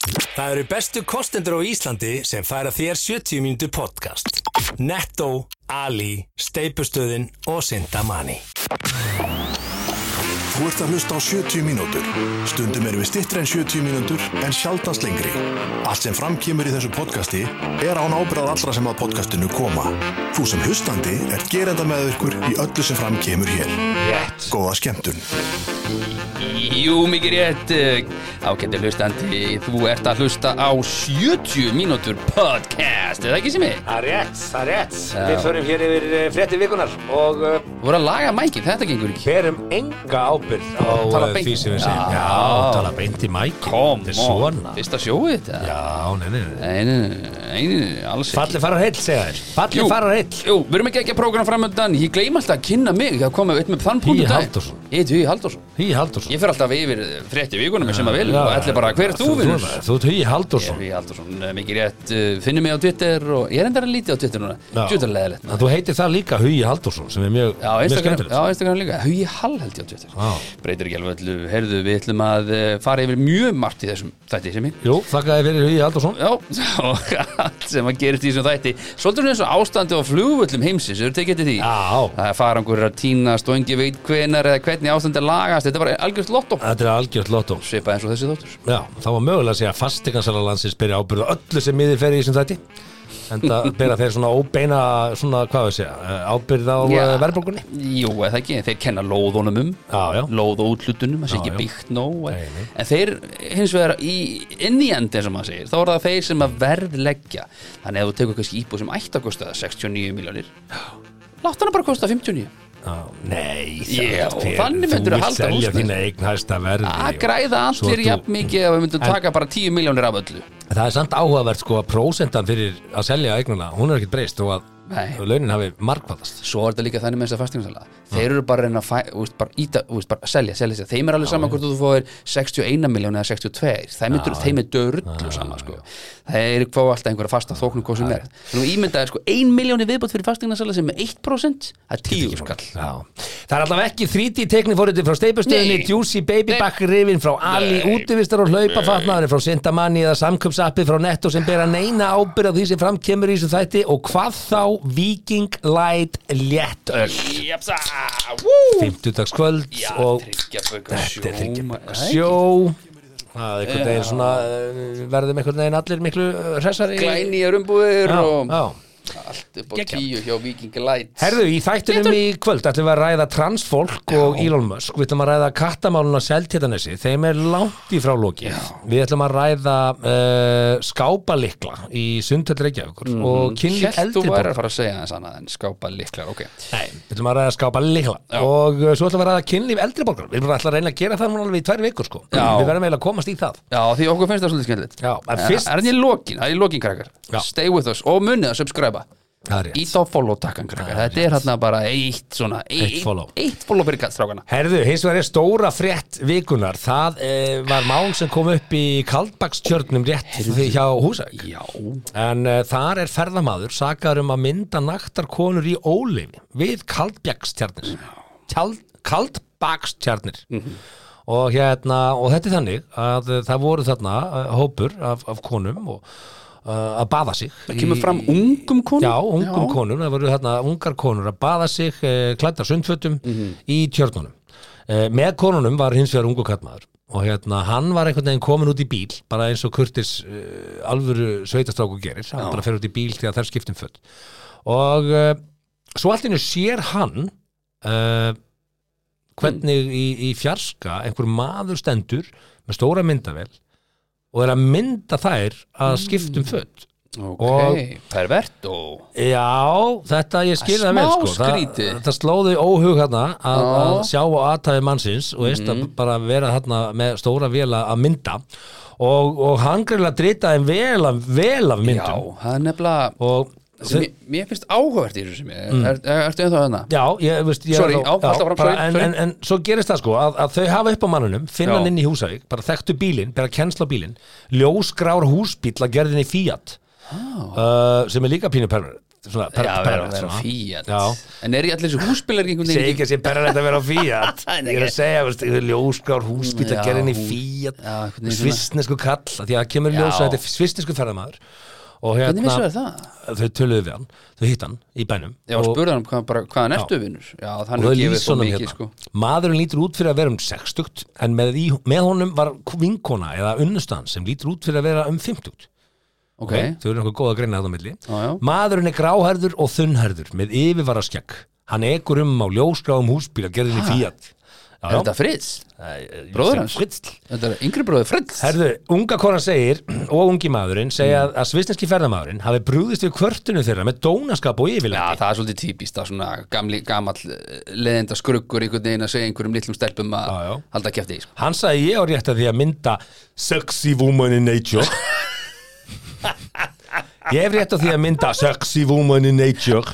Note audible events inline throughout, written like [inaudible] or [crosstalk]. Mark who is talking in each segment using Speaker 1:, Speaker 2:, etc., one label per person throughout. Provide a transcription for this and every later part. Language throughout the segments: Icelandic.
Speaker 1: Það eru bestu kostendur á Íslandi sem færa þér 70 mínútu podcast. Netto, Ali, Steipustöðin og Sindamani.
Speaker 2: Þú ert að hlusta á 70 mínútur. Stundum erum við stittri en 70 mínútur en sjaldast lengri. Allt sem framkýmur í þessu podcasti er án ábyrðað allra sem að podcastinu koma. Þú sem hlustandi er gerenda með ykkur í öllu sem framkýmur hér.
Speaker 3: Rétt.
Speaker 2: Góða skemmtun.
Speaker 3: Jú, mikið rétt Ágætti hlustandi, þú ert að hlusta á 70 mínútur podcast Er það ekki sem ég?
Speaker 4: Það er rétt, það er rétt. Við förum hér yfir
Speaker 3: eh,
Speaker 4: frétti vikunar og uh,
Speaker 3: Voru að laga mækið, þetta gengur ekki
Speaker 4: berum enga ábyrð á
Speaker 5: á
Speaker 3: Tala
Speaker 5: eh,
Speaker 3: beint.
Speaker 5: því sem við segjum
Speaker 3: Já.
Speaker 5: Já, tala beint í mækin
Speaker 3: Kom,
Speaker 5: Þetta er svona
Speaker 3: fyrst að sjóu þetta
Speaker 5: Já, nei, nei, nei
Speaker 3: Nei, nei, nei, nei, alls ekki
Speaker 5: Falli farar heill, segja þér Falli
Speaker 3: Jú,
Speaker 5: farar heill
Speaker 3: Jú, við erum ekki ekki að prógrana framöndan Ég gleym alltaf að kynna mig Það komum við upp með þann
Speaker 5: Hugi
Speaker 3: púntu
Speaker 5: Halldórsson.
Speaker 3: Ég Hugi Halldórsson
Speaker 5: Hí Haldursson
Speaker 3: Ég fer alltaf yfir frétti vikunum sem að vil Og ætli bara, hver er þú, vinnur?
Speaker 5: Þú ert Hí
Speaker 3: Ég er
Speaker 5: Haldursson
Speaker 3: Hugi Halldórsson, eh, mikið rétt eh, Finnum mig á Twitter og ég er endara lítið á Twitter núna Twitter leðilegt
Speaker 5: En þú heitir það líka Hugi Haldursson sem er mjög,
Speaker 3: Já,
Speaker 5: mjög
Speaker 3: Instagram,
Speaker 5: skemmtilegt
Speaker 3: já, Instagram líka, Hugi Hall held ég á Twitter
Speaker 5: Já.
Speaker 3: Breytir ekki alveg öllu, heyrðu, við ætlum að eh, fara yfir mjög margt í þessum þætti sem ég
Speaker 5: Jú, þakka þér fyrir Hugi Haldursson
Speaker 3: Já, [laughs] og allt sem að gerist í þessum þætti Svolítið svona eins og ástandi á flugvöllum heimsins, eru tekið til því
Speaker 5: Já,
Speaker 3: Það er farangur að tínast og engi veit hvenar eða hvernig ástandi lagast, þetta er bara algjörst lottó
Speaker 5: þetta er algjört lottum
Speaker 3: Svipað eins og þessi þóttur
Speaker 5: Já, þá var mögulega að segja að fastegansala landsins byrja ábyrða öllu sem miðið fer í þessum þætti en
Speaker 3: [laughs]
Speaker 5: það byrja þeir svona óbeina svona, hvað við segja, eh, ábyrða á
Speaker 3: Já.
Speaker 5: yeah. verðbólgunni
Speaker 3: Jú, eða ekki, þeir kenna lóðunum um
Speaker 5: Já, já.
Speaker 3: Lóð og útlutunum, það
Speaker 5: Já,
Speaker 3: sé ekki
Speaker 5: já.
Speaker 3: byggt nóg
Speaker 5: Nei,
Speaker 3: en,
Speaker 5: nei.
Speaker 3: en þeir, hins vegar, í innjandi sem maður segir, þá er það þeir sem að verðleggja Þannig að þú tekur kannski íbúð sem ætti að kosta 69 miljónir Látt hana bara kosta 59
Speaker 5: Já, Nei,
Speaker 3: Já,
Speaker 5: það
Speaker 3: og þannig myndirðu
Speaker 5: Þú
Speaker 3: halda
Speaker 5: vilt selja
Speaker 3: húsnæði.
Speaker 5: þína eign hæsta verði
Speaker 3: Að
Speaker 5: og-
Speaker 3: græða
Speaker 5: Svo
Speaker 3: allir
Speaker 5: þú-
Speaker 3: jafn mikið ef við myndum
Speaker 5: En-
Speaker 3: taka bara 10 miljónir af öllu
Speaker 5: Það er samt áhugavert sko að prósentan fyrir að selja eignuna, hún er ekkert breyst og að
Speaker 3: Nei.
Speaker 5: launin hafi markvallast
Speaker 3: Svo er þetta líka þannig með þess að fastingarsala Þeir eru bara að reyna að fæ, úst, bara íta, úst, bara selja, selja, selja Þeim er alveg saman hvort þú fóir 61 miljón eða 62 Þeim, já, þeim er dörrlu saman sko. Þeir fá alltaf einhverja fasta þóknum hvað sem er Nú ímyndaði sko 1 miljóni viðbót fyrir fastingarsala sem er 1% Það er 10 skall
Speaker 5: Já. Það er allavega ekki 3D tekni fórhundin frá steipustöðinni,
Speaker 3: Nei.
Speaker 5: Juicy Baby
Speaker 3: Nei.
Speaker 5: Bakkrifin frá Ali, útivistar og hlaupafatnaðurinn frá Sindamanni eða samköpsappið frá Netto sem bera neina ábyrð á því sem fram kemur í þessu þætti og hvað þá Viking Light Léttöl
Speaker 3: Japsa, wú
Speaker 5: 50 dagskvöld
Speaker 3: Já,
Speaker 5: og
Speaker 3: þryggjaböka
Speaker 5: þetta er þriggja
Speaker 3: sjó
Speaker 5: sjó Það er einhvern veginn svona eh, verðum einhvern veginn allir miklu eh, hressari
Speaker 3: Glæni er umbúðir
Speaker 5: Já,
Speaker 3: og
Speaker 5: já.
Speaker 3: allt upp á 10 hjá Viking Lights
Speaker 5: Herðu, í þættunum í kvöld ætlum við að ræða transfólk og Elon Musk Við ætlum að ræða kattamálun á seltétanesi Þeim er langt í frá lokið Við ætlum að ræða uh, skápalikla í Sundhöll Reykjavíkur Og kynlíf
Speaker 3: Hjælt Mhm. þú
Speaker 5: eldri
Speaker 3: væri
Speaker 5: borg
Speaker 3: að fara að segja þess annað en skápa liklar, ok
Speaker 5: Nei, við ætlum að ræða skápalikla Og uh, svo ætlum við að ræða kynlíf eldri borgar Við ætlum að ætla að reyna að gera það núna alveg í tvær vikur sko
Speaker 3: Já.
Speaker 5: Við verðum eiginlega að komast í það
Speaker 3: Já, því okkur finnst það svolítið skemmtilegt
Speaker 5: Já, en fyrst-
Speaker 3: Það er í lokin, það er í lokin krakkar
Speaker 5: Já.
Speaker 3: Stay with us og munið að subscriba
Speaker 5: Það er rétt.
Speaker 3: Ít á follow takkan krakkar Þetta er hérna bara eitt svona
Speaker 5: Eitt follow.
Speaker 3: Eitt follow fyrir kattstrákana
Speaker 5: Herðu, hins vegar er stóra frétt vikunar Það eh, var mál sem kom upp í Kaldbakstjörnum rétt hjá Húsæk
Speaker 3: Já,
Speaker 5: En uh, þar er ferðamaður sakar um að mynda naktar konur í óleifi við kaldbjakstjarnir kaldbakstjarnir og hérna, og þetta er þannig að uh, það voru þarna uh, hópur af, af konum og uh, að baða sig
Speaker 3: það kemur
Speaker 5: í-
Speaker 3: fram ungum konum
Speaker 5: Já, ungum konum, það voru þarna ungar konur að baða sig, uh, klæta sundfötum í tjörnunum. Uh, með konunum var hins vegar ungu kattmaður og hérna, hann var einhvern veginn komin út í bíl bara eins og Kurtis uh, alvöru sveitastráku gerir, hann bara fer út í bíl þegar þær skiptum föt og uh, svo allt innu sér hann uh, hvernig í, í fjarska einhver maður stendur með stóra myndavel og er að mynda þær að skiptum föt
Speaker 3: Ok, pervert og
Speaker 5: Já, þetta ég skil það
Speaker 3: Smá
Speaker 5: vel sko.
Speaker 3: skrítið.
Speaker 5: Það, það slóði óhug hérna að,
Speaker 3: Já. Mhm.
Speaker 5: að sjá á aðtæði mannsins og veist að bara vera hérna með stóra vela að mynda og, og hann greinlega dritaði vel, af- vel af
Speaker 3: Já,
Speaker 5: myndum
Speaker 3: það er nefnilega
Speaker 5: og Mm.
Speaker 3: sem, mér, mér finnst áhugavert í þessu sem ég er, er, Ertu ennþá þarna?
Speaker 5: Já, ég veist ég,
Speaker 3: Sorry,
Speaker 5: já,
Speaker 3: já, haltu áfram,
Speaker 5: bara,
Speaker 3: sorry,
Speaker 5: en,
Speaker 3: sorry.
Speaker 5: En, en svo gerist það sko að, að þau hafa upp á mannunum, finna
Speaker 3: Já.
Speaker 5: hann inn í húsavík bara þekktu bílinn, bera kennsla á bílinn ljósgrár húsbíl að gerðin í Fiat uh, sem er líka pínu perverð svona, per,
Speaker 3: Ah. Já, vera
Speaker 5: perrætt,
Speaker 3: vera
Speaker 5: svona.
Speaker 3: Fiat
Speaker 5: Já.
Speaker 3: En er ég allir þessu húsbílar ekki einhvern
Speaker 5: segi
Speaker 3: veginn
Speaker 5: ekki að sé perrætt að vera á
Speaker 3: [laughs]
Speaker 5: Fiat
Speaker 3: Nei, nei.
Speaker 5: ég er að segja, veist, ljóskár húsbíl að
Speaker 3: Já,
Speaker 5: gera henni í
Speaker 3: hú-
Speaker 5: Fiat
Speaker 3: Já, einhvern veginn svona-
Speaker 5: svistnesku kall, af því að það kemur í ljós
Speaker 3: Já.
Speaker 5: að þetta er svistnesku ferðamaður og
Speaker 3: Hvernig vissu
Speaker 5: hérna,
Speaker 3: það það?
Speaker 5: þau töluðu við hann þau hitt hann í bænum
Speaker 3: Já, og spurði hann hvað, bara, hvaðan ertu vinnur Já,
Speaker 5: og
Speaker 3: þannig
Speaker 5: það
Speaker 3: er gefið
Speaker 5: lýs
Speaker 3: svo
Speaker 5: honum
Speaker 3: mikið
Speaker 5: hérna
Speaker 3: sko.
Speaker 5: maðurinn lítur út fyrir að vera um 60 en með, í, með honum var vinkona eða unnustan sem lítur út fyrir að vera um 50
Speaker 3: Ok,
Speaker 5: okay. þau eru eitthvað góð að greina þetta á milli
Speaker 3: Já, já.
Speaker 5: maðurinn er gráherður og þunnherður með yfirvaraskegg hann ekur um á ljósgráðum húsbíla gerðin í fíat
Speaker 3: Ah. er þetta Fritz? bróðir hans?
Speaker 5: Fritzl
Speaker 3: Þetta er yngri bróðið Fritz
Speaker 5: Herðu, unga konan segir og ungi maðurinn segja
Speaker 3: Mm.
Speaker 5: að svisneski ferðamaðurinn hafi brúðist við kvörtinu þeirra með dónaskap og
Speaker 3: Já,
Speaker 5: yfirlæti
Speaker 3: það er svolítið típist að svona gamli, gamall leðenda skruggur einhvern veginn að segja einhverjum litlum stelpum að
Speaker 5: Já, já.
Speaker 3: halda kæfti í sko.
Speaker 5: Hann sagði ég á rétt að því að mynda Sexy woman in nature [laughs] Ég hef rétt að því að mynda Sexy woman in nature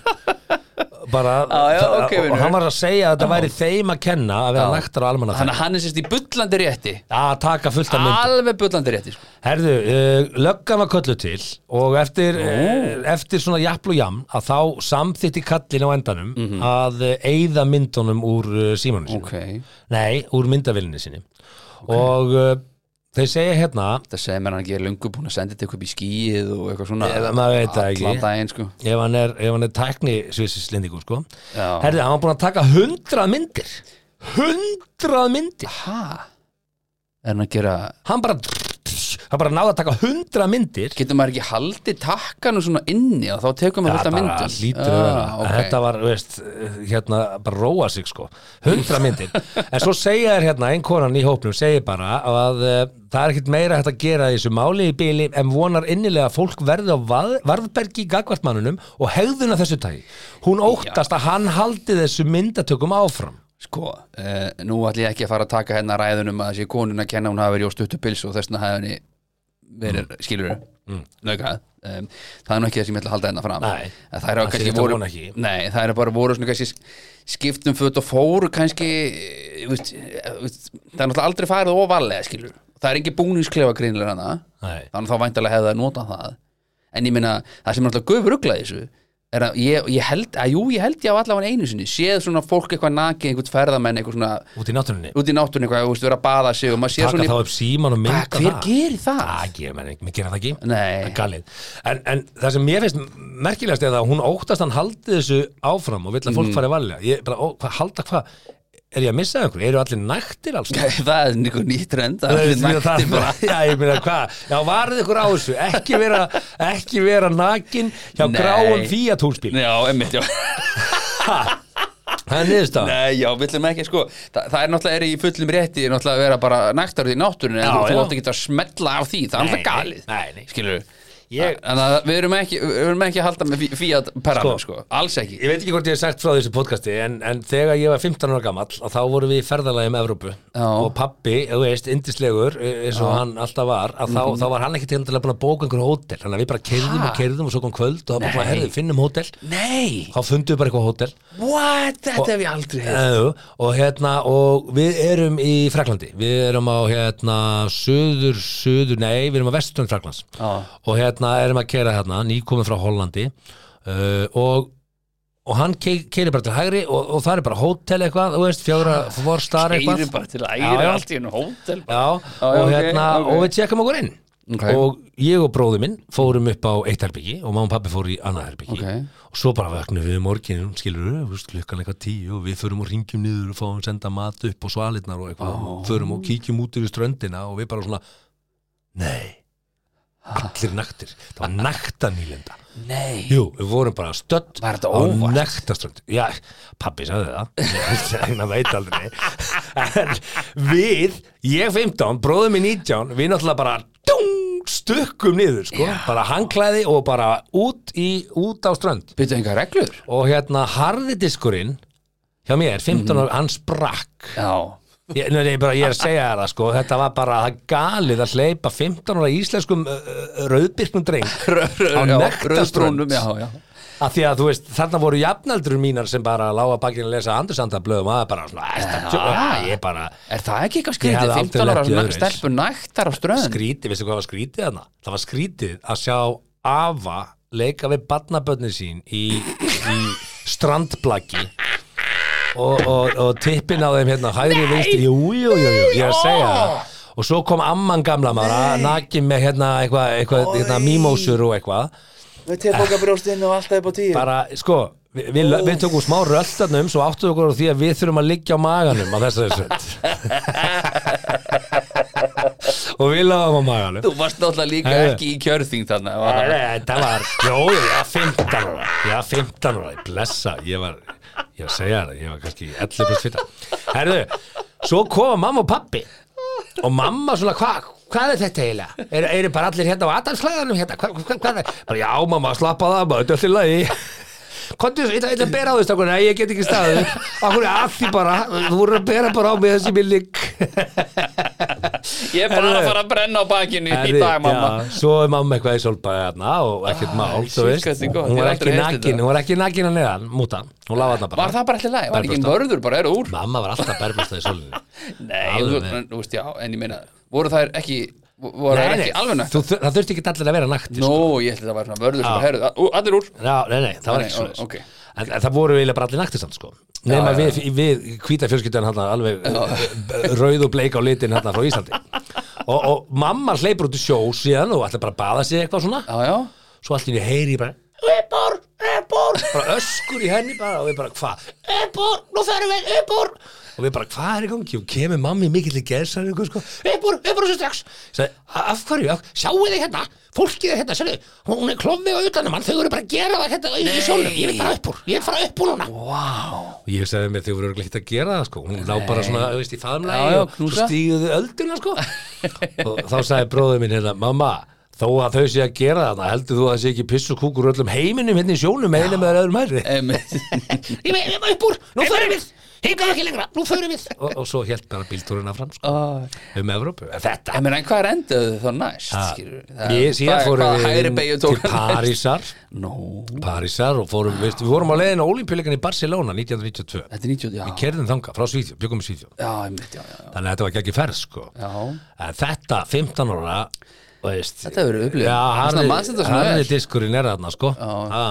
Speaker 5: Bara
Speaker 3: [laughs] Já, já,
Speaker 5: það-
Speaker 3: ok,
Speaker 5: og-
Speaker 3: vinur.
Speaker 5: Og hann var að segja að þetta væri þeim að kenna að vera nægtar á almanna
Speaker 3: Þannig að hann er sérst í bullandi rétti
Speaker 5: að taka fullt af myndum
Speaker 3: Alveg bullandi rétti sko.
Speaker 5: Herðu, uh, löggan var köllu til og eftir, uh, eftir svona jafl og jam að þá samþýtti kallin á endanum að uh, eyða myndunum úr uh, símanu sinu
Speaker 3: Mhm. Ok,
Speaker 5: Nei, úr myndavillinni sinni og uh, þeir segja hérna
Speaker 3: það segir mér að hann ekki er löngu búin að senda þetta eitthvað upp í skíið og eitthvað svona
Speaker 5: Eða maður veit það ekki.
Speaker 3: Allan daginn sko
Speaker 5: ef hann er, ef hann er tækni svissislendingur sko
Speaker 3: Já.
Speaker 5: Herði, hann var búin að taka hundrað myndir hundrað myndir
Speaker 3: Ha? Er hann að gera
Speaker 5: hann bara, hann bara náði að taka hundrað myndir
Speaker 3: Getur maður ekki haldið takkanu svona inni og þá tekur maður alltaf myndum
Speaker 5: lítur ah, okay. þetta var, veist, hérna bara róa sig sko, hundra myndir en svo segja þér hérna, ein konan í hópnum segir bara að uh, það er ekkert meira hægt að gera í þessu máli í bíli en vonar innilega að fólk verði á vað- varðbergi í gagvartmannunum og hegðuna þessu tægi hún óttast að hann haldi þessu myndatökum áfram
Speaker 3: Sko, uh, nú ætlum ég ekki að fara að taka hérna ræðunum að þessi konun að kenna hún hafi verið á stuttupils og þessna hafi henni verið, mm. skilur mm. naukað um, það er nú ekki það sem ég ætla að halda hérna fram
Speaker 5: Nei.
Speaker 3: En það er
Speaker 5: Það
Speaker 3: kannski
Speaker 5: þýðir
Speaker 3: voru
Speaker 5: þetta von ekki.
Speaker 3: nei, það er bara voru svona kannski skiptum föt og fóru kannski eh, veist, eh, veist, það er náttúrulega aldrei farið ofalega skilur það er ekki búningsklefa grínlega hana
Speaker 5: Nei.
Speaker 3: þannig þá væntalega hefði að nota það en ég meina, það sem er alltaf gufur rugglaði þessu er að ég, ég held, að jú, ég held ég á allavega einu sinni, séð svona fólk eitthvað nakið, einhvern ferðamenn, eitthvað svona
Speaker 5: út í náttúrunni
Speaker 3: út í náttúrun eitthvað, þú veist, vera að baða sig og maður séð
Speaker 5: taka
Speaker 3: svona,
Speaker 5: þá upp síman og
Speaker 3: Hva,
Speaker 5: mynda
Speaker 3: hver
Speaker 5: það
Speaker 3: gerir það?
Speaker 5: Það gerir menn ekki, mér gerir það ekki
Speaker 3: Nei.
Speaker 5: Það er galið. en, en það sem mér finnst merkilegast er að hún óttast hann haldi þessu áfram og vill að fólk
Speaker 3: Mhm.
Speaker 5: fari varlega ég bara, ó, hvað, halda hvað, er ég að missa einhverju eru allir nægtir alls
Speaker 3: [laughs] það er einhver nýtt rend það
Speaker 5: Það
Speaker 3: er
Speaker 5: veist, ég
Speaker 3: allir
Speaker 5: meina, það er
Speaker 3: naktir bara
Speaker 5: bara- [laughs] Já, ég meina hvað, já varðið ykkur á þessu ekki vera, ekki vera nakin hjá
Speaker 3: Nei.
Speaker 5: gráum Fiat húsbíl
Speaker 3: Já, emmitt, já,
Speaker 5: það er niðurst á
Speaker 3: nei, já, við ætlum ekki, sko það, það er náttúrulega, er í fullum rétti náttúrulega að vera bara nægtar út í náttúrun en
Speaker 5: Já,
Speaker 3: þú, þú
Speaker 5: já.
Speaker 3: átt ekki að smetla af því, það er
Speaker 5: Nei,
Speaker 3: alltaf galið
Speaker 5: nei, nei.
Speaker 3: skilur við
Speaker 5: Ég-
Speaker 3: En það, við erum ekki, við erum ekki að halda með fí- Fiat Perraman,
Speaker 5: Sko.
Speaker 3: sko, alls ekki
Speaker 5: Ég veit ekki hvort ég hef sagt frá þessu podcasti en, en þegar ég var 15 ára gamall og þá vorum við í ferðalagi með Evrópu
Speaker 3: Já.
Speaker 5: og pabbi, þú veist, indislegur eins og hann alltaf var að þá, þá var hann ekki til að búin að bóka einhver hótel þannig að við bara keirðum
Speaker 3: Mhm. Ha?
Speaker 5: og keirðum og svo kom kvöld og þá bara svona,
Speaker 3: Nei.
Speaker 5: herðu, finnum hótel
Speaker 3: Nei,
Speaker 5: þá fundum við bara eitthvað hótel
Speaker 3: what, þetta hef ég aldrei heyrt.
Speaker 5: Jú, og hérna, og við erum í Fraklandi, við erum á hérna, söður, söður, nei við erum á vesturinn Fraklands
Speaker 3: Já.
Speaker 5: og hérna erum að keira hérna, nýkomin frá Hollandi uh, og og hann keiri bara til hægri og, og það er bara hótel eitthvað, þú veist, fjóra
Speaker 3: Ah,
Speaker 5: fórstar eitthvað
Speaker 4: Eyri bara til æri,
Speaker 5: Já, já.
Speaker 4: allt í enn hótel bara.
Speaker 5: Já,
Speaker 3: já,
Speaker 5: og
Speaker 3: Ah, ok,
Speaker 5: hérna,
Speaker 3: ok.
Speaker 5: og við tjekkum okkur inn
Speaker 3: Ok.
Speaker 5: og ég og bróði minn fórum upp á eitt herbyggi og mamma og pappi fóru í annað herbyggi
Speaker 3: Ok.
Speaker 5: og svo bara vögnum við um morginum, skilur við, veist, klukkan eitthvað tíu og við förum og ringjum niður og fáum senda mat upp og svalirnar og eitthvað og förum og kíkjum út yfir ströndina og við bara svona nei,
Speaker 3: Ah.
Speaker 5: allir naktir það var nakta nýlenda
Speaker 3: Nei
Speaker 5: Jú, við vorum bara stödd
Speaker 3: Var
Speaker 5: á
Speaker 3: þetta óvart?
Speaker 5: nektarströnd Já, pappi sagði það en það veit aldrei en við, ég 15 bróðum minn 19, við náttúrulega bara dung, stukkum niður sko. bara hangklæði og bara út, í, út á strönd
Speaker 3: Byttu enga reglur?
Speaker 5: og hérna harðidiskurinn hjá mér, 15
Speaker 3: Mhm.
Speaker 5: ára, hann sprakk
Speaker 3: Já
Speaker 5: Ég, nei, nei, bara, ég er að segja þér það sko, þetta var bara það galið að hleypa 15 ára íslenskum uh, rauðbyrknum dreng á nektarströnd
Speaker 3: Röðbrúnum, já, já
Speaker 5: að því að þú veist, þarna voru jafnaldur mínar sem bara lága bakinn að lesa andursandablöðum og það er bara svona, æsta, ég bara
Speaker 3: Er það ekki eitthvað
Speaker 5: Ég
Speaker 3: skrítið?
Speaker 5: hefði aldrei
Speaker 3: 15 ára
Speaker 5: lent í öðru eins.
Speaker 3: stelpur nættar á ströðin
Speaker 5: skrítið, veistu hvað var skrítið þarna? Það var skrítið að sjá afa leika við barnabönnir sín í, í strandblaki og, og, og tippin á þeim hérna hægri vinstri, jú, jú, jú, jú, ég er að segja það og svo kom amman gamla maður að nakin með hérna eitthvað eitthva, hérna, mimósur og eitthvað
Speaker 6: Með tilbókabrjóstinn og alltaf upp á tíu
Speaker 5: bara, sko, við, við, við tökum smá röltanum svo áttuðu okkur á því að við þurfum að liggja á maganum á þessari sveit og við lagum á maganum
Speaker 3: Þú varst náttúrulega líka
Speaker 5: Herðu.
Speaker 3: ekki í kjörþing þannig var
Speaker 5: Nei,
Speaker 3: það-
Speaker 5: nei, þetta var, jó, ég var 15 ára Ég var 15 ára, ég blessa Ég var, ég var að segja það, ég var kannski 11 pluss 15 Herðu, svo koma mamma og pappi Og mamma svona, hvað, hvað er þetta eiginlega? Eru er bara allir hérna á Adamsklæðanum hérna? Hvað, hvað, hvað er Bara, já, mamma, slappa það, maður, þetta er allir lagi Kondu, ég ætla ég ætla að bera á því stakkur Nei, ég get ekki staðið Akkur er að því bara, þú voru að bera bara á mig þessi mér lík
Speaker 3: Ég er bara
Speaker 5: Herðu.
Speaker 3: að fara að brenna á bakinu í
Speaker 5: Herri,
Speaker 3: dag mamma
Speaker 5: já, svo er mamma eitthvað í solbæði hérna og ekkert mál, þú
Speaker 3: shit,
Speaker 5: veist
Speaker 3: hvernig gott,
Speaker 5: hún
Speaker 3: ég
Speaker 5: var
Speaker 3: hef
Speaker 5: ekki
Speaker 3: aldrei heyrt
Speaker 5: nakin,
Speaker 3: þetta.
Speaker 5: hún var ekki nakin að neðan, múta, hún lafa hérna bara
Speaker 3: Var það bara allir læg? Var ekki
Speaker 5: Berbrjósta.
Speaker 3: mörður bara eru úr?
Speaker 5: mamma var alltaf berbröstað í solinu
Speaker 3: Nei,
Speaker 5: Alveg
Speaker 3: þú,
Speaker 5: nei.
Speaker 3: en, þú veist, já, en ég meina voru þær ekki, voru þær ekki alveg nægt?
Speaker 5: þú, þur- það þurfti ekki allir að vera nakti
Speaker 3: Nó,
Speaker 5: sko.
Speaker 3: ég ætla það var svona vörður
Speaker 5: Já.
Speaker 3: sem bara herðu, ú, allir úr
Speaker 5: já, nei, nei, það var
Speaker 3: Nei,
Speaker 5: ekki
Speaker 3: ó,
Speaker 5: svona
Speaker 3: ok.
Speaker 5: en, en það voru eiginlega bara allir nakti samt sko nema
Speaker 3: já,
Speaker 5: við, við hvíta fjölskyldan hérna alveg eh, rauð og bleik á litin hérna frá Íslandi og, og mamma hleypur út í sjó síðan og ætla bara að baða sig eitthvað svona
Speaker 3: Já, já,
Speaker 5: svo allir ég heyri ég bara Ebor, Ebor bara öskur í henni bara og við bara hvað Ebor, nú ferum við Ebor og við bara hvað er í gangi og kemur mammi mikill í gerðsar sko, Ebor, Ebor svo strax Ég sagði, "A- af hverju, af, sjáu þið hérna fólkið er hérna, sérðu, hún er klofið á utanum hann, þau eru bara að gera það hérna í- í sjónum ég vil fara upp úr, ég vil fara upp úr núna wow. og ég sagði mér þau voru örugglega ekkert að gera það sko, hún lá bara svona, þú veist, í
Speaker 3: Já,
Speaker 5: faðumlægi
Speaker 3: já,
Speaker 5: og svo
Speaker 3: knúsa.
Speaker 5: stíguðu ölduna sko og þá sagði bróður minn hérna mamma, þó að þau sé að gera það heldur þú að það sé ekki piss og kúkur öllum heiminum hérna í sjónum einum eða öðrum hæri [laughs]
Speaker 3: einmitt
Speaker 5: ég með, ég með upp úr, nú förum við hingað ekki lengra, nú förum við og, og svo held bara bíltúruna fram sko, um Evrópu En þetta,
Speaker 3: En meina, en hvað endaðu þau þá næst? skilurðu? Það-
Speaker 5: ég síðan
Speaker 3: hvað-
Speaker 5: fórum
Speaker 3: Hvað hægri beigju
Speaker 5: við
Speaker 3: tók
Speaker 5: til
Speaker 3: [laughs]
Speaker 5: Parísar
Speaker 3: Nó,
Speaker 5: Parísar og fórum, veist, við vorum á leiðin á Olympiuleikan í Barcelona 1992
Speaker 3: þetta er 90, já
Speaker 5: við kerðum þangað frá Svíþjó, byggum í Svíþjó
Speaker 3: Já, einmitt, já, já, já.
Speaker 5: þannig að þetta var ekki ekki ferð sko
Speaker 3: já
Speaker 5: en þetta 15 ára þú veist,
Speaker 3: Þetta hefur verið upplifun.
Speaker 5: já,
Speaker 3: Svona
Speaker 5: harði,
Speaker 3: manstu þetta svona
Speaker 5: harði
Speaker 3: vel.
Speaker 5: diskurinn er þarna sko ah.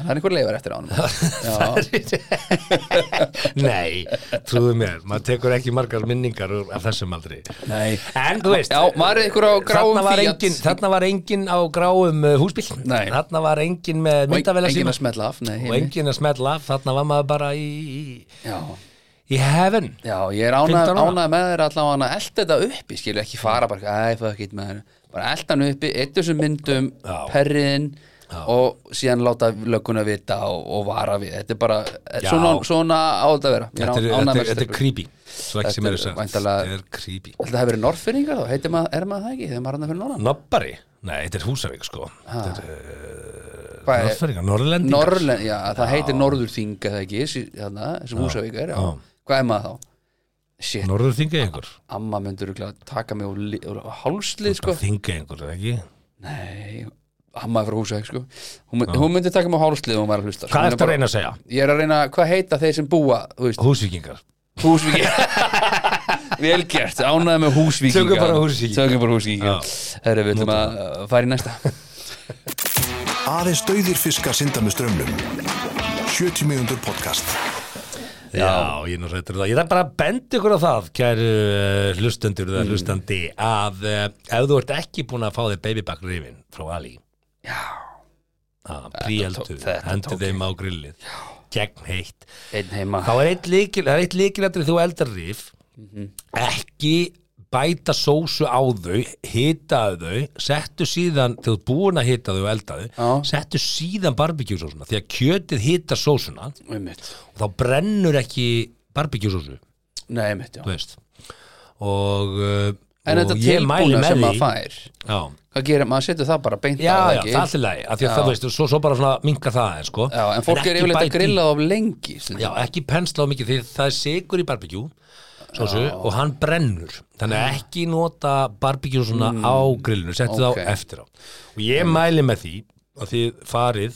Speaker 3: En Það er einhver leifar eftir
Speaker 5: [laughs]
Speaker 3: ánum Já,
Speaker 5: nei, trúðu mér maður tekur ekki margar minningar úr- af þessum aldrei
Speaker 3: nei
Speaker 5: en þú veist
Speaker 3: Já, maður er einhver á gráum
Speaker 5: þarna var,
Speaker 3: Fiat.
Speaker 5: engin, þarna var engin á gráum uh, húsbíl
Speaker 3: Nei.
Speaker 5: þarna var engin með
Speaker 3: Og en-
Speaker 5: myndavela
Speaker 3: Enginn
Speaker 5: síma
Speaker 3: að smetla af, nei
Speaker 5: og
Speaker 3: nei.
Speaker 5: engin að smetla af, þarna var maður bara í, í,
Speaker 3: Já,
Speaker 5: í heaven
Speaker 3: já, ég er
Speaker 5: 15
Speaker 3: ánað
Speaker 5: ára.
Speaker 3: ána með þeir allavega að elda þetta uppi, skilu, ekki fara bara, æ, fuck it, maður Bara elda hann uppi, eitt þessum myndum,
Speaker 5: Já.
Speaker 3: perriðin og síðan láta lögguna vita og, og vara við þetta er bara, eh,
Speaker 5: Já.
Speaker 3: svona, svona á þetta að vera Ég
Speaker 5: þetta er,
Speaker 3: er
Speaker 5: þetta,
Speaker 3: ánað
Speaker 5: er,
Speaker 3: með
Speaker 5: þetta er
Speaker 3: stelpur.
Speaker 5: creepy svo
Speaker 3: Þetta
Speaker 5: ekki sem
Speaker 3: er
Speaker 5: er þess að
Speaker 3: væntanlega-
Speaker 5: þetta er creepy
Speaker 3: Ætli Það hefur verið norfyrringar þá, heitir maður, er maður það ekki, þegar maður hann að fyrir norðan?
Speaker 5: Nobbari? Nei, þetta er Húsavík sko
Speaker 3: Hvað er-
Speaker 5: Norðfæringar, Norrlendingar
Speaker 3: Norrlen, já, það heitir Norðurþing eða ekki, sí- þarna, sem Húsavík er, já.
Speaker 5: já.
Speaker 3: Hvað er maður þá? Shit,
Speaker 5: Norður þingeyingur
Speaker 3: amma myndur taka mig úr, li- úr hálslið, sko.
Speaker 5: Þingeyingur, er það ekki?
Speaker 3: Nei, amma er frá Húsavík, sko. Hún, mynd, hún myndi taka mig úr hálslið ef hún var að hlusta. sko.
Speaker 5: Hvað
Speaker 3: Hún
Speaker 5: ertu
Speaker 3: er
Speaker 5: að
Speaker 3: bara-
Speaker 5: reyna að segja?
Speaker 3: Ég er að reyna, hvað heita þeir sem búa,
Speaker 5: [laughs]
Speaker 3: þú veist,
Speaker 5: Húsvíkingar
Speaker 3: Húsvíki. Velgert, ánæði með Húsvíkinga.
Speaker 5: Tökum bara Húsvíkinga.
Speaker 3: Tökum bara Húsvíkinga.
Speaker 5: Já.
Speaker 3: Herri, við ætlum að uh, fara í næsta.
Speaker 5: [laughs]
Speaker 2: Aðeins dauðir fiskar synda með strömmnum. 70 mínútur podcast.
Speaker 5: Já, ég er nú reytur það Ég þarf bara að benda ykkur á það Kæru uh, hlustendur eða
Speaker 3: Mm.
Speaker 5: hlustandi Að uh, ef þú ert ekki búin að fá þér babyback rifin Frá Ali Já Príeldu,
Speaker 3: tók- þetta
Speaker 5: hendur
Speaker 3: tók
Speaker 5: þeim á grillið Gegn heitt
Speaker 3: Einn heima.
Speaker 5: Þá er eitt líkil, það er eitt líkilatri þú eldar rif
Speaker 3: Mhm.
Speaker 5: Ekki bæta sósu á þau hitaðu þau, settu síðan þegar þú ert búin að hita þau og elda þau
Speaker 3: Já.
Speaker 5: settu síðan barbekjúsósuna því að kjötið hitar sósuna og
Speaker 3: Einmitt.
Speaker 5: þá brennur ekki barbekjúsósu,
Speaker 3: Nei, einmitt, já.
Speaker 5: þú veist og, uh,
Speaker 3: En
Speaker 5: og
Speaker 3: þetta tilbúna sem maður fær
Speaker 5: Já,
Speaker 3: Hvað gerir maður, setur það bara beint
Speaker 5: já,
Speaker 3: á
Speaker 5: já,
Speaker 3: ekki?
Speaker 5: það er allir lagi af því að það veist, svo, svo bara svona minka það en sko
Speaker 3: Já, en fólk er
Speaker 5: ekki
Speaker 3: yfirleitt að
Speaker 5: bæta í-
Speaker 3: grilla of lengi stundum.
Speaker 5: Já, ekki pensla á mikið því það er sigur í barbekjú sósu, og hann brennur þannig
Speaker 3: Mm.
Speaker 5: að ekki nota barbekjú svona á grillinu, settu
Speaker 3: ok.
Speaker 5: þá eftir á og ég mæli með því að þið farið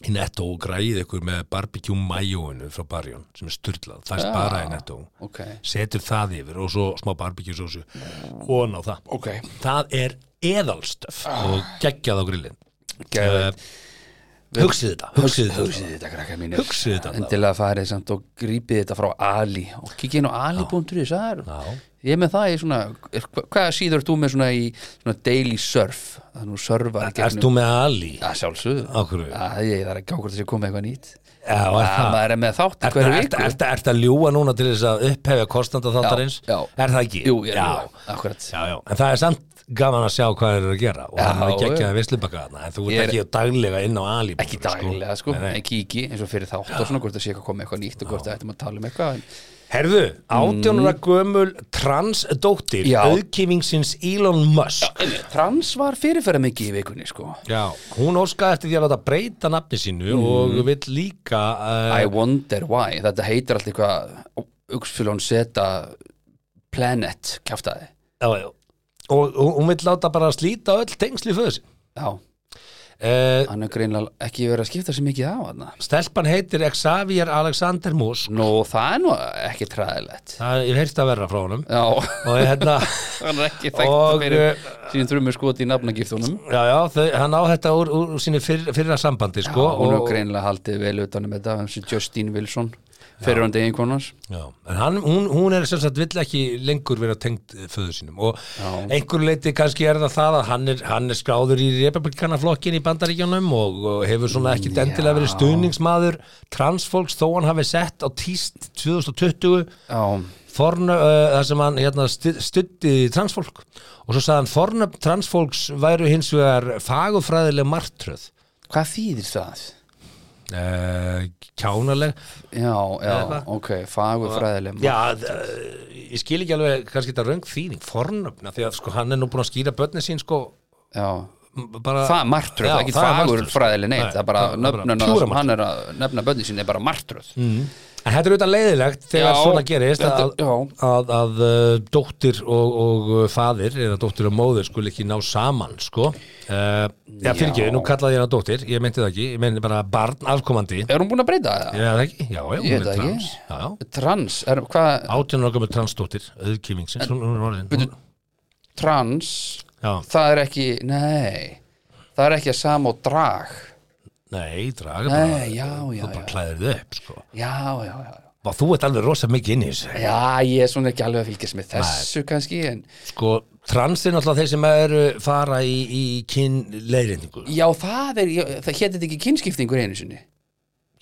Speaker 5: í netto og græðið ykkur með barbekjú majóinu frá barjón sem er styrlað, það er bara í netto
Speaker 3: Ok, Mm.
Speaker 5: setur það yfir og svo smá barbekjú sósu og ná það
Speaker 3: ok Ah.
Speaker 5: það er eðalstöf og geggjað á grillin
Speaker 3: Geðveikt.
Speaker 5: hugsið þetta hugsið þetta
Speaker 3: hugsið þetta krakkar mínir
Speaker 5: Hugsið þetta.
Speaker 3: endilega farið samt og grípið þetta frá Ali og kikið inn á ali.is það er-
Speaker 5: Já.
Speaker 3: ég er með það í svona er- hva- hvaða síður ert þú með svona í svona daily surf þannig að þú surfar í
Speaker 5: Ert þú
Speaker 3: gegnum-
Speaker 5: með Ali?
Speaker 3: að sjálfsögðu
Speaker 5: Af hverju?
Speaker 3: að ég þarf að gá hvort þessi komið eitthvað nýtt
Speaker 5: Já, er
Speaker 3: að
Speaker 5: það?
Speaker 3: maður er með þátt
Speaker 5: Ertu
Speaker 3: hverju
Speaker 5: ert,
Speaker 3: viku
Speaker 5: ert, ert að ljúa núna til þess að upphefja kostanda þáttarins?
Speaker 3: já.
Speaker 5: Er það ekki?
Speaker 3: jú, ég er
Speaker 5: já.
Speaker 3: með akkurat
Speaker 5: Já, já, en það er samt gaman að sjá hvað þeir eru að gera og
Speaker 3: Já,
Speaker 5: það er ekki ekki
Speaker 3: já.
Speaker 5: að vislubaka þarna en þú
Speaker 3: Ég
Speaker 5: ert
Speaker 3: er-
Speaker 5: ekki daglega inn á Ali
Speaker 3: ekki daglega sko, en kíki eins og fyrir þátt og svona hvort það sé eitthvað komið eitthvað nýtt og hvort það ættum að tala um eitthvað en
Speaker 5: Herðu, átjónara gömul transdóttir
Speaker 3: Mm. Já.
Speaker 5: auðkýmingsins Elon Musk
Speaker 3: trans var fyrirferða mikið í vikunni sko
Speaker 5: Já, hún óskaði eftir því að láta breyta nafni sínu
Speaker 3: Mm.
Speaker 5: og vill líka uh,
Speaker 3: I wonder why, þetta heitir allt eitthvað Uxfylón Zeta Planet, kjaftaði
Speaker 5: já, já. og og hún vill láta bara slíta öll tengsli föðu sín
Speaker 3: Já,
Speaker 5: uh,
Speaker 3: hann er greinlega ekki verið að skipta sér mikið á hann
Speaker 5: Stelpan heitir Xavier Alexander Musk
Speaker 3: Nú, það er nú ekki træðilegt
Speaker 5: Það ég heyrst að verra frá honum
Speaker 3: Já,
Speaker 5: og hérna
Speaker 3: [laughs] hann er ekki
Speaker 5: Og,
Speaker 3: þekkt fyrir
Speaker 5: eh,
Speaker 3: síðan þrjumur skoti í nafnagiftunum
Speaker 5: Já, já, þau, hann á þetta úr, úr sínu fyrr, fyrra sambandi sko,
Speaker 3: Hún er
Speaker 5: og,
Speaker 3: greinlega haldið vel utanum þetta hans er Justine Wilson, fyrir hann degin konans
Speaker 5: já, en hann, hún, hún er sem sagt vill ekki lengur vera tengd eh, föður sínum og
Speaker 3: Já.
Speaker 5: einhverju leiti kannski er það það að hann er, hann er skráður í republikanaflokkin í bandaríkjunum og, og hefur svona ekki endilega verið stuðningsmaður transfólks þó hann hafi sett á tíst 2020
Speaker 3: Já,
Speaker 5: fornö, uh, það sem hann hérna, stutti transfólk og svo sagði hann fornöfn transfólks væru hins vegar fagufræðileg martröð
Speaker 3: hvað þýðir það?
Speaker 5: uh, kjánaleg
Speaker 3: Já, já,
Speaker 5: Eða-
Speaker 3: ok, fagur fræðileg
Speaker 5: já, uh, ég skil ekki alveg kannski þetta röng þýðing, fornöfna því að sko, hann er nú búin að skýra börni sín sko,
Speaker 3: já.
Speaker 5: m- bara,
Speaker 3: það er martröð,
Speaker 5: Já,
Speaker 3: það er ekki
Speaker 5: það er
Speaker 3: fagur
Speaker 5: martröð.
Speaker 3: fræðileg neitt,
Speaker 5: Nei,
Speaker 3: það er bara
Speaker 5: það er bara Mm.
Speaker 3: nöfnuna
Speaker 5: pjúra
Speaker 3: sem hann er að nefna bönni sín er bara martröð
Speaker 5: en þetta er auðvitað leiðilegt þegar
Speaker 3: Já,
Speaker 5: svona gerist
Speaker 3: þetta-
Speaker 5: að,
Speaker 3: já.
Speaker 5: að, að uh, dóttir og, og uh, faðir eða dóttir og móðir skul ekki ná saman sko uh, já,
Speaker 3: Já.
Speaker 5: fyrir ekki, nú kallaði ég hana dóttir ég meinti það ekki, ég meinti bara barn afkomandi
Speaker 3: er hún búin að breyta það?
Speaker 5: Já, það ekki, já, já, hún
Speaker 3: Ég
Speaker 5: er
Speaker 3: veit það ekki.
Speaker 5: trans já, já.
Speaker 3: trans, er, hvað,
Speaker 5: Átján ára gömur transdóttir, auðkýmingsins hún, hún er orðin
Speaker 3: Bíddu.
Speaker 5: hún,
Speaker 3: trans
Speaker 5: Já,
Speaker 3: það er ekki, nei það er ekki að sama og drag
Speaker 5: nei, draga
Speaker 3: Nei,
Speaker 5: bara
Speaker 3: já, já,
Speaker 5: Þú bara
Speaker 3: já.
Speaker 5: klæðir þau upp, sko
Speaker 3: já, já, já
Speaker 5: Vá, þú ert alveg rosa mikið inn í þessu
Speaker 3: já, ég er svona ekki alveg að fylgjast með þessu kannski, en
Speaker 5: Sko, trans er náttúrulega þeir sem eru fara í, í kynleiðrendingu
Speaker 3: já, það er, ég, það hétir ekki kynskiptingur einu sinni,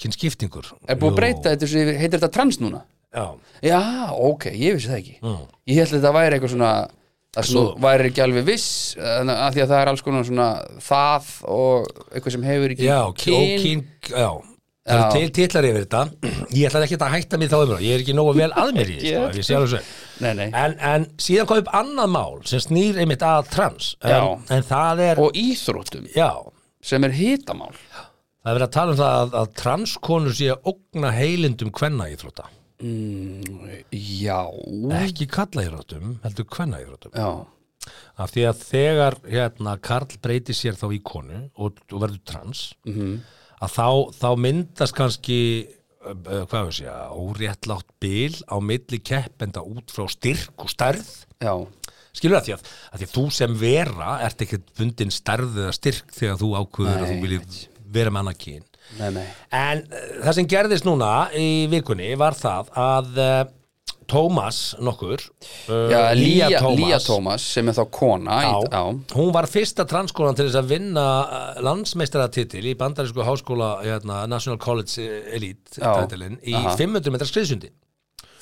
Speaker 5: Kynskiptingur
Speaker 3: er búin
Speaker 5: Jú,
Speaker 3: að breyta þetta, svo yfir- heitir þetta trans núna?
Speaker 5: Já,
Speaker 3: Já, ok, ég vissi það ekki
Speaker 5: Mm.
Speaker 3: Ég held að þetta væri eitthvað svona að þú
Speaker 5: Svo-
Speaker 3: væri ekki alveg viss en að því að það er alls konar svona það og eitthvað sem hefur ekki
Speaker 5: já, kyn, og kyn, já Það eru til titlar yfir þetta Ég ætla ekki að hætta mér þá umröð Ég er ekki nógu vel að mér í þessu sko, ef ég sé alveg svo.
Speaker 3: Nei, nei
Speaker 5: en, en síðan kom upp annað mál sem snýr einmitt að trans
Speaker 3: Já.
Speaker 5: en, en það er
Speaker 3: Og íþróttum
Speaker 5: já,
Speaker 3: sem er hitamál
Speaker 5: það er verið að tala um það að, að transkonur sé að ógna heilindum kvenna íþrótta
Speaker 3: Já,
Speaker 5: ekki kalla íþróttum, heldur kvenna íþróttum
Speaker 3: já,
Speaker 5: af því að þegar hérna, Karl breyti sér þá í konu og, og verður trans
Speaker 3: Mhm.
Speaker 5: að þá, þá myndast kannski uh, uh, hvað við segja, óréttlátt bil á milli keppenda út frá styrk og stærð
Speaker 3: já
Speaker 5: skilur það því að, að því að þú sem vera ert ekkert bundin starð eða styrk þegar þú ákveður að þú
Speaker 3: Nei,
Speaker 5: viljið vera með annað kyn
Speaker 3: Nei, nei
Speaker 5: en uh, það sem gerðist núna í vikunni var það að uh, Tómas nokkur uh,
Speaker 3: Já, Lía, Lía Tómas sem er þá kona í-
Speaker 5: Já,
Speaker 3: já,
Speaker 5: hún var fyrsta transkólan til þess að vinna uh, landsmeistaratitil í bandarísku háskóla hérna, National College eh, Elite
Speaker 3: Já.
Speaker 5: titilinn, í
Speaker 3: Aha.
Speaker 5: 500 metra skriðsundi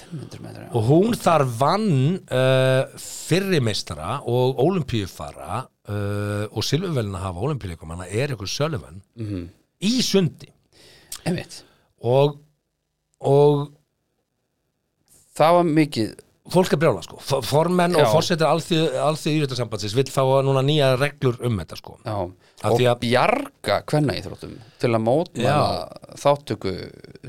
Speaker 3: 100 metrar, já.
Speaker 5: og hún þar vann uh, fyrri meistara og olimpíufara uh, og silfurvelina hafa olimpíuleikum hann er ykkur Sullivan
Speaker 3: Mhm.
Speaker 5: í sundi
Speaker 3: Einmitt.
Speaker 5: og, og
Speaker 3: Það var mikið
Speaker 5: fólk er brjála sko F- formenn
Speaker 3: Já.
Speaker 5: og forsetir alþjóð íréttasambandsins vill fá núna nýja reglur um þetta sko
Speaker 3: Já,
Speaker 5: Af
Speaker 3: og
Speaker 5: því að-
Speaker 3: bjarga hvenna til að mótmæla þáttöku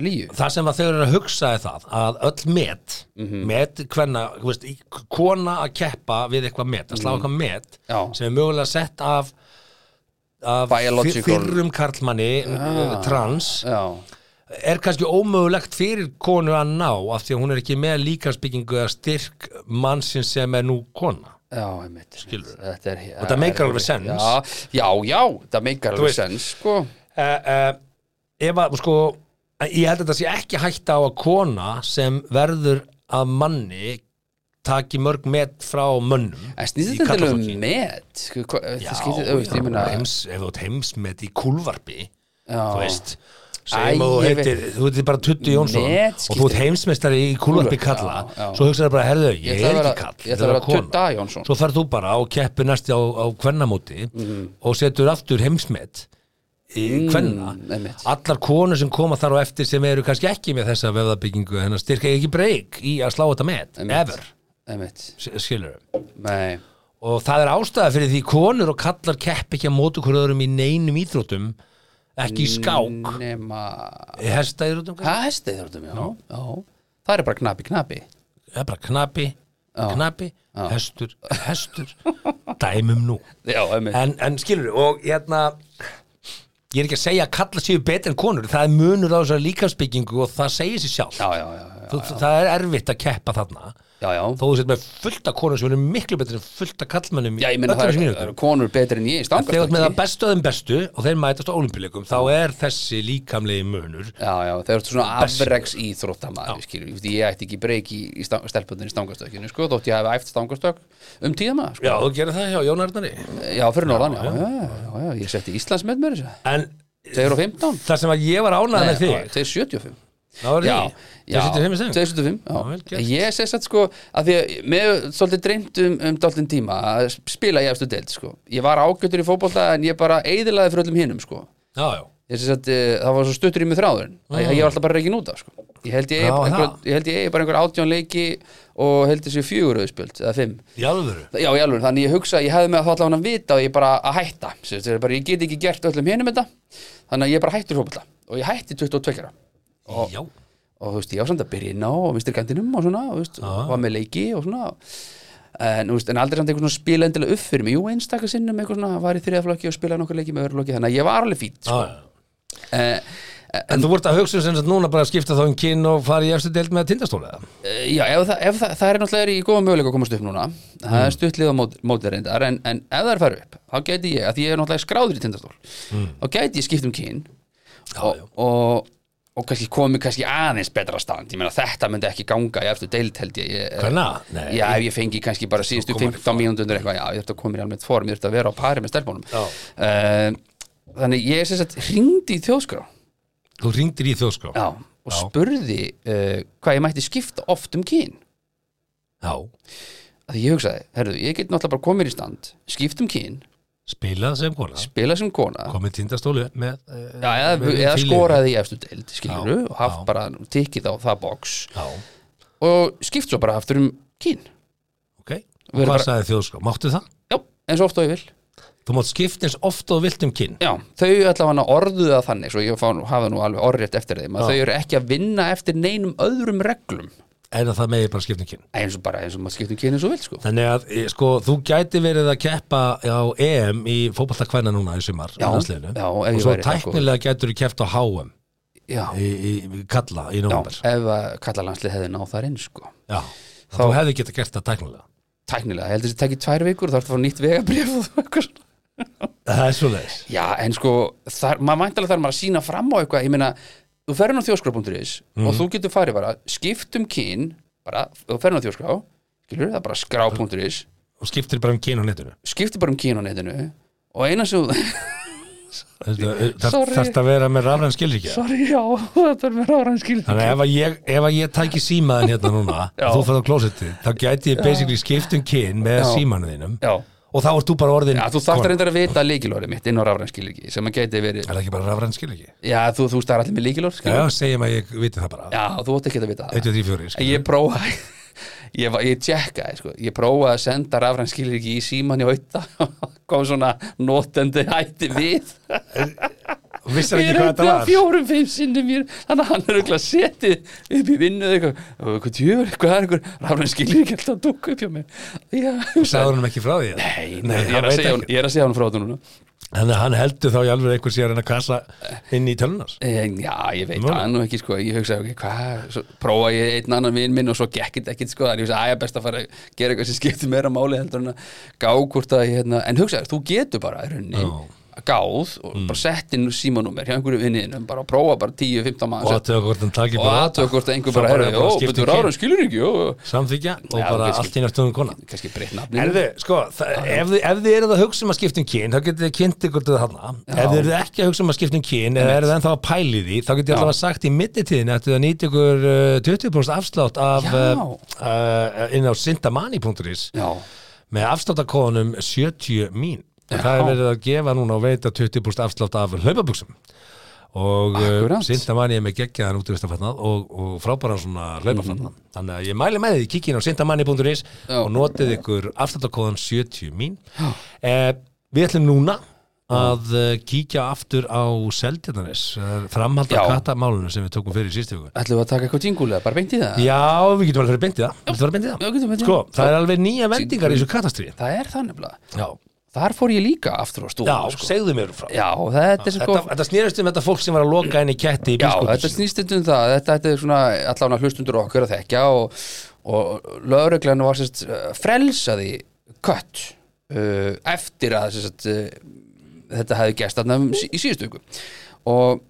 Speaker 3: líu
Speaker 5: það sem að þau eru að hugsa er það að öll met,
Speaker 3: Mhm.
Speaker 5: met hvenna, þú veist, í- kona að keppa við eitthvað met, að slá eitthvað met
Speaker 3: Mhm. Já.
Speaker 5: sem er mögulega sett af, af
Speaker 3: Biological. Ah.
Speaker 5: fyr- fyrrum karlmanni ja. trans,
Speaker 3: Já,
Speaker 5: er kannski ómögulegt fyrir konu að ná af því að hún er ekki með líkansbyggingu eða styrk mannsins sem er nú kona
Speaker 3: Já, einmitt,
Speaker 5: Skilurðu?
Speaker 3: þetta er
Speaker 5: Og það meikar alveg sens.
Speaker 3: já, já, já, það meikar alveg
Speaker 5: veist.
Speaker 3: sens sko.
Speaker 5: uh, ef að sko ég held að þetta sé ekki hægt á að kona sem verður að manni taki mörg met frá mönnum
Speaker 3: en
Speaker 5: í
Speaker 3: Eh, snýst þetta um-
Speaker 5: karlaflokki.
Speaker 3: alveg met sko, hva-
Speaker 5: Já,
Speaker 3: þetta skýtir, auðvist, ég meina
Speaker 5: já, heims, ef þú ert heimsmet í kúlvarpi
Speaker 3: já.
Speaker 5: þú veist
Speaker 3: Æ,
Speaker 5: segjum að þú
Speaker 3: ég
Speaker 5: heitir, þú heitir bara Tuttu Jónsson
Speaker 3: Met
Speaker 5: og þú ert
Speaker 3: skiptir-
Speaker 5: heimsmeistari í kúlvarpi
Speaker 3: Kúlvarp,
Speaker 5: kalla
Speaker 3: já, já.
Speaker 5: svo hugsaðu bara, herðu, ég,
Speaker 3: Ég ætla að
Speaker 5: er
Speaker 3: vera-
Speaker 5: ekki kall
Speaker 3: ég ætla að vera Tudda Jónsson.
Speaker 5: svo ferð þú bara og keppir næst á, á kvennamóti
Speaker 3: Mhm.
Speaker 5: og setur aftur heimsmet í
Speaker 3: Mm.
Speaker 5: kvenna
Speaker 3: einmitt.
Speaker 5: allar konur sem koma þar á eftir sem eru kannski ekki með þessa vefðabyggingu hennar styrka ekki breyk í að slá þetta met
Speaker 3: Einmitt.
Speaker 5: ever,
Speaker 3: einmitt,
Speaker 5: skilur
Speaker 3: nei
Speaker 5: og það er ástæða fyrir því konur og kallar kepp ekki að mótu hverju öðrum í neinum íþrótum ekki
Speaker 3: Mm.
Speaker 5: í skák
Speaker 3: nema,
Speaker 5: í hestaíþrótum kannski?
Speaker 3: hvað hestið þurftum já, já, það er bara knapi, knapi
Speaker 5: það er bara knapi, knapi
Speaker 3: [laughs]
Speaker 5: hestur, hestur dæmum nú
Speaker 3: já, einmitt,
Speaker 5: en, en skilur, og hérna ég er ekki að segja að kalla séu betur en konur það er munur á þessari líkansbyggingu og það segir sér sjálf
Speaker 3: já, já, já, já,
Speaker 5: Þú, það er erfitt að keppa þarna
Speaker 3: já, já.
Speaker 5: þó þú sett með fullta konur sem eru miklu betur en fullta kallmennum í
Speaker 3: Já, ég meina
Speaker 5: öllum
Speaker 3: það
Speaker 5: þessum
Speaker 3: eru
Speaker 5: mínútum.
Speaker 3: er konur betri en ég í
Speaker 5: En þegar þú ert með það
Speaker 3: stangarstökki
Speaker 5: bestu af þeim bestu og þeir mætast á olimpíuleikum þá er þessi líkamlegi munur
Speaker 3: Já, já, þeir eru svona afreks íþróttamaður, skilur, við, ég ætti ekki breyki í, í stang- stelpunni í stangarstökkinu, sko, þótt ég hafi æft stangarstökk um tíma, sko.
Speaker 5: Já, þú gerir það hjá Jón Arnari
Speaker 3: Já, fyrir norðan, já, já, já, já, já, ég setti Íslands með mér, þessu.
Speaker 5: En
Speaker 3: Þeir eru 15.
Speaker 5: það sem að ég var ánægð með
Speaker 3: Nei,
Speaker 5: þig
Speaker 3: Þeir eru 75.
Speaker 5: þá er
Speaker 3: Já,
Speaker 5: því,
Speaker 3: já,
Speaker 5: þeir sittir heim í steng
Speaker 3: 275, já.
Speaker 5: vel gert.
Speaker 3: Ég segi satt sko að því að mér er svolítið dreymt um, um dálítinn tíma að spila í efstu deild sko. Ég var ágjötur í fótbolta en ég bara eiðilaði fyrir öllum hinum sko.
Speaker 5: Já, já,
Speaker 3: ég sé að það var svo stuttur í mig þráðurinn að ég, ég var alltaf bara reikin út af sko. ég held ég eigi
Speaker 5: Já,
Speaker 3: bara
Speaker 5: það.
Speaker 3: einhver- ég held ég eigi bara einhver átján leiki og held þessi fjögur auðspjöld eða fimm
Speaker 5: í alvöru
Speaker 3: já, í alveg, þannig ég hugsa, ég hefði með að það allan að vita og ég bara að hætta Sérst, það er bara, ég get ekki gert öllum hinum þetta þannig að ég bara hættur fótbolta og ég hætti 22 ára
Speaker 5: Já,
Speaker 3: og þú veist, ég var samt að byrja inn á og vinstri kantinum og svona, þú veist, og var með leiki og svona en, þú veist, en aldrei samt eitthvað svona spila endilega upp fyrir mig, jú, einstakar sinnum eitthvað svona, var í þriðaflokki og spilaði nokkur leiki með öðru lokki, þannig að ég var alveg sko. fít
Speaker 5: já, já
Speaker 3: eh,
Speaker 5: En þú vart að hugsa sem sagt núna bara að skipta þá um kyn og fara í efstu deild með tindastóla eða?
Speaker 3: Eh, Já, ef það, ef það, það er náttúrulega í góða möguleika að komast upp núna það
Speaker 5: Mm.
Speaker 3: er stuttlið á mót- mótið reyndar en, en ef það er farið upp, þá gæti ég að því ég er náttúrulega skráður í tindastól
Speaker 5: Mm.
Speaker 3: þá gæti ég skipt um kyn og, og, og kannski komi kannski aðeins betra stand, ég meina þetta myndi ekki ganga í eftir deild held ég, ég
Speaker 5: Hvenna? Nei,
Speaker 3: Eh, Já, ef ég fengi kannski bara síðustu 15 mínútur eitthvað, já, ég þurfti að koma mér alveg form, ég þurfti að vera á pari með stelpunum
Speaker 5: Já.
Speaker 3: Eh, Þannig ég sem sagt hringdi í þjóðskrá
Speaker 5: þú ringdir í þjóðskrá
Speaker 3: já, og spurði uh, hvað ég mætti skipta oft um kyn
Speaker 5: já.
Speaker 3: að því ég hugsaði, herru, ég get náttúrulega bara komið í stand skipt um kyn,
Speaker 5: spilað sem kona
Speaker 3: spila sem kona
Speaker 5: komið tindastólu með eh,
Speaker 3: já, eða,
Speaker 5: með
Speaker 3: eða
Speaker 5: fílíu.
Speaker 3: skoraði í efstu deild skiluru
Speaker 5: Já,
Speaker 3: og haft
Speaker 5: já.
Speaker 3: bara tikkið á það box
Speaker 5: Já,
Speaker 3: og skipt svo bara aftur um kyn
Speaker 5: ok
Speaker 3: Við erum
Speaker 5: Hvað
Speaker 3: bara-
Speaker 5: sagði þjóðskrá? Máttu það?
Speaker 3: já, eins og ofta ég vil
Speaker 5: Þú mátt skipta eins oft og þú vilt um kyn
Speaker 3: já, þau allavega orðuðu það þannig svo ég fá, hafa nú alveg orðrétt eftir þeim að þau eru ekki að vinna eftir neinum öðrum reglum
Speaker 5: en að það megi bara skipta um kyn
Speaker 3: eins og bara eins og maður skipt um kyn eins og vil sko.
Speaker 5: Þannig að eh, sko, þú gæti verið að keppa á EM í fótballta kvæna núna í sumar
Speaker 3: Já,
Speaker 5: í landsliðinu.
Speaker 3: já, ef
Speaker 5: og
Speaker 3: ég
Speaker 5: svo
Speaker 3: væri það, sko.
Speaker 5: tæknilega gætur þú keppt á HM
Speaker 3: já,
Speaker 5: í, í, í kalla í
Speaker 3: já,
Speaker 5: nómber
Speaker 3: ef að kalla landslið hefði náð þar inn sko.
Speaker 5: Já, þá þú hefði getað gert það tæknilega
Speaker 3: tæknilega, ég held að þessi tekið tvær vikur þá ertu að fara nýtt vegabrif og eitthvað svona.
Speaker 5: Það er svo leiðis
Speaker 3: Já, en sko, þar, maður mæntalega þarf maður að sína fram á eitthvað, ég meina þú ferð inn á þjóskrá.is og þú getur farið bara skiptum kyn, bara þú ferð inn á þjóskrá, skilur, það er bara skrá.is
Speaker 5: og skiptir bara um kyn á netinu
Speaker 3: skiptir bara um kyn á netinu og eina sem, [laughs] Sorry.
Speaker 5: Þarst að vera með rafræn skilríkja
Speaker 3: sorry, já þetta er mér ára en skil
Speaker 5: Þannig að ef að ég, ef að ég tæki símaðin hérna núna
Speaker 3: [laughs] Já.
Speaker 5: og þú fyrir á klósetti, þá gæti ég basically skipt um kyn með
Speaker 3: Já.
Speaker 5: símanu þínum
Speaker 3: Já,
Speaker 5: og þá ert þú bara orðin
Speaker 3: já þú þarft
Speaker 5: kona.
Speaker 3: að reyndar að vita líkilórið mitt inn á rafræn skilriki sem að geti verið,
Speaker 5: Er það ekki bara rafræn skilríkja?
Speaker 3: já, þú, þú starf allir með líkilór
Speaker 5: Já,
Speaker 3: skilur,
Speaker 5: segjum að ég viti það bara
Speaker 3: já, þú ótt ekki að vita það
Speaker 5: 1, 2, 3, 4
Speaker 3: ég prófaði [laughs] ég, var- ég tjekkaði sko, ég prófaði að senda rafræn skilur ekki í síman í auðta [laughs] kom svona notandi hætti við
Speaker 5: Vissar
Speaker 3: ég
Speaker 5: ekki hvað þetta
Speaker 3: reyndi að
Speaker 5: var
Speaker 3: fjórum, fimm sinnum mér þannig að hann er auðvitað setið upp í vinnu eða eitthvað, og eitthvað tjöfur, eitthvað er eitthvað rafræn skilur ekki alltaf að dúka upp hjá mér já,
Speaker 5: Sæður hann ekki frá því?
Speaker 3: Nei,
Speaker 5: Nei,
Speaker 3: ég, er
Speaker 5: hann
Speaker 3: að
Speaker 5: veit
Speaker 3: segja,
Speaker 5: ekki.
Speaker 3: hún, ég er að segja hún frá þetta núna
Speaker 5: Þannig að hann heldur þá í alveg einhver sér en að kassa inn í tölunars
Speaker 3: En, Eh, Já, ég veit
Speaker 5: Mögulega.
Speaker 3: það nú ekki sko Ég hugsaði, ok, hvað, svo prófa ég einn annan vinn minn og svo gekk þetta ekkit sko Þannig ég hugsaði, að ég best að fara að gera eitthvað sem skiptir meira máli heldur en að gá hvort að ég hérna En hugsaði, þú getur bara í rauninni gáð og
Speaker 5: Mm.
Speaker 3: bara sett inn símanúmer hjá einhverju vinninum, bara að prófa bara 10-15
Speaker 5: og
Speaker 3: manns
Speaker 5: að tökur hvort hann taki
Speaker 3: og aðtöku hvort að einhver
Speaker 5: Svo
Speaker 3: bara, herri,
Speaker 5: bara
Speaker 3: ó,
Speaker 5: skipta
Speaker 3: betur
Speaker 5: kyn.
Speaker 3: ára, skilur ekki, ó,
Speaker 5: samþykja og
Speaker 3: Já,
Speaker 5: bara
Speaker 3: ok, skil.
Speaker 5: allt í næstum kona
Speaker 3: kannski breytt nafni
Speaker 5: Erðu, sko, það, ef, þið, ef þið eruð að hugsa um að skipta um kyn þá getið þið kynnt ykkur til þarna ef þið eruð ekki að hugsa um að skipta um kyn eða eruð ennþá að pæli því, þá getið þið alltaf sagt í mittitíðin að þið að nýta ykkur uh, 20% afslátt af
Speaker 3: Já.
Speaker 5: uh, uh, inn á sintamani.is
Speaker 3: Já,
Speaker 5: með afsláttakóðunum 70 mín og það er verið að gefa núna og veita 20% afslátt af hlaupabuxum og eh,
Speaker 3: Akkurát.
Speaker 5: Sintamanni er með geggjaðan útivistarfatnað og, og frábæran svona hlaupafatnað þannig að ég mæli með því, kikið inn á sintamanni.is
Speaker 3: Mhm. Já.
Speaker 5: og notið ykkur afsláttakóðan 70 mín eh, Við ætlum núna að eh, kíkja aftur á Seldjarnanes, framhald
Speaker 3: Já.
Speaker 5: að katamálunum sem við tókum fyrir í sístu viku
Speaker 3: ætlum við að taka eitthvað jingulega, bara beint í það
Speaker 5: Já, við getum alveg fyrir beintið það, Viltu fara beint í
Speaker 3: Já, getum
Speaker 5: það?
Speaker 3: beint í
Speaker 5: Sko,
Speaker 3: það.
Speaker 5: það er alveg nýja vendingar í þessu katastríði
Speaker 3: Það er þannig blað
Speaker 5: Já,
Speaker 3: Þar fór ég líka aftur á stúl
Speaker 5: Já, segðu mér frá
Speaker 3: sko. Já, þetta
Speaker 5: Þetta,
Speaker 3: er sko
Speaker 5: þetta snýrist um þetta fólk sem var að loka henni ketti í
Speaker 3: Já, þetta
Speaker 5: bílskúrnum sínum.
Speaker 3: snýst um það, þetta, þetta er svona allan að hlustundur okkur að þekja og, og lögreglan var sérst eh, frelsaði kött uh, eftir að sérst, uh, þetta hefði gæst þarna um sí- í síðustu ykkur og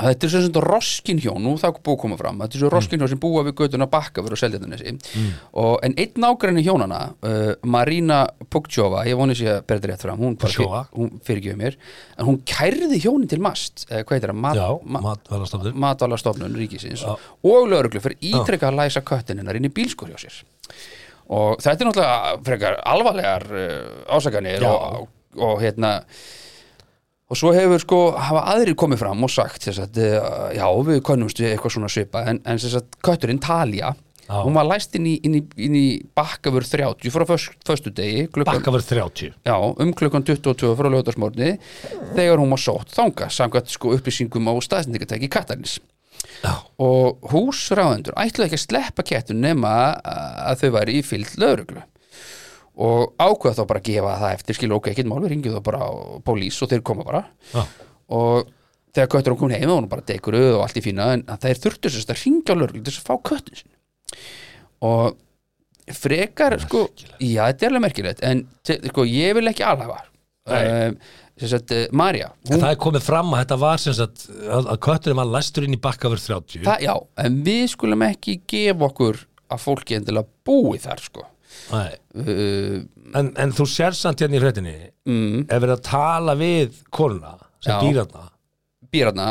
Speaker 3: þetta er sérst roskin hjón, nú það er búið að koma fram þetta er svo roskin hjón sem búa við göttuna bakkafur og seljaðunessi mm. og en einn nágræni hjónana uh, Marina Pukchova, ég voni sér að berða rétt fram hún,
Speaker 5: Pukchova.
Speaker 3: hún fyrirgjöf mér en hún kærði hjónin til mast eh, hvað heitir það, mat,
Speaker 5: Já,
Speaker 3: ma-
Speaker 5: matvælarstofnun.
Speaker 3: matvalastofnun ríkisins og lögreglu fyrir ítrekka að læsa köttin hennar inn í bílskur hjá sér og þetta er náttúrulega frekar alvarlegar uh, ásakanir
Speaker 5: Já.
Speaker 3: og, og hérna og svo hefur sko hafa aðrir komið fram og sagt þess að eh, já við konumst við eitthvað svona svipa en, en þess að kötturinn Talía
Speaker 5: Já.
Speaker 3: hún var læst inn í, inn í, inn í bakkafur 30 frá föst, föstudegi klukkan,
Speaker 5: Bakka verið 30
Speaker 3: Já, um klukkan 22 frá lögutarsmórni þegar hún var sótt þanga samkvæmt sko upplýsingum á staðsendingatæki Katarins
Speaker 5: Já.
Speaker 3: og húsráðendur ætlaði ekki að sleppa kettun nema að þau væri í fyllt lögreglu og ákveða þá bara að gefa það eftir skilur ok, ekkert mál, við ringjum þá bara á pólís og þeir koma bara
Speaker 5: Já.
Speaker 3: og þegar köttur hún kom heim og hún bara dekur auð og allt í fína en að þeir þurftu sérst að ringja á lögreglu til þess að fá köttun sin og frekar sko, já þetta er alveg merkilegt en te- sko, ég vil ekki alhafa
Speaker 5: Nei.
Speaker 3: um, sem sagt, uh, Marja hún,
Speaker 5: Það er komið fram að þetta var sem sagt að, að kötturinn var læstur inn í bakka verið 30
Speaker 3: það, já, en við skulum ekki gefa okkur að fólki endilega búi þar sko
Speaker 5: Nei.
Speaker 3: uh,
Speaker 5: en, en þú sér samt hérna í hrettinni
Speaker 3: mm,
Speaker 5: ef verið að tala við konuna sem
Speaker 3: Já.
Speaker 5: dýrarna
Speaker 3: býrarna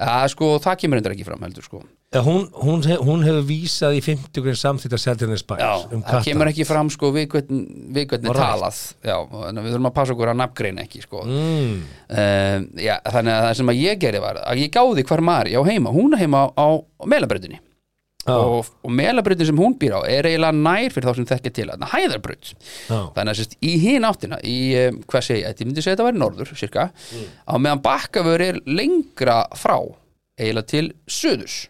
Speaker 3: að sko, það kemur endur ekki fram heldur sko
Speaker 5: Eða Hún, hún, hef, hún hefur vísað í 50 grinn samþýtt að selja henni
Speaker 3: já,
Speaker 5: spæs um
Speaker 3: það
Speaker 5: katta
Speaker 3: kemur ekki fram sko við hvern, við hvern
Speaker 5: Og
Speaker 3: er
Speaker 5: rætt.
Speaker 3: talað já, þannig að við þurfum að passa okkur að nafngreina ekki sko
Speaker 5: mm,
Speaker 3: um, já, þannig að það sem að ég gerði var að ég gáði hvar Marja á heima, hún á heima á, á melabröðinni
Speaker 5: Já.
Speaker 3: og, og melabröðin sem hún býr á er eiginlega nær fyrir þá sem þekkja til að hæðarbröð
Speaker 5: Já.
Speaker 3: þannig að sérst, í hinn áttina í, um, hvað segi ég, ég myndi segja þetta væri norður cirka, á meðan bakkavör er lengra frá eiginlega til söðurs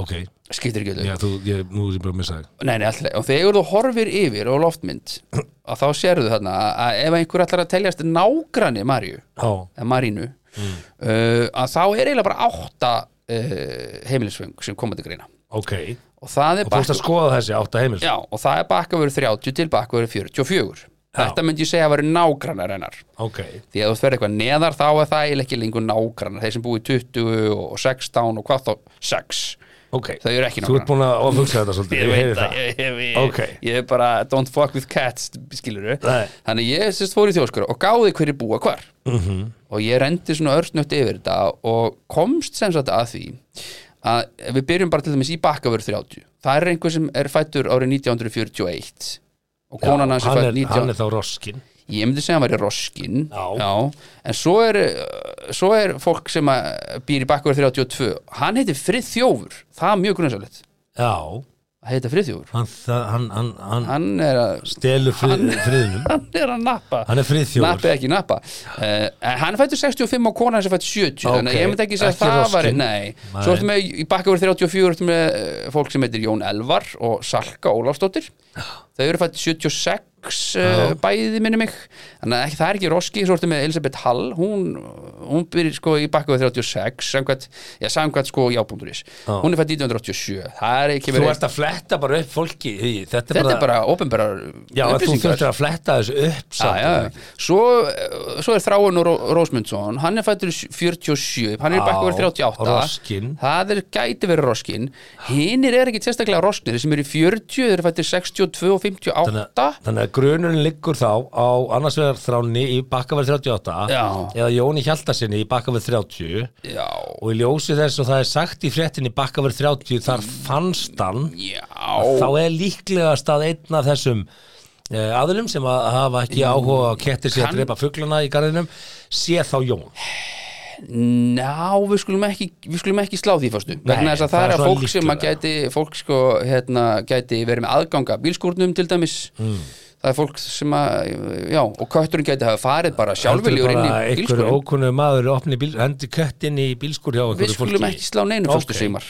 Speaker 5: Ok,
Speaker 3: skiptir ekki öllu
Speaker 5: já, þú, ég, nú er ég bara að missa það
Speaker 3: Nei, nei, alltaf, og þegar þú horfir yfir á loftmynd
Speaker 5: [clears throat]
Speaker 3: að þá sérðu þarna að- að ef einhver ætlar að teljast nágrani Marju,
Speaker 5: Já,
Speaker 3: eða Marínu
Speaker 5: Mm.
Speaker 3: uh, að þá er eiginlega bara átta uh, heimilisfeng sem koma til greina
Speaker 5: ok
Speaker 3: og það er
Speaker 5: Og þú veist að skoða þessi átta heimil
Speaker 3: já, og það er bakkavöru 30 til bakkavöru 44 þetta myndi ég segja að vera nágrannar hennar
Speaker 5: Ok,
Speaker 3: því að þú verður eitthvað neðar þá er það eiginlega ekki lengur nágrannar þeir sem búi 20 og 16 og hvað þá 6
Speaker 5: ok
Speaker 3: þau eru ekki
Speaker 5: Þú ert
Speaker 3: nágrannar
Speaker 5: búin að ofugsa þetta svolítið, ég heyri það
Speaker 3: ég, ég, ég,
Speaker 5: Ok.
Speaker 3: ég er bara don't fuck with cats skilur
Speaker 5: Nei.
Speaker 3: þannig ég sérst fór í þjóskar og gáði hverju búa hvar
Speaker 5: Mhm.
Speaker 3: og ég rendi svona örtnött yfir þetta og komst sem sagt að því að ef við byrjum bara til dæmis í bakkavör 30 það er einhver sem er fættur árið 1941 og konan hans
Speaker 5: Já, hann,
Speaker 3: er fætt
Speaker 5: er, hann
Speaker 3: 19
Speaker 5: er þá roskin
Speaker 3: ég myndi segja að hann væri roskin
Speaker 5: Já.
Speaker 3: en svo er, uh, svo er fólk sem að býr í bakkavör 32 hann heitir Friðþjófur það er mjög grunnsálegt
Speaker 5: Já,
Speaker 3: að heita Friðþjófur
Speaker 5: hann, það- hann, hann, hann
Speaker 3: hann er að
Speaker 5: stelur frið, friðnum
Speaker 3: [laughs] hann er að nappa
Speaker 5: Hann er friðþjófur.
Speaker 3: Nappi ekki nappa uh, Hann fættu 65 og konan hans er fættu 70 Þannig
Speaker 5: Ok,
Speaker 3: að ég myndi ekki segja
Speaker 5: ekki
Speaker 3: að það
Speaker 5: roskin.
Speaker 3: var Nei,
Speaker 5: Nei.
Speaker 3: svo ertu með í bakkavur 34 eh, ertu með uh, fólk sem heitir Jón Elvar og Salka Ólafsdóttir Þau eru fættu 76 Brooks uh, bæði minni mig þannig að ekki, það er ekki roski, svo ertu með Elisabeth Hall hún, hún byrjir sko í bakku 36, samkvæmt, já, samkvæmt sko jábúnduris, hún er fætt 1987 það er ekki
Speaker 5: Þú ert að fletta bara upp fólki því, Þetta er bara,
Speaker 3: þetta er bara ópenbærar
Speaker 5: Já, að þú
Speaker 3: upplýsingar
Speaker 5: þurftir að fletta þessu upp
Speaker 3: Já,
Speaker 5: samt.
Speaker 3: já, svo, eh, svo er Þráin og Ró- Rósmundsson hann er fættur 47 hann er
Speaker 5: Já,
Speaker 3: bakkuður 38
Speaker 5: roskinn.
Speaker 3: það er, gæti verið roskin hinnir er ekki sérstaklega rosknir þeir sem eru í 40, þeir eru fættur 62 og 58
Speaker 5: Þannig, að- þannig að grunurinn liggur þá á annars vegar þráni í bakkaverð 38
Speaker 3: Já.
Speaker 5: eða Jóni Hjaltasinni í bakkaverð 30
Speaker 3: já,
Speaker 5: og í ljósi þess og það er sagt í fréttinni bakkaverð 30 þar fannst hann
Speaker 3: já
Speaker 5: þá er líklega stað einn af þessum eh, aðlum sem að hafa ekki áhuga á kettir sér
Speaker 3: Mm. Kann-
Speaker 5: að drepa fuglana í garðinum sé þá Jón
Speaker 3: ná, við skulum ekki við skulum ekki slá því fyrstu vegna þess að það
Speaker 5: það
Speaker 3: er
Speaker 5: er
Speaker 3: að
Speaker 5: svona
Speaker 3: fólk sem að
Speaker 5: líklegra.
Speaker 3: gæti fólk sko, hérna, gæti verið með aðganga bílskúrnum til dæmis
Speaker 5: Mm.
Speaker 3: það er fólk sem að, já, og kötturinn gæti hafa farið bara sjálfurlegur inn í
Speaker 5: einhver
Speaker 3: bílskúrnum
Speaker 5: ókunnu maður opni bíl, hendi kött inn í bílskur hjá
Speaker 3: Við
Speaker 5: einhverju
Speaker 3: skulum ekki slá neinu fyrstu
Speaker 5: Ókei.
Speaker 3: Sigmar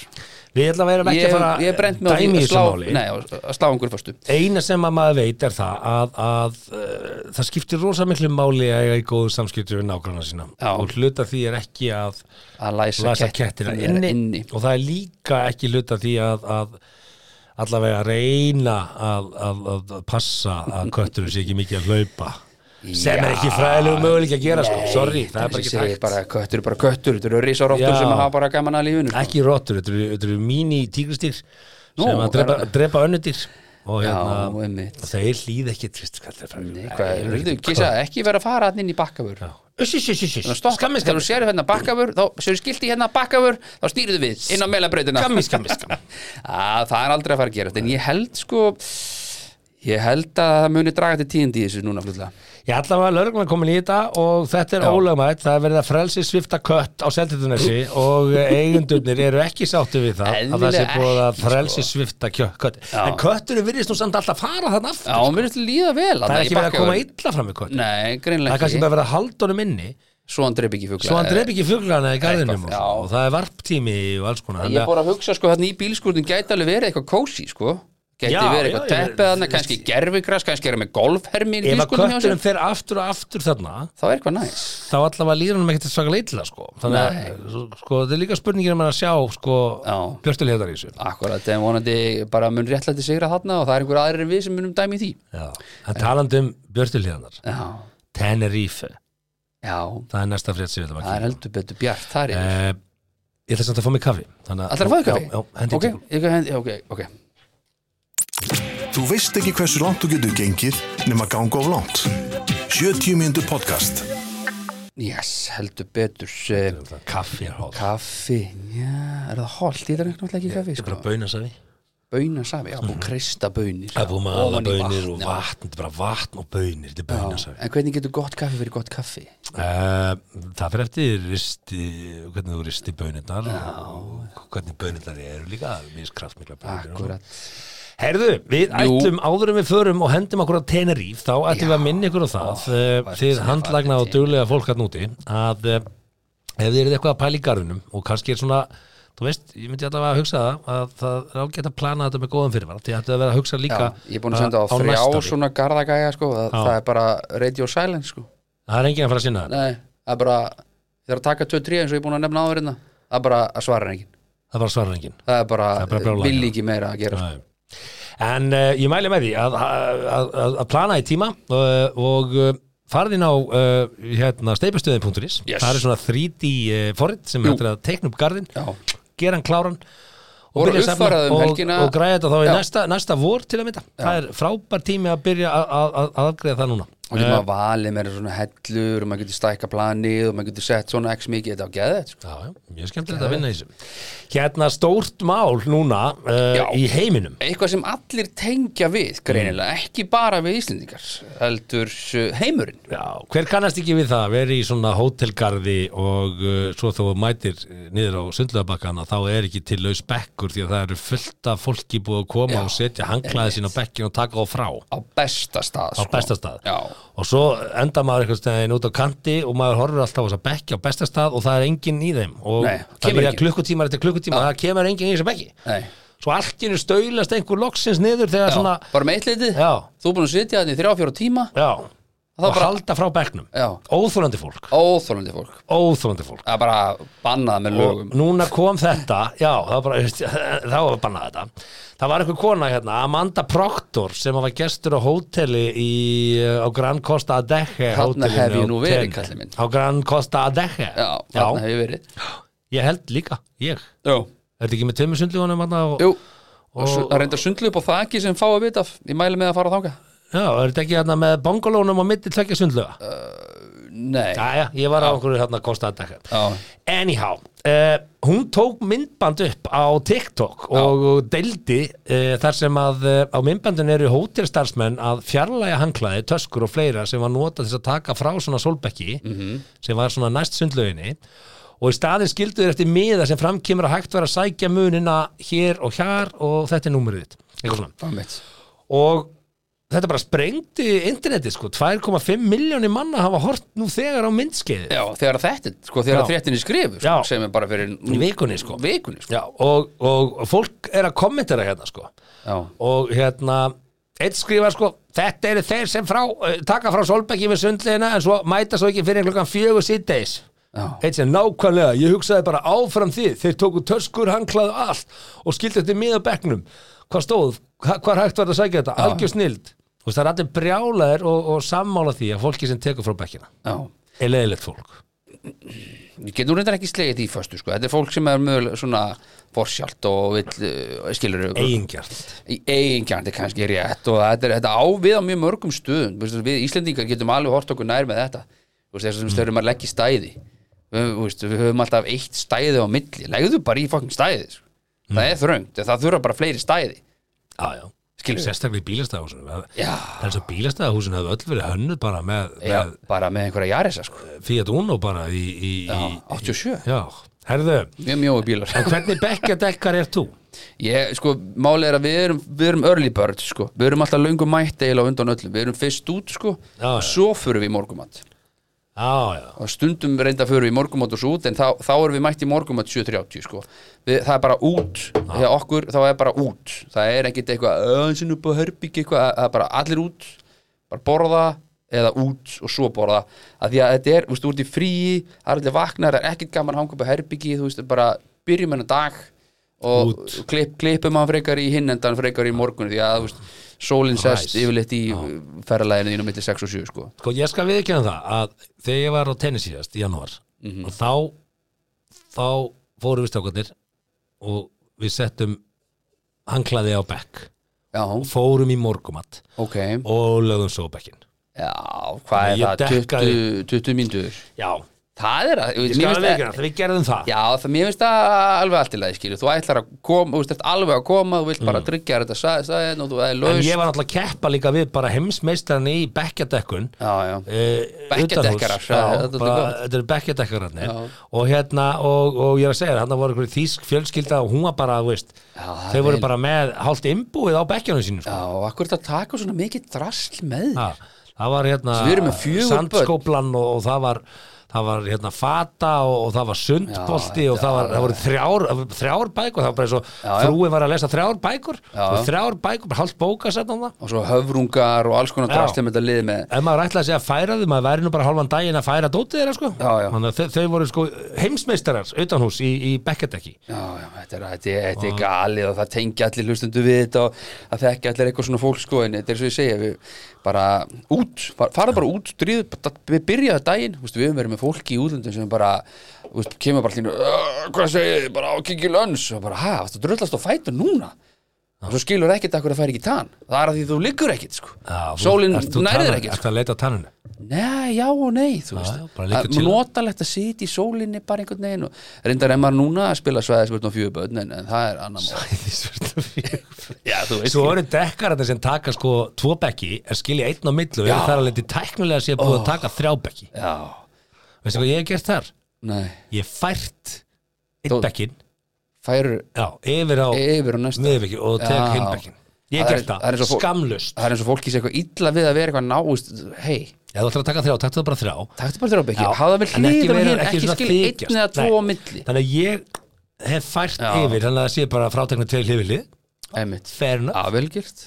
Speaker 5: við ætla að vera ekki
Speaker 3: Ég,
Speaker 5: að fara
Speaker 3: ég er brent með á
Speaker 5: dæmi
Speaker 3: því
Speaker 5: í
Speaker 3: að
Speaker 5: þessu
Speaker 3: slá,
Speaker 5: máli
Speaker 3: nei, að slá einhverju fyrstu
Speaker 5: eina sem að maður veit er það að, að uh, það skiptir rosa miklu máli að eiga í góðu samskipti við nágranna sína
Speaker 3: Já.
Speaker 5: og hluta því er ekki að
Speaker 3: Að læsa,
Speaker 5: læsa kettina
Speaker 3: kettina
Speaker 5: inni,
Speaker 3: inni.
Speaker 5: og það er líka ekki hluta því að, að allavega reyna að, að, að, að passa að kötturinn sé ekki mikið að hlaupa sem er ekki fræðilegu möguleik að gera sko, sorry, það er bara ekki
Speaker 3: segir
Speaker 5: hægt
Speaker 3: bara köttur, er bara köttur, þetta eru risaróttur
Speaker 5: Já.
Speaker 3: sem hafa bara gaman að lífinu sko.
Speaker 5: ekki rottur, þetta eru- þetta eru mini tígristýr
Speaker 3: Nú,
Speaker 5: sem að drepa,
Speaker 3: er-
Speaker 5: drepa önnudýr og
Speaker 3: Já,
Speaker 5: hérna,
Speaker 3: einmitt.
Speaker 5: og þeir hlýð ekki veist, hvað það
Speaker 3: Nei, hvað er- Vildu, Kisa, ekki vera að fara hann inn í bakkavör
Speaker 5: Skammi,
Speaker 3: Skammis, þegar þú sér hérna bakkavör þá sér skilti hérna bakkavör þá stýrðu við inn á meðlabrautina
Speaker 5: Skammi, skammi, skammi.
Speaker 3: [laughs] Á, Það er aldrei að fara að gera en ég held sko ég held að það muni draga til tíðindi í þessu núna flutlega
Speaker 5: Ég ætla að lögreglan komin í þetta og þetta er
Speaker 3: Já.
Speaker 5: ólögmætt, það er verið að frelsi svifta kött á seltutunesi og eigendurnir eru ekki sáttu við það að það sé
Speaker 3: Eðlilega
Speaker 5: búið að
Speaker 3: ekki, sko.
Speaker 5: frelsi svifta kjö- kött
Speaker 3: Já.
Speaker 5: en kötturinn virðist nú samt alltaf fara þann aftur
Speaker 3: Já, hún verður til að líða vel
Speaker 5: sko- það er ekki verið að koma illa fram með kött
Speaker 3: Nei,
Speaker 5: það
Speaker 3: greinlega
Speaker 5: er kannski bara verið að halda honum inni
Speaker 3: Svo hann dreip ekki fugla
Speaker 5: svo hann dref ekki fuglana í garðinum
Speaker 3: Eitthvað,
Speaker 5: og,
Speaker 3: já.
Speaker 5: svo, og það er varptími og alls konar
Speaker 3: Ég
Speaker 5: þannig
Speaker 3: er
Speaker 5: að-
Speaker 3: bara að hugsa sko hérna í bílskurðin gæti alveg verið eitthvað kósi sko Gæti
Speaker 5: Já,
Speaker 3: verið eitthvað
Speaker 5: já, ég-
Speaker 3: teppið hann, kannski gerfigras, kannski er hann með golfhermi í
Speaker 5: ef að
Speaker 3: bílskurðin hjá sér
Speaker 5: kötturinn fer aftur og aftur þarna
Speaker 3: Þá er eitthvað næs
Speaker 5: þá allavega líður hann ekkert svaka leitla sko. þannig að sko, það er líka spurningir um að sjá sko,
Speaker 3: Já.
Speaker 5: björtulegðar í þessu
Speaker 3: Akkurat, en vonandi bara mun réttlætti sigra þarna og það er einhver aðrir en við sem munum dæmi í því
Speaker 5: Já, en talandi um björtuliðanar
Speaker 3: Já,
Speaker 5: Tenerife,
Speaker 3: já,
Speaker 5: það er næsta frétt sem við ætlum að
Speaker 3: það er heldur betur bjart þar er
Speaker 5: Eh, Ég ætla samt að fá mig kaffi
Speaker 3: Ætlarðu að fá þér kaffi?
Speaker 5: Já, já hendi
Speaker 3: Ok,
Speaker 5: okay.
Speaker 3: ég kan hendi, ok, ok
Speaker 2: Þú veist ekki hversu langt þú getur gengið nema ganga of langt. 70 mínútur podcast.
Speaker 3: Yes, heldur betur eh,
Speaker 5: Kaffi er hóð
Speaker 3: Kaffi, já, er það holt? Ég þarf náttúrulega ekki kaffi,
Speaker 5: Þetta er
Speaker 3: sko
Speaker 5: bara baunasafi
Speaker 3: Baunasafi, já, búið kreista baunir
Speaker 5: Það er búið með alla
Speaker 3: ofan í
Speaker 5: baunir og
Speaker 3: vatn, já.
Speaker 5: vatn Þetta er bara vatn og baunir, þetta er
Speaker 3: Já,
Speaker 5: baunasafi
Speaker 3: en hvernig getur gott kaffi verið gott kaffi?
Speaker 5: Eh, Það fyrir eftir risti, hvernig þú risti baunirnar og hvernig baunirnar eru líka mjög kraftmikla baunir
Speaker 3: Akkurat
Speaker 5: Herðu, við ætlum áður en við förum og hendum okkur á Teneríf, þá ætlum við að minna ykkur á það oh, þið handlagna og duglega fólk hann úti að eh, ef þið eruð eitthvað að pæla í garfinum og kannski er svona þú veist, ég myndi alltaf að hugsa það að það er ágætt að plana þetta með góðan fyrirvara því ættu að vera að hugsa líka
Speaker 3: Já, ég er búin að senda á
Speaker 5: að-
Speaker 3: þrjá
Speaker 5: næsta ári.
Speaker 3: svona garðagæja sko, það,
Speaker 5: Já.
Speaker 3: það er bara radio silence sko
Speaker 5: Það er enginn að fara að sinna það,
Speaker 3: Nei, það er bara ég þarf að taka 2-3 eins og ég er búin að nefna áður hérna það er bara að svara enginn
Speaker 5: það er bara svarar enginn
Speaker 3: það er bara,
Speaker 5: Það er bara brjálæði.
Speaker 3: vill ekki meira að gera sko.
Speaker 5: Nei. En uh, ég mæli með því að, að, að, að plana í tíma uh, og uh, farið inn á uh, hérna, steipastöðin.is
Speaker 3: Yes.
Speaker 5: Það er svona 3D uh, forrit sem
Speaker 3: Jú.
Speaker 5: hættir að teikna upp garðin,
Speaker 3: Já,
Speaker 5: gera hann kláran og,
Speaker 3: Voru
Speaker 5: byrja að safna
Speaker 3: uppfærað um
Speaker 5: og,
Speaker 3: helgina.
Speaker 5: og græja þetta þá í
Speaker 3: Já.
Speaker 5: næsta, næsta vor til að mynda Það er frábær tími að byrja að- að að- að afgreiða það núna
Speaker 3: og getur
Speaker 5: Eh.
Speaker 3: maður valið meira svona hellur og maður getur stækka planið og maður getur sett svona x mikið þetta á geðið sko.
Speaker 5: Já, já, mjög skemmtilegt að vinna í þessu Hérna stórt mál núna uh,
Speaker 3: Já.
Speaker 5: í heiminum
Speaker 3: eitthvað sem allir tengja við greinilega,
Speaker 5: Mm.
Speaker 3: ekki bara við Íslendingar heldur uh, heimurinn
Speaker 5: Já, hver kannast ekki við það að vera í svona hótelgarði og uh, svo þó mætir uh, niður á sundlöðabakkana þá er ekki til laus bekkur því að það eru fullt af fólki búið að koma
Speaker 3: Já,
Speaker 5: og setja hanglaði sín á bekkin og taka á frá á
Speaker 3: á besta stað sko.
Speaker 5: besta stað
Speaker 3: Já.
Speaker 5: og svo enda maður eitthvað stæðin út á kanti og maður horfir alltaf á þessa bekki á besta stað og það er enginn í þeim og
Speaker 3: Nei,
Speaker 5: það
Speaker 3: kemur
Speaker 5: er
Speaker 3: enginn.
Speaker 5: klukkutímar eftir klukkutíma það kemur enginn í þessa bekki
Speaker 3: Nei.
Speaker 5: svo allt í hennu stöylast einhver loksins niður þegar
Speaker 3: já,
Speaker 5: svona
Speaker 3: bara með eitt litið,
Speaker 5: Já.
Speaker 3: þú er búin að sitja þannig þrjá fjóra tíma,
Speaker 5: já,
Speaker 3: Það
Speaker 5: og
Speaker 3: bara-
Speaker 5: halda frá bekknum
Speaker 3: Já.
Speaker 5: óþólandi fólk,
Speaker 3: óþólandi fólk
Speaker 5: óþólandi fólk
Speaker 3: að bara bannað með
Speaker 5: og
Speaker 3: lögum
Speaker 5: núna kom þetta já, það var bara, [laughs] þá var bannað þetta það var einhver kona hérna, Amanda Proctor sem var gestur á hóteli í, á Grand Costa Adeje
Speaker 3: Þarna
Speaker 5: hótelinu
Speaker 3: hef ég
Speaker 5: á
Speaker 3: nú verið,
Speaker 5: Tenerife.
Speaker 3: kallinn minn.
Speaker 5: á Grand Costa Adeje
Speaker 3: já, þarna hefur verið
Speaker 5: ég held líka, ég
Speaker 3: Jú.
Speaker 5: er þetta ekki með tömmu sundlugunum hérna og,
Speaker 3: Jú. og svo- það reyndar sundlu upp á þaki sem fá að vita af. ég mæli með að fara þanga
Speaker 5: já, er þetta ekki hérna með bongolónum á mitti tvekja sundluga
Speaker 3: nei,
Speaker 5: Jæja, ég var á einhverju hérna Costa Adeje
Speaker 3: já,
Speaker 5: Anyhow, uh, hún tók myndband upp á TikTok og deildi uh, þar sem að uh, á myndbandin eru hótelstarfsmenn að fjarlæga hanglaði, töskur og fleira sem var notað til þess að taka frá svona solbekki sem var svona næst sundlauginni og í staðin skildu þér eftir miða sem framkemur að hægt vera að sækja munina hér og hér og þetta er númerið þitt Eitthvað svona
Speaker 3: það er mitt
Speaker 5: og þetta bara sprengdi internetið sko, 2,5 miljónir manna hafa hort nú þegar á myndskeiði
Speaker 3: já, þegar þetta, sko, þegar
Speaker 5: Já.
Speaker 3: þréttin er skrifu sko,
Speaker 5: Já.
Speaker 3: sem er bara fyrir
Speaker 5: Í vikunni, sko.
Speaker 3: vikunni, sko.
Speaker 5: Já, og, og fólk er að kommentera hérna sko.
Speaker 3: Já.
Speaker 5: og hérna einn skrifar sko, þetta eru þeir sem frá, eh, taka frá Solbekki við sundleina en svo mæta svo ekki fyrir klokkan fjögur síðdeis
Speaker 3: Já.
Speaker 5: einn sem nákvæmlega, ég hugsaði bara áfram því þeir tóku töskur, hanglaðu allt og skildi þetta miða bekknum hvað stóð, hva- hvar hægt var það að sækja þetta algjör snild, Þú veist, það er allir brjálaðir og, og sammála því að fólki sem tekur frá bekkina
Speaker 3: Já.
Speaker 5: er leiðilegt fólk
Speaker 3: ég getur reyndar ekki slegið því föstu sko. þetta er fólk sem er mögulega svona forsjált og vill, uh, skilur
Speaker 5: eigingjart
Speaker 3: eigingjandi kannski rétt og þetta, er, þetta á við á mjög mörgum stöðum Vistu, við Íslendingar getum alveg hort okkur nær með þetta Vistu, þessum mm. stöðum að leggja í stæði við, vistu, við höfum alltaf eitt stæði á milli legðu bara í fokkin stæði sko. það er þröngt, það þurfa bara fleiri stæði
Speaker 5: Já, já.
Speaker 3: Skilurðu?
Speaker 5: Sérstaklega í bílastæðahúsinu. Það
Speaker 3: Já.
Speaker 5: er eins og bílastæðahúsinu hefur öll verið hönnuð bara með,
Speaker 3: Já, bara með einhverja jarisa sko.
Speaker 5: með Fiat Uno bara í... í,
Speaker 3: Já,
Speaker 5: í
Speaker 3: 87,
Speaker 5: já. Herðu,
Speaker 3: mjög mjói bílar
Speaker 5: en hvernig bekkjadekkar er þú?
Speaker 3: Ég, sko, máli er að við erum, við erum early bird, sko, við erum alltaf löngum mætt eiginlega á undan öllum, við erum fyrst út, sko
Speaker 5: Já, já.
Speaker 3: svo förum við í morgumat
Speaker 5: Já, já.
Speaker 3: og stundum reynda fyrir við í morgumat og svo út en þá, þá erum við mætt í morgumat 7.30 sko. við, það er bara út hjá okkur þá er bara út það er ekkit eitthvað öðinsinn upp á herbygg eitthvað það er bara allir út bara borða eða út og svo borða að því að þetta er, þú veist, þú ert í fríi það er allir vaknar, það er ekkit gaman að hanga upp á herbyggi þú veist, bara byrjum hennar dag og
Speaker 5: Út.
Speaker 3: klipp, klippum hann frekar í hinn endan frekar í morgun því að, þú veist, sólin sest yfirleitt í ferðalæginu þínu milli 6 og 7 sko.
Speaker 5: Sko, ég skal viðkjöna það að þegar ég var á tennis síðast í janúar
Speaker 3: Mhm.
Speaker 5: og þá, þá fórum við strákanir og við settum hanglaði á bekk
Speaker 3: já,
Speaker 5: og fórum í morgumat
Speaker 3: ok
Speaker 5: og lögum svo á bekkinn.
Speaker 3: Já, hvað
Speaker 5: Ég
Speaker 3: er það,
Speaker 5: dekkaði-
Speaker 3: 20, 20 mínútur
Speaker 5: Já,
Speaker 3: Það er að,
Speaker 5: ég
Speaker 3: mér
Speaker 5: skal
Speaker 3: finnst að
Speaker 5: viðkjöna það, við gerðum það.
Speaker 3: Já, það, mér finnst það alveg allt í lagi skilu Þú ætlar að koma, þú veist ert alveg að koma Þú vilt bara tryggja þetta sæðin sæð, og þú
Speaker 5: Mm.
Speaker 3: er
Speaker 5: En
Speaker 3: laus
Speaker 5: ég var náttúrulega að keppa líka við bara heimsmeistarinn í eh, bekkjadekkun
Speaker 3: Já, já, Bekkjadekkarar,
Speaker 5: Bekkjadekkarar
Speaker 3: já, þetta er gott.
Speaker 5: Þetta eru bekkjadekkararnir og, hérna, og, og ég er að segja þér, hérna voru einhverjum þýsk fjölskylda og hún var bara, þú veist
Speaker 3: Já, það
Speaker 5: þau
Speaker 3: er
Speaker 5: voru
Speaker 3: vel.
Speaker 5: bara með hálft imbúið á bekkjanum sínum
Speaker 3: já,
Speaker 5: sko.
Speaker 3: og akkur er þetta að taka svona mikið drasl með
Speaker 5: Ha, Það var hérna
Speaker 3: Svo við erum með fjögur börn.
Speaker 5: sandskóplan og, og það var það var hérna fata og, og það var sundbolti
Speaker 3: Já,
Speaker 5: og það, var,
Speaker 3: já,
Speaker 5: það voru þrjár, það voru þrjár bækur, það var bara svo
Speaker 3: Já, já.
Speaker 5: frúin var að lesa þrjár bækur
Speaker 3: Já,
Speaker 5: og
Speaker 3: já.
Speaker 5: þrjár bækur, bara hálft bóka setna það
Speaker 3: Og svo höfrungar og alls konar
Speaker 5: Já.
Speaker 3: drasl með þetta liði með
Speaker 5: ef maður ætlaði að segja að færa þau, maður væri nú bara hálfan daginn að færa dótið þeirra sko
Speaker 3: Já, já.
Speaker 5: Þannig að þau, þau voru sko heimsmeistarar utanhús í, í bekkjadekki
Speaker 3: Já, já, þetta er, þetta er, þetta er galið og það tengja allir hlustundu við þetta og það þekki allir eitthvað svona fólk sko en þetta er svo ég segja, við bara út, far- farðu bara út, dríðu, bara- við byrjaðu daginn, þú veist, við höfum verið með fólki í útlöndum sem bara, þú veist, kemur bara allir, "Öh, hvað segir þið, bara á kikið löns og bara, hæ, það drullast á fætur núna og svo skilur ekkert að hverju það fær ekki í tann, það er að því þú liggur ekkert sko, sólinn nærður ekkert
Speaker 5: Ertu að leita að
Speaker 3: [laughs]
Speaker 5: tanninu?
Speaker 3: Nei, já og nei, þú
Speaker 5: Já,
Speaker 3: veist
Speaker 5: já, bara liggja
Speaker 3: Að
Speaker 5: til.
Speaker 3: Notalegt að sitja í sólinni bara einhvern veginn og reyndar en maður núna að spila svæðisvörn og fjöðbörn en, en það er annar mál Já, þú veist
Speaker 5: Svo eru dekkar þetta sem taka sko tvo bekki en skilja einn á millu og
Speaker 3: Já.
Speaker 5: eru þar að leiti tæknilega sé búið að taka þrjá bekki
Speaker 3: Já,
Speaker 5: Veistu hvað ég hef gert þar?
Speaker 3: nei
Speaker 5: Ég hef fært einn
Speaker 3: Þú-
Speaker 5: bekkin
Speaker 3: Færu
Speaker 5: já, yfir á
Speaker 3: yfir á næsta
Speaker 5: miðbekki og tek
Speaker 3: Já.
Speaker 5: hinn bekkin Ég
Speaker 3: Það
Speaker 5: hef
Speaker 3: er-
Speaker 5: gert
Speaker 3: það er
Speaker 5: það,
Speaker 3: eins og fólk-
Speaker 5: skamlust
Speaker 3: Það er eins og fólki sé eitthvað illa við að vera eitthvað náist Hei,
Speaker 5: Ef þú ætlar að taka þrjá, taktu það bara þrjá
Speaker 3: taktu bara þér á
Speaker 5: Já,
Speaker 3: bekki Háða við
Speaker 5: en
Speaker 3: hlýðum
Speaker 5: vera-
Speaker 3: hér, ekki
Speaker 5: svona
Speaker 3: skilja
Speaker 5: þykjast.
Speaker 3: einn eða
Speaker 5: Nei.
Speaker 3: tvo á milli
Speaker 5: þannig að ég hef fært
Speaker 3: Já.
Speaker 5: yfir þannig að það sé bara frátekna tveir hlifili
Speaker 3: einmitt
Speaker 5: fair enough,
Speaker 3: að velgjört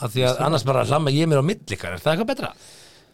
Speaker 5: af því að annars bara hlamma ég mér á millikar, er það eitthvað betra?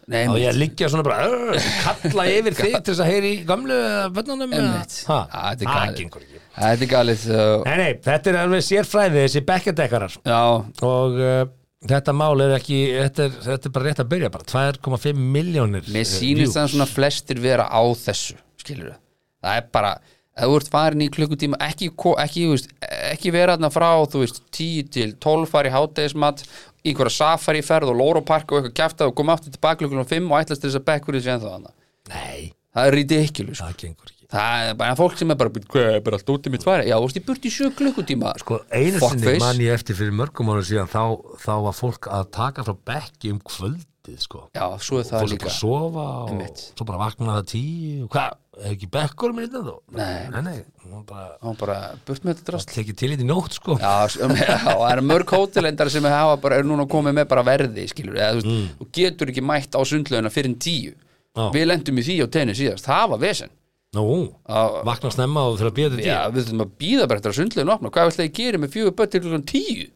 Speaker 3: Nei,
Speaker 5: og
Speaker 3: einmitt.
Speaker 5: ég liggja svona bara
Speaker 3: [laughs]
Speaker 5: "Arr", kalla yfir þig til þess að heyri gömlu eða börnunum eða-
Speaker 3: Einmitt.
Speaker 5: Ha,
Speaker 3: Ja, þetta er
Speaker 5: það
Speaker 3: galið.
Speaker 5: gengur ekki.
Speaker 3: þetta er galið uh,
Speaker 5: Nei, nei, þetta er alveg sérfræði þessi bekkjadekkarar
Speaker 3: já,
Speaker 5: og uh, þetta mál er ekki þetta er, þetta er bara rétt að byrja bara 2,5 miljónir
Speaker 3: Mér sýnist þannig svona flestir vera á þessu skilur við, það er bara ef þú ert farin í klukkutíma ekki, ko- ekki, þú veist, ekki vera þarna frá þú veist, 10 til 12 fari hátegismat í einhverja safari ferð og lóropark og eitthvað kæfta og koma aftur tilbaka klukkunum 5 og ætlast til þess að bekkur þessi ennþá þannig
Speaker 5: Nei,
Speaker 3: það er ridiculous sko.
Speaker 5: það gengur ekki
Speaker 3: það er bara fólk sem er bara "Bíddu, hvað er bara allt út í mitt fari já, þú veist, ég burt í 7 klukkutíma
Speaker 5: Sko, einu sinni
Speaker 3: Fuckface.
Speaker 5: man ég eftir fyrir mörgum ára síðan þá, þá var fólk að taka frá bekki um kvöldið sko
Speaker 3: já, svo er það
Speaker 5: fólk bara
Speaker 3: líka
Speaker 5: að sofa og
Speaker 3: Einmitt.
Speaker 5: svo bara vakna það tíu hvað, er ekki bekkur minn þetta þó? Nei, nei, nei hún bara
Speaker 3: þá bara burt með þetta drast
Speaker 5: tekið til í því nótt sko
Speaker 3: Já, s- um, [laughs] já, það eru mörg hótelendar sem hafa bara, er núna komið með bara verði skilur, eða, þú veist, þú getur ekki mætt á sundlauna fyrir en tíu
Speaker 5: Mm. Já.
Speaker 3: við lendum í því á tenni síðast, það var vesen
Speaker 5: Nú,
Speaker 3: Já.
Speaker 5: vakna snemma og þurfa að býja þetta
Speaker 3: já,
Speaker 5: tíu
Speaker 3: við þurfum að býða bara eftir að sundlauna opna hvað ætlaði ég gera með fjögur börn til klukkan tíu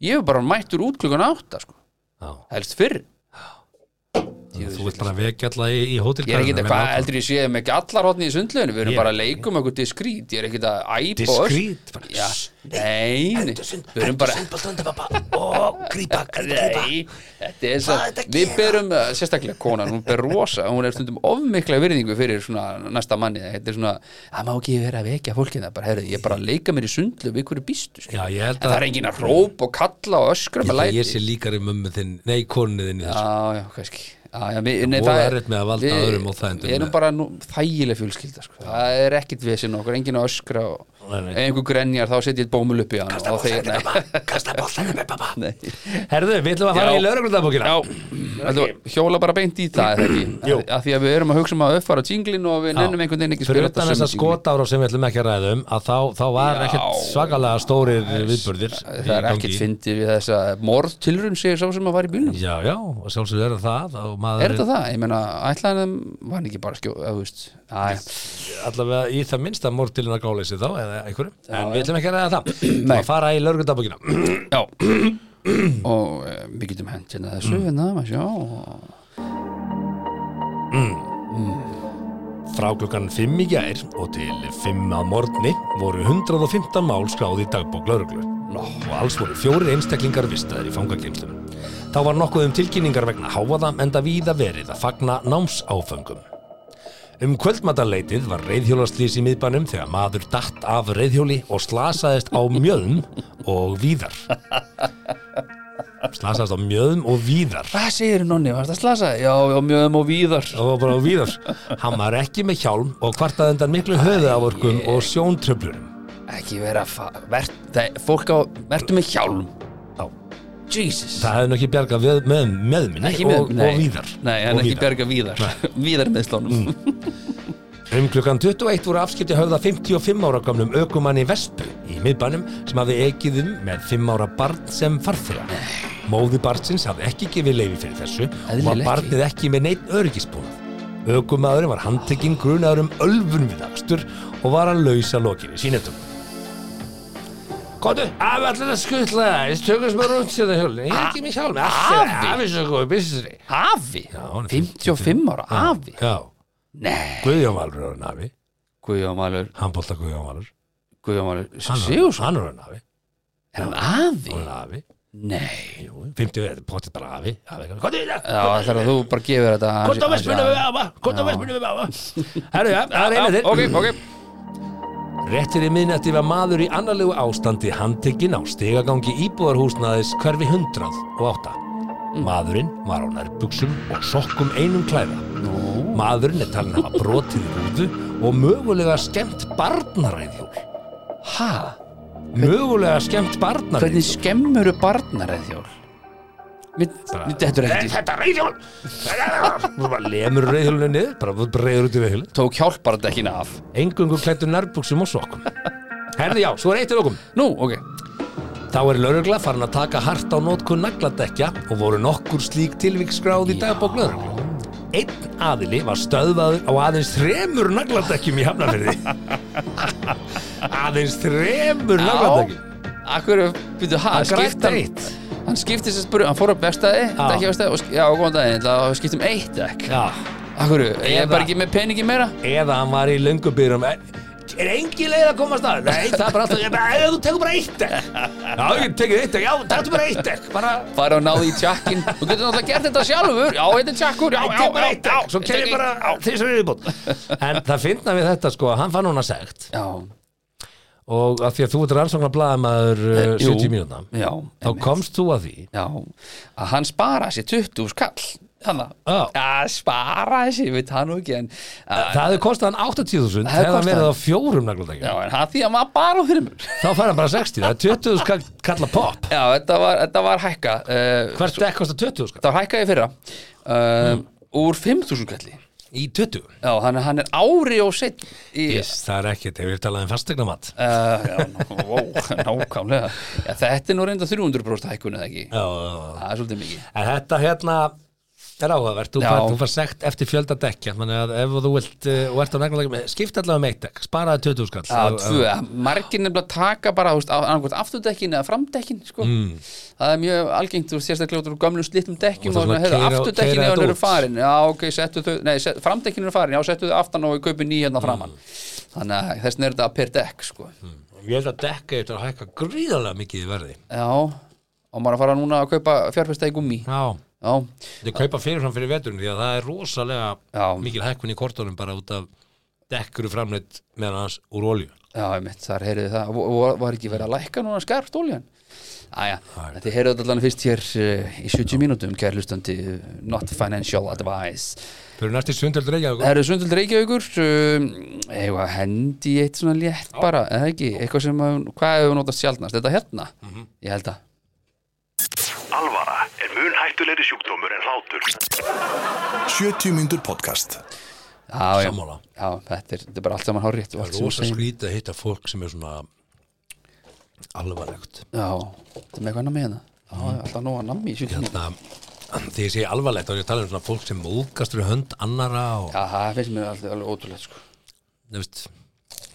Speaker 3: ég er bara mættur út klukkan átta sko.
Speaker 5: Já.
Speaker 3: helst fyrr
Speaker 5: Þannig að Þú vilt bara vekja alla í, í hótelkæðinu
Speaker 3: ég er ekkit að hvað heldur ég séum ekki allar hotni í sundlauna við erum bara að leikum eitthvað diskrít ég er ekkit að æpa og öskra.
Speaker 5: Diskrít bara,
Speaker 3: Já, nei, nei, við erum bara
Speaker 5: Ó, grípa, grípa
Speaker 3: Nei, þetta er svo Við berum, uh, sérstaklega konan, hún ber rosa Hún er stundum ofmikla virðingu fyrir svona næsta manni Þetta er svona, það má ekki vera að vekja fólkina bara, herri, Ég er bara að leika mér í sundlu við hverju býstu sko.
Speaker 5: Já, ég held
Speaker 3: En það
Speaker 5: að
Speaker 3: er engin að róp og kalla og öskra
Speaker 5: ég, held
Speaker 3: með
Speaker 5: að
Speaker 3: læti
Speaker 5: ég sé líkari mömmu þinn Nei, konu þinn í þessu
Speaker 3: Já, já, kannski Já, já, við, nei,
Speaker 5: voða erfitt með að valda
Speaker 3: við-
Speaker 5: öðrum á þægindum.
Speaker 3: Við erum bara nú, þægileg fjölskylda sko. Það er ekkit vesinn okkur, engin að öskra og,
Speaker 5: Nei, nei.
Speaker 3: Ef einhver grenjar, þá setjum ég bómul upp í hann Kasta bóðsækina, [laughs] mamma, kasta bóðsækina, mamma
Speaker 5: Herðu, við ætlum að fara
Speaker 3: Já.
Speaker 5: í lögreglundabókina
Speaker 3: Já, ætlum, við- hjóla bara beint í það er það [clears throat] ekki,
Speaker 5: Jú.
Speaker 3: Af- af því að við erum að hugsa um að uppfara tjinglin og við nennum einhvern veginn ekki að
Speaker 5: Fyrir
Speaker 3: spila
Speaker 5: utan þessa
Speaker 3: sömu jinglin.
Speaker 5: skotára sem við ætlum ekki að ræða um að þá, þá var
Speaker 3: Já.
Speaker 5: ekkert svakalega stórir viðbörðir
Speaker 3: það er ekkert fyndið við þessa morðtilrun segir sá sem að var í bílnum
Speaker 5: Já, já, og sjálfsögðu er það og maður
Speaker 3: er þetta það, ég meina ætlaðan var hann ekki bara að skjó, að þú veist að,
Speaker 5: allavega í það minnsta mortilin að gáleysi þá eða einhverju, en við ætlum ekki að
Speaker 3: [clears throat]
Speaker 5: ræða það
Speaker 3: Nei.
Speaker 5: að fara í lögreglundabókina
Speaker 3: já [clears throat] og eh, við getum hent hérna þessu hérna, maður sjá og-
Speaker 5: Frá klukkan 5 í gær og til 5 að morgni voru 115 mál skráð í dagbók lauruglu og alls voru fjórir einstaklingar vistaðir í fangageimslunum. Þá var nokkuð um tilkynningar vegna háaða enda víða verið að fagna námsáföngum. Um kvöldmataleitið var reyðhjólaslýs í miðbænum þegar maður datt af reyðhjóli og slasaðist á mjöðum og víðar. Slasaðist á mjöðum og víðar.
Speaker 3: hvað segir nonni, varst að slasa já, já, mjögum og víðar
Speaker 5: Það var bara á víðar. Hann var ekki með hjálm og kvartaði undan miklu höfuðávorkum og sjóntröflurum.
Speaker 3: ekki vera að fa- vert, það, fólk á, vertu með hjálm
Speaker 5: Já.
Speaker 3: Jesus
Speaker 5: Það hefði nú ekki bjargað við, með, meðminni
Speaker 3: ekki með,
Speaker 5: og,
Speaker 3: nei,
Speaker 5: og víðar.
Speaker 3: nei, en
Speaker 5: Og
Speaker 3: ekki
Speaker 5: víðar. Mm.
Speaker 3: bjarga víðar [laughs] víðar með slónum [laughs]
Speaker 5: Um klukkan 21 voru afskipti höfða 55 ára gamlum ökumanni Vespu í miðbænum sem hafði ekið um með 5 ára barn sem farþega. Móði barnsins hafði ekki gefið leifi fyrir þessu og var
Speaker 3: Eðlilega
Speaker 5: barnið ekki með neitt öryggisbúnað. Ökumadurinn var handtekinn grunaður um ölfun við akstur og var að lausa lokinni sínetum. Góðu, af allir að skutla það, ég tökum smá rúnt sér það hjálni, ég er ekki með hjálmi, allir,
Speaker 3: Afi?
Speaker 5: af þessu góðu businessri.
Speaker 3: Afi?
Speaker 5: hann er
Speaker 3: 55 ára, afi?
Speaker 5: Já,
Speaker 3: Nei,
Speaker 5: Guðjón Valur er hann afi,
Speaker 3: Guðjón Valur
Speaker 5: handbólta Guðjón Valur.
Speaker 3: Guðjón Valur
Speaker 5: Hann er-
Speaker 3: Sigursson,
Speaker 5: Hann er hann afi,
Speaker 3: er hann afi?
Speaker 5: hann er afi.
Speaker 3: Nei,
Speaker 5: Jú, 50 er potið eh, bara afi. afi. Hvað er hérna.
Speaker 3: já
Speaker 5: þetta?
Speaker 3: þar að þú bara gefur þetta hans-
Speaker 5: Hvað er
Speaker 3: hans-
Speaker 5: vestmunum við afa? Hvað er vestmunum við afa? Herru, já, það er einu
Speaker 3: Já,
Speaker 5: þér.
Speaker 3: Ok, ok
Speaker 5: Rétt fyrir miðnætti var maður í annarlegu ástandi handtekinn á stegagangi íbúðarhúsnaðis hverfi 100 og 8. Mm. Maðurinn var á nærbuxum og sokkum einum klæða. Maðurinn er talin að hafa brotið rúðu og mögulega skemmt barnaræðhjól.
Speaker 3: Ha?
Speaker 5: Mögulega skemmt barnaræðhjól.
Speaker 3: Hvernig skemmuru barnareð þjól? Mér mér dettur
Speaker 5: Nei,
Speaker 3: ekkert í
Speaker 5: Þetta reyðhjól! Þú bara lemur reyðhjólinu niður, bara breyður út í reyðhjólinu.
Speaker 3: Tók hjálpardekkin af
Speaker 5: Engungu klættur nærbuxum og sokkum. Herði já, svo er eitt til okkum.
Speaker 3: Nú, ok
Speaker 5: Þá er laurugla farin að taka hart á nótkun nagladekja og voru nokkur slík tilvík skráð í dagbók lauruglu. einn aðili var stöðvaður á aðeins þremur nagladekkjum í [laughs] hafnafyrði aðeins þremur nagladekkjum
Speaker 3: Akkur, byrju, ha,
Speaker 5: Hann græddi
Speaker 3: skipti hann
Speaker 5: eitt.
Speaker 3: Hann skipti sér spurði, hann fór upp vestæði Dekki vestæði, og, sk- já, góðan daginn Það var skipt um eitt dekk
Speaker 5: Já,
Speaker 3: Akkur, ég er
Speaker 5: Eða-
Speaker 3: bara ekki með peningi meira
Speaker 5: eða hann var í löngubýrum er, er engin leið að komast að nei, það er bara alltaf, ég bara, "Ef þú tekur bara eitt dekk já, ég tekur eitt dekk, já, taktu bara eitt dekk bara,
Speaker 3: Fara og náði í tjakkin Þú getur náttúrulega gert þetta sjálfur Já, þetta er tjakkur, já,
Speaker 5: ég
Speaker 3: já,
Speaker 5: tek bara
Speaker 3: já,
Speaker 5: eitt dekk svo kem ég bara, á, þeir sem er viðbútt en það finna við þetta, sko, að hann fann hún að segt
Speaker 3: Já,
Speaker 5: og að því að þú ert rannsóknar blaðamaður uh,
Speaker 3: Eh, jú.
Speaker 5: 70 mínúna
Speaker 3: já,
Speaker 5: þá komst þú að því
Speaker 3: já Að hann spara sér 20 skall Þannig
Speaker 5: Já.
Speaker 3: að spara sér, við það nú ekki en að,
Speaker 5: það hefði kostað hann 80.000
Speaker 3: Það hefði
Speaker 5: hefði hann
Speaker 3: kostað
Speaker 5: verið á
Speaker 3: hann.
Speaker 5: fjórum nagladækjum
Speaker 3: Já, en hann því að maður bara á þrjumur
Speaker 5: þá fær hann bara 60, það er 20.000 kall- kalla pop
Speaker 3: Já, þetta var, þetta var hækka uh,
Speaker 5: hvert dekk kostar 20.000 kall?
Speaker 3: Þetta var hækka í fyrra uh,
Speaker 5: Mm.
Speaker 3: Úr 5.000 kalli
Speaker 5: í 20
Speaker 3: Já, hann, hann er ári og sitt í,
Speaker 5: yes, það er ekkert, ef við talaðum fastegnamat
Speaker 3: Uh, já, ná- vó, nákvæmlega já, Þetta er nú reynda 300% hækkun eða ekki
Speaker 5: já, já, já
Speaker 3: Það er svolítið mikið
Speaker 5: En þetta hérna er áhugavert, þú
Speaker 3: Já.
Speaker 5: fær, þú fær sekt eftir fjölda dekkja, þannig að ef þú vilt eh, og ert á neglandekkjum, skipt allavega um eitt dekk sparaði 20 skall
Speaker 3: Já,
Speaker 5: Ef-
Speaker 3: tvö, margir nefnilega taka bara þú veist, á- annarkvæmt afturdekkin eða framdekkin sko. það er mjög algengt þú sérstaklega út úr gömlum slittum
Speaker 5: Og
Speaker 3: dekkjum og,
Speaker 5: það
Speaker 3: og
Speaker 5: svona
Speaker 3: hefur
Speaker 5: keyra-
Speaker 3: afturdekkin
Speaker 5: keyra
Speaker 3: eða
Speaker 5: þetta
Speaker 3: hann eru
Speaker 5: út.
Speaker 3: farin já, ok, settu þau, nei, set, framdekkin eru farin já, settu þau aftan og við kaupum ný hérna framann þannig að þessin er þetta per dekk sko.
Speaker 5: ég held að dekka eftir að hækka gríðarlega mikið í verði
Speaker 3: já, og maður að fara núna að kaupa fjárfesta í gummi já,
Speaker 5: Já,
Speaker 3: já,
Speaker 5: þau kaupa fyrirfram fyrir veturinn því að það er rosalega
Speaker 3: Já.
Speaker 5: mikil hækkun í kortunum bara út af dekkuru framleitt meðan hans úr olju
Speaker 3: einmitt, þar heyrðu það Vo- vo- var ekki verið að lækka núna skarft óljan Æja, þetta heyrðu þetta allan fyrst hér eh, í 70 mínútum, kær hlustandi eh, Not Financial Advice
Speaker 5: Fyrir næst í sundhöldur
Speaker 3: Það
Speaker 5: reykja
Speaker 3: eru sundhald Reykjavíkur um, eða hendi í eitt svona létt bara, eða ekki, eitthvað sem að, hvað hefur notast sjaldnast, þetta hérna
Speaker 5: Mhm.
Speaker 3: ég held að,
Speaker 7: Alvara er mun hættulegri sjúkdómur en hlátur.
Speaker 2: 70 mínútur podcast
Speaker 3: já, já,
Speaker 5: Sammála.
Speaker 3: já þetta, er, þetta er bara allt saman hár rétt
Speaker 5: Rosa skrítið að hitta fólk sem er svona alvarlegt
Speaker 3: já, þetta er með eitthvað nammi hérna já, já, alltaf nóg að nammi í
Speaker 5: Mhm.
Speaker 3: sjúkdómi
Speaker 5: hérna, þegar ég segi alvarlegt þá er ég að tala um svona fólk sem móðgast fyrir hönd annara og
Speaker 3: já, það finnst mér alltaf alveg ótrúlegt sko.
Speaker 5: þú veist,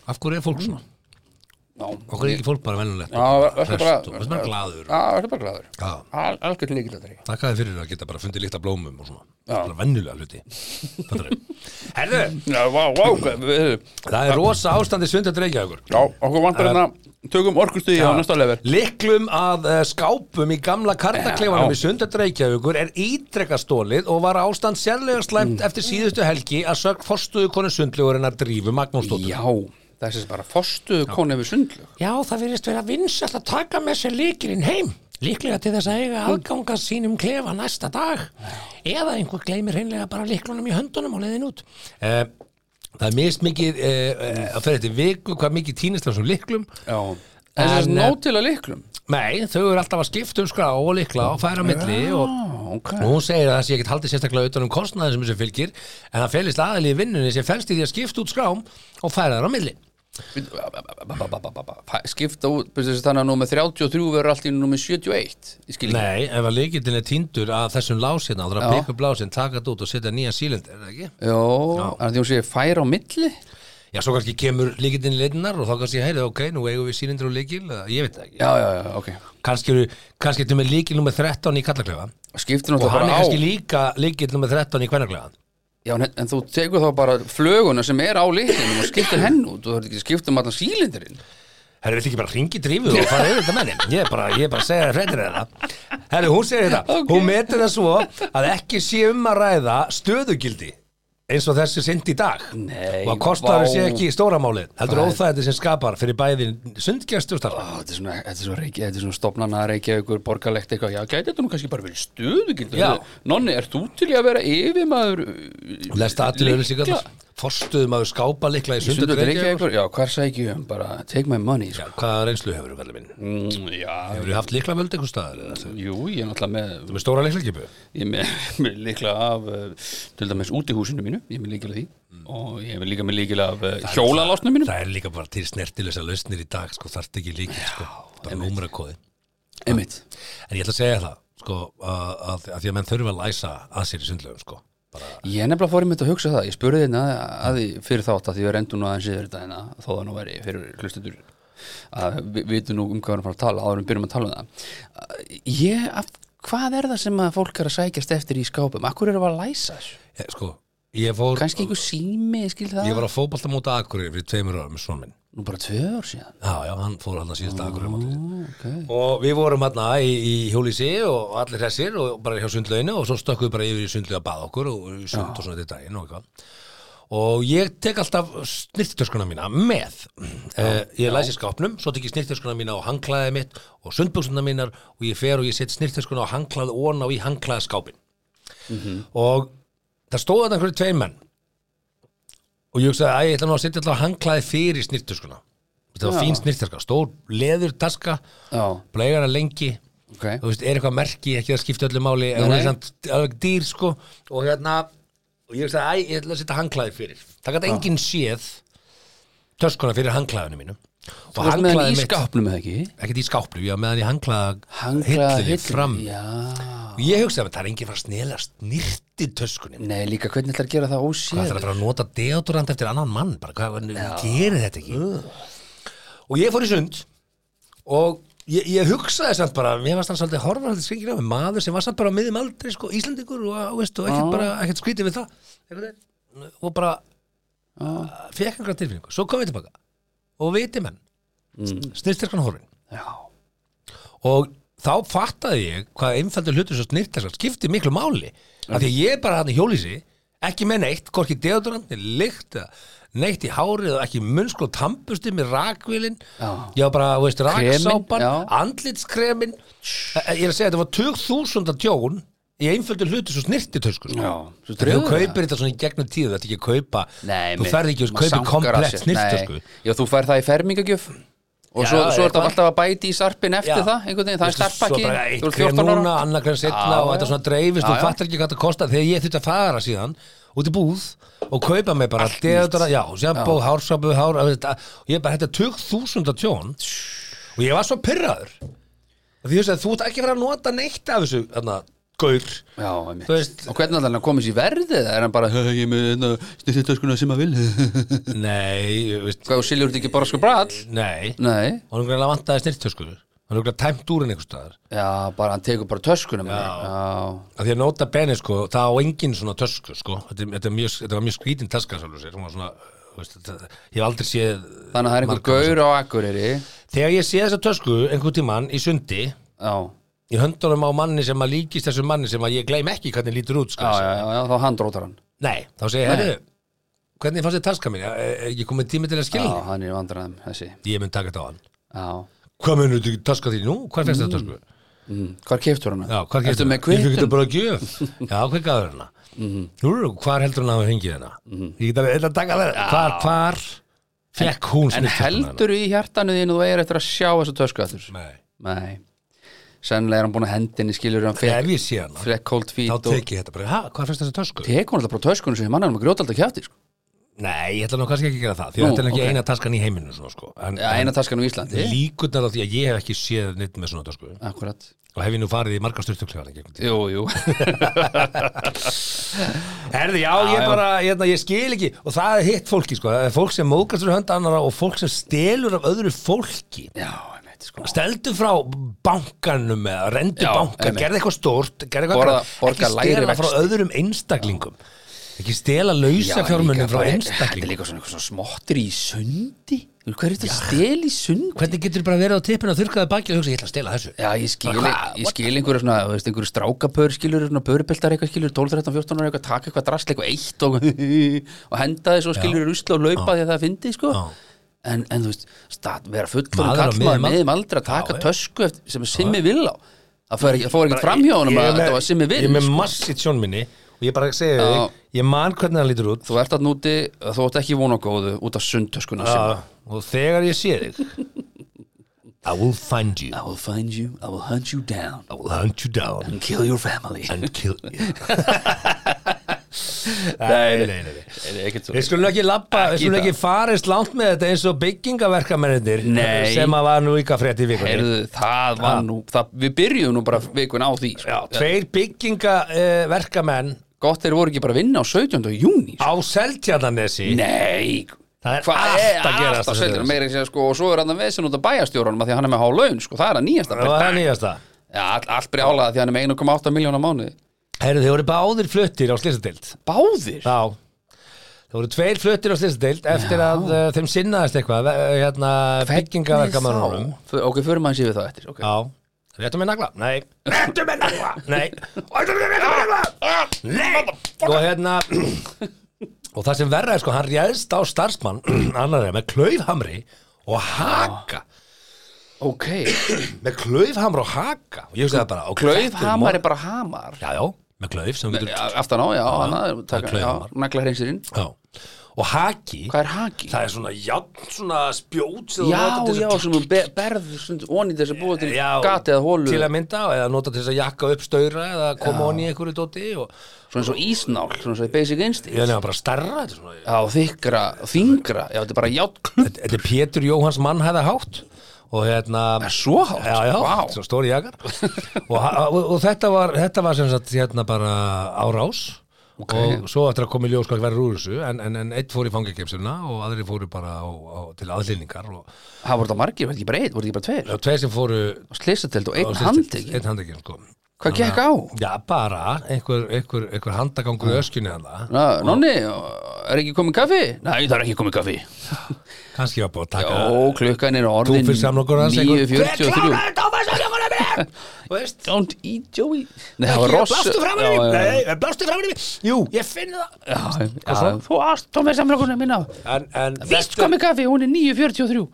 Speaker 5: af hverju er fólk svona?
Speaker 3: já,
Speaker 5: Okkur er ekki fólk bara venjulegt
Speaker 3: já, verður bara
Speaker 5: og verður bara glaður
Speaker 3: já, verður bara glaður
Speaker 5: Já,
Speaker 3: Al- algjört líkilatri
Speaker 5: takk að þið fyrir að geta bara fundið líkt af blómum og svona, bara venjulega hluti Fattarðu? [laughs] Herðu,
Speaker 3: já, vá, vá, hvað- [clears throat] við-
Speaker 5: það er rosa ástandi svindið dreikja ykkur
Speaker 3: já, okkur vantar hérna tökum orkustuði á næsta level
Speaker 5: Liklum að uh, skápum í gamla kartakleifanum
Speaker 3: Já.
Speaker 5: í sundat Reykjavíkur er ítrekkastólið og var ástand sérlega slæmt eftir síðustu helgi að sögn forstuðu konu sundlegurinnar drífu Magnúsdóttur.
Speaker 3: já, það er sem sagt bara fostuðu konu við sundlög
Speaker 5: Já, það virðist vera vinsælt að taka með sér líkilinn heim. Líklega til þess að eiga aðganga sínum klefa næsta dag. Eða einhver gleymir hreinlega bara líklunum í höndunum og leiðin út. Eh, það er mist mikið eh, eh, að fyrir þetta viku hvað mikið týnist af þessum líklum.
Speaker 3: Já, en þess að
Speaker 5: En,
Speaker 3: nóg til að liklum
Speaker 5: Nei, þau eru alltaf að skipta um skrá og líkla og færa á milli og...
Speaker 3: ok
Speaker 5: Og hún segir að það sé ekkert haldið sérstaklega utan um kostnaðin sem þessu fylgir, en það felist aðeil í vinnunni sem felst í því að skipta út skrám og færa þar á milli.
Speaker 3: skipta út, byrju, þessi þannig að nú með 33 verður allt í nú með 71 ég skil ekki,
Speaker 5: Nei, ef að leikindin er tindur að þessum lásina, þá þarf að
Speaker 3: Já.
Speaker 5: byggja upp lásinn, taka þetta út og setja nýja sílendir, er það ekki?
Speaker 3: Jó, þannig að því hún sé færa á milli
Speaker 5: Já, svo kannski kemur leikindin í leitinnar og þá kannski, heyrðu, ok, nú eigum við sílendir og leikil, eða ég veit það ekki.
Speaker 3: já, já, já, ok,
Speaker 5: Kannski eru, kannski þetta með leikil nummer 13 í kallaklefa
Speaker 3: skiptir
Speaker 5: og
Speaker 3: náttúrulega
Speaker 5: hann er
Speaker 3: bara á
Speaker 5: kannski líka leikil nummer 13 í kvennaklefa.
Speaker 3: já, en, en þú tekur þá bara flöguna sem er á litlinum og skiptir henn út og þú þarf ekki að skipta um allan sílindurinn
Speaker 5: Herru, viltu ekki bara ringi drífuð og fara yfir þetta með henni? Ég er bara, ég er bara að segja það freddir þetta. Herru, hún segir þetta.
Speaker 3: Ok.
Speaker 5: Hún metur það svo að ekki sé um að ræða stöðugildi eins og þessi sind í dag.
Speaker 3: Nei,
Speaker 5: Og að kostar
Speaker 3: vá.
Speaker 5: sé ekki í stóramálið. Heldur óþægandi sem skapar fyrir bæði sundgjast og starfa.
Speaker 3: Ó, þetta er svona, þetta er svona, reiki, þetta er svona stopnana Reykjavíkur, borgarlegt eitthvað, já, gæti þetta nú kannski bara verið stuðugildur,
Speaker 5: Já.
Speaker 3: nonni, ert þú til í að vera yfirmaður uh,
Speaker 5: Lesta allir
Speaker 3: lykla-
Speaker 5: auðvitsingarnar. Forstuðum að skapa likla í
Speaker 3: Sundur
Speaker 5: sundat reykja.
Speaker 3: Reykjavíkur, já, hvar sækjum við bara take my money, sko.
Speaker 5: Hvaða reynslu hefur þú, veldur minn?
Speaker 3: Mm, já,
Speaker 5: Hefur þú haft likla völd einhver staðar? eða ertu-
Speaker 3: jú, ég er náttúrulega með,
Speaker 5: ertu Með stóra liklakipu?
Speaker 3: ég er með, [laughs] með líkla af, uh, til dæmis útihúsinu mínu, ég er með líkila því og ég Mm. er með líka með líkila af uh, hjólalásnu mínu.
Speaker 5: Það er líka bara til snertilösa lausnir í dag, sko, þarft ekki líkil, sko. Bara númerakóði.
Speaker 3: Einmitt,
Speaker 5: En ég ætla að segja það sko, að, að, að því að menn þurfa að læsa að sér í sundlöfum sko.
Speaker 3: Ég nefnilega fór einmitt að hugsa það, ég spurði hérna að því fyrir þátt að því við rendum nú aðeins yfir þetta hérna, þó það nú væri fyrir hlustendur að við vitum nú um hvað við erum að fara að tala áður en við byrjum að tala um það. Að Ég, af, hvað er það sem að fólk er að sækjast eftir í skápum? Akkur eru að læsa þessu?
Speaker 5: Ég, sko, ég fór
Speaker 3: Kannski einhver sími, skil það?
Speaker 5: ég var að fótbalta móta Akureyri fyrir tveimur ára með svona minn
Speaker 3: Nú bara tvö ár síðan.
Speaker 5: já, já, hann fór hann að síðasta Akureyri móti
Speaker 3: Okay.
Speaker 5: og við vorum hann í, í hjólísi og allir hressir og bara hjá sundlauginu og svo stökkum við bara yfir í sundlaug að baða okkur og í sund og svona þetta daginn og eitthvað og ég tek alltaf snirtitöskuna mína með já, ég læsi skápnum, svo tek ég snirtitöskuna mína og hanglaðið mitt og sundbuxuna mínar og ég fer og ég set snirtitöskuna og hanglaðið ón á í hanglaðið skápin og það stóða þetta einhverju tveir menn og ég hugsaði að ég ætla nú að setja alltaf hanglaðið fyrir snirtitöskuna þetta var fín snirtitöska, stór leður taska
Speaker 3: Já,
Speaker 5: blægara lengi
Speaker 3: ok.
Speaker 5: þú veist, er eitthvað merki, ekki að skipta öllu máli en
Speaker 3: Nei,
Speaker 5: hún er
Speaker 3: nei.
Speaker 5: samt alveg dýr sko og hérna, og ég veist að æ, ég ætla að setja hangklæði fyrir, það gæti enginn séð töskuna fyrir hangklæðinu mínu og
Speaker 3: Þú varst með hann í
Speaker 5: mitt-
Speaker 3: skápnum eða ekki?
Speaker 5: ekkert í skáplu, ég var með hann í hangklæða
Speaker 3: Hanglaði
Speaker 5: hillinu fram
Speaker 3: Já.
Speaker 5: og ég hugsaði að það er enginn fara að snela snirti töskunin
Speaker 3: Nei, líka hvernig ætlar að gera það
Speaker 5: hvað það er
Speaker 3: óséð?
Speaker 5: að fara að nota deodorant eftir annan mann bara hvað, gerir þetta ekki og ég fór í sund og ég, ég hugsaði samt bara mér varst hann svolítið horfa svolítið skringir á mig maður sem var samt bara á miðum aldrei sko, Íslandingur og, og, veist, og ekkert, bara, ekkert skrítið við það einhvern veginn. og bara ah. fekk einhverja tilfinningu, svo kom ég tilbaka og viti menn mm. snirtirkan horfin
Speaker 3: Já.
Speaker 5: og þá fattaði ég hvað einfældur hlutur svo snirtaskátt skipti miklu máli af því að ég er bara hann í hjólísi ekki með neitt, hvorki deodorant lykt, eða neitt í hárið og ekki munnskóla tampusti með rakvílin
Speaker 3: Já.
Speaker 5: ég var bara, þú veist,
Speaker 3: Kremin,
Speaker 5: raksápan
Speaker 3: já.
Speaker 5: andlitskremin ég er að segja, þetta var 20.000 tjón í einföldu hlutu svo snirtitösku sko.
Speaker 3: Já.
Speaker 5: Þegar
Speaker 3: Svo
Speaker 5: þú
Speaker 3: dregur það.
Speaker 5: kaupir þetta svona í gegnum tíð þetta ekki að kaupa,
Speaker 3: Nei,
Speaker 5: þú
Speaker 3: mér-
Speaker 5: ferð ekki að
Speaker 3: maður
Speaker 5: kaupa
Speaker 3: sangar að
Speaker 5: komplett
Speaker 3: sér.
Speaker 5: snirtitösku
Speaker 3: Nei. Já, þú fær það í fermingagjöf og
Speaker 5: Já,
Speaker 3: svo, svo er
Speaker 5: eitthvað.
Speaker 3: það alltaf að bæti í sarpin eftir
Speaker 5: Já.
Speaker 3: það einhvern veginn, það er
Speaker 5: Veistu,
Speaker 3: starfpakki
Speaker 5: Svo bara eitt
Speaker 3: þú ert
Speaker 5: grein
Speaker 3: 14 ára
Speaker 5: núna, annar grein setna
Speaker 3: Já,
Speaker 5: og þetta
Speaker 3: já.
Speaker 5: svona dreifist
Speaker 3: Já,
Speaker 5: og
Speaker 3: já.
Speaker 5: fattar ekki hvað það kostar þegar ég þurfti að fara síðan út í búð og kaupa mig bara deodora, já, sjambó, hársabu, hár og ég bara, þetta er 20.000 tjón og ég var svo pyrraður og því þess að þú ert ekki að fara að nota neitt af þessu, þarna, gaur
Speaker 3: Já, einmitt.
Speaker 5: Þú veist-
Speaker 3: og hvernig alltaf hann komið sér í verðið eða er hann bara, "Hö, ég er með snittitöskuna sem [laughs] að vil hvað,
Speaker 5: Nei, þú veist,
Speaker 3: og siljur þetta ekki bara sko brall
Speaker 5: nei
Speaker 3: nei,
Speaker 5: og hún greinlega vantaði snirtöskur hann er greinlega tæmt úr en einhvers staðar
Speaker 3: já, bara hann tekur bara töskuna já. já,
Speaker 5: að því að nota beni sko, það á engin svona tösku sko, þetta, er- þetta, er mjög, þetta var mjög skrítin taska sjálfur sér, hún var svona þú veist, þetta, ég hef aldrei séð
Speaker 3: þannig að það er einhver
Speaker 5: margar
Speaker 3: gaur á Akureyri
Speaker 5: þessar. þegar ég sé þessa tösku einhvern tímann í sundi
Speaker 3: já,
Speaker 5: í höndunum á manni sem að líkist þessum manni sem að ég gleym ekki hvernig lítur út
Speaker 3: já,
Speaker 5: sko,
Speaker 3: já, já, já þá handrótar hann
Speaker 5: nei, þá segi ég, herru hvernig fannst þið taska mín, e, Er- er ekki komið tími til að
Speaker 3: já,
Speaker 5: skilja hana?"
Speaker 3: hann er vandræðum, þessi
Speaker 5: ég mun taka þetta á hann,
Speaker 3: já,
Speaker 5: hvað munur þú taska þín nú, hvað fyrst þetta tösku
Speaker 3: mm. hvar keftur hann
Speaker 5: Já, hvað
Speaker 3: Ertu
Speaker 5: getur
Speaker 3: með
Speaker 5: Ég fyrir
Speaker 3: kvittum?
Speaker 5: þetta bara að gjöf Já, hvað gafur hana? Nú, hvað heldur hann að hafa fengið hana? Ég get alveg eitthvað að taka það Hvar, hvar fekk hún
Speaker 3: En
Speaker 5: snitturnar
Speaker 3: heldur í hjartanu þínu þú eigir eftir að sjá þessa tösku aftur?
Speaker 5: hana? Nei,
Speaker 3: Nei. Sennilega er hann búin að hendinni skilur hann
Speaker 5: ef
Speaker 3: fekk,
Speaker 5: ég sé hana
Speaker 3: fekk cold feet
Speaker 5: Þá
Speaker 3: og
Speaker 5: tek ég þetta bara, hæ, hvað finnst þessa tösku?
Speaker 3: tekur hann alltaf bara töskunum sem mann er með grjótald að kjátti sko.
Speaker 5: Nei, ég ætla nú kannski ekki að gera það Því
Speaker 3: Nú,
Speaker 5: að þetta er ekki
Speaker 3: ok.
Speaker 5: eina taskan í heiminu svona, sko. en,
Speaker 3: ja, eina taskan á Íslandi
Speaker 5: en líkurnar á því að ég hef ekki séð neitt með svona tösku
Speaker 3: Akkurat
Speaker 5: Og hef ég nú farið í margar styrtuklegar
Speaker 3: Jú, jú
Speaker 5: Herði, já, ég
Speaker 3: já.
Speaker 5: bara, hérna, ég, ég skil ekki Og það er hitt fólki, sko Það er Fólk sem mókast fyrir hönd annara og fólk sem stelur af öðru fólki
Speaker 3: Já, einmitt sko
Speaker 5: steldu frá bankanum eða rendu
Speaker 3: Já,
Speaker 5: bankan,
Speaker 3: einmitt.
Speaker 5: gerði eitthvað stórt gerði eitthvað
Speaker 3: Borða-
Speaker 5: grann.
Speaker 3: borga
Speaker 5: ekki
Speaker 3: lægri
Speaker 5: stela frá
Speaker 3: vexti.
Speaker 5: öðrum einstaklingum ekki stela lausa
Speaker 3: líka
Speaker 5: fjármunum frá
Speaker 3: bara- Þetta er
Speaker 5: einstaklingum
Speaker 3: líka svona, svona smottir í sundi Þú, Hvað er þetta að stela í sundi?
Speaker 5: hvernig getur bara verið á tippinu og þurrkaði baki og hugsa ég ætla að stela þessu
Speaker 3: Já, ég skil,
Speaker 5: Bara, hvað?
Speaker 3: ég skil einhverju svona, þú veist, einhverju strákapör skilur, svona börubeltar eitthvað skilur, 12, 13, 14 ára eitthvað, taka eitthvað drasl, eitthvað eitt og, [laughs] og henda þessu og skilur rusla og laupa því að það fyndi, sko.
Speaker 5: Já.
Speaker 3: En, en þú veist, stað, vera fullur
Speaker 5: Maður á
Speaker 3: og kallmaður
Speaker 5: miðjum aldri.
Speaker 3: meðum aldrei að taka
Speaker 5: Já, já.
Speaker 3: tösku eftir, sem er simmi vil á. Það fór ekki, fór ekki fram hjá honum
Speaker 5: Ég er
Speaker 3: að
Speaker 5: með-
Speaker 3: þetta var simmi vil.
Speaker 5: ég er með massið sjónminni og ég bara segi
Speaker 3: Já.
Speaker 5: þig, ég man hvernig hann lítur út
Speaker 3: Þú ert að núti, þú ert ekki von á góðu út af sundtöskuna simma.
Speaker 5: Já, Ah, og þegar ég sé þig
Speaker 3: [laughs]
Speaker 5: I will find you
Speaker 3: I will find you, I will hunt you down
Speaker 5: I will hunt you down
Speaker 3: and kill your family. [laughs]
Speaker 5: and kill you Nei, nei, nei, nei
Speaker 3: Er ekkert svo-
Speaker 5: Við skulum ekki lappa, við
Speaker 3: Ekki
Speaker 5: skulum
Speaker 3: það.
Speaker 5: ekki farist langt með þetta eins og byggingaverkamennir
Speaker 3: Nei.
Speaker 5: sem að var nú ykkar frétt í vikunni
Speaker 3: Heyrðu, það var nú, það, við byrjum nú bara vikun á því sko.
Speaker 5: Já, tveir byggingaverkamenn eh,
Speaker 3: gott þeir voru ekki bara að vinna á 17. júni
Speaker 5: á Seltjarnanesi
Speaker 3: Nei
Speaker 5: Það er
Speaker 3: Hvað
Speaker 5: allt
Speaker 3: er
Speaker 5: að gerast á
Speaker 3: alltaf sveitur
Speaker 5: Seltjarnarnesi.
Speaker 3: meira að segja sko og svo er hann að vesen út af bæjarstjóranum að því að hann er með há laun sko, það er að nýjasta
Speaker 5: það var það nýjasta
Speaker 3: ja, all, allt brjálaða því að hann er með 1,8 miljónar mánu
Speaker 5: Herru, þeir voru báðir fluttir á slysadeild
Speaker 3: Báðir?
Speaker 5: Já Það voru tveir fluttir á slysadeild eftir að uh, þeim sinnaðist eitthvað uh, hérna, byggingaverkamannunum
Speaker 3: F- Ok, förum aðeins yfir það eftir okay.
Speaker 5: Já Réttu með nagla? Nei Réttu með nagla? Nei Réttu með nagla? Nei Og hérna Og það sem verra er sko, hann réðst á starfsmann [clears throat] annarlega með klaufhamri og haka
Speaker 3: ok,
Speaker 5: með klaufhamri og haka og ég hugsaði bara og
Speaker 3: klaufhamar er bara hamar
Speaker 5: Já, já, með klauf sem getur
Speaker 3: A- Aftan á, já, hann
Speaker 5: það er klaufhamar.
Speaker 3: nagla hreinsirinn
Speaker 5: Já Og haki
Speaker 3: Hvað er haki?
Speaker 5: Það er svona jafn, svona spjót sem þú
Speaker 3: Já,
Speaker 5: notar til þess
Speaker 3: já,
Speaker 5: að-
Speaker 3: sem hún be- berð onið þess að búa til
Speaker 5: Já,
Speaker 3: gati eða hólu
Speaker 5: Til að mynda, eða nota til þess að jakka upp staura eða koma honni í einhverju dóti og
Speaker 3: Svona eins og ísnál, svona eins og í basic
Speaker 5: ég
Speaker 3: instinct
Speaker 5: nefna bara starra Þetta er svona
Speaker 3: Já, þykra, þingra, já, þetta er bara játklump
Speaker 5: Þetta þetta er Pétur Jóhans mannhæða hátt og hérna
Speaker 3: Svo hátt,
Speaker 5: Já, já,
Speaker 3: vá.
Speaker 5: svo stóri jakar og, og, og þetta var, þetta var sem sagt hérna bara árás og svo eftir að koma í ljós hvað verður úr þessu en, en, en eitt fór í fangakepsuna og aðri fóru bara á, á, til aðlýningar og,
Speaker 3: Það voru það margir, voru þetta ekki bara einn, voru þetta ekki bara
Speaker 5: og tveir sem fóru
Speaker 3: tveir Slisatelt
Speaker 5: á
Speaker 3: og einn
Speaker 5: slysadeild.
Speaker 3: handtekinn
Speaker 5: einn handtekinn sko
Speaker 3: Hvað gekk á?
Speaker 5: Já, bara einhver, einhver, einhver handagangur í öskjunni hann það
Speaker 3: Na, Nonni, er ekki komið kaffi? Nei, það er ekki komið kaffi
Speaker 5: kannski var búið að taka
Speaker 3: Jó, klukkan er orðin
Speaker 5: Túfil samlokur hans einhver- Hver
Speaker 3: 9.43
Speaker 5: kláraði þetta á þessu samlokunum minni? Þú veist,
Speaker 3: Don't eat Joey Nei, það var
Speaker 5: Ég
Speaker 3: ross
Speaker 5: blástu framan í
Speaker 3: Já,
Speaker 5: mig
Speaker 3: já, já.
Speaker 5: Nei, blástu framan í mig Jú, ég finn það
Speaker 3: Já, já, Þú ást, tómið samlokunum minna
Speaker 5: En, en
Speaker 3: Víst komið kaffi, hún er 9.43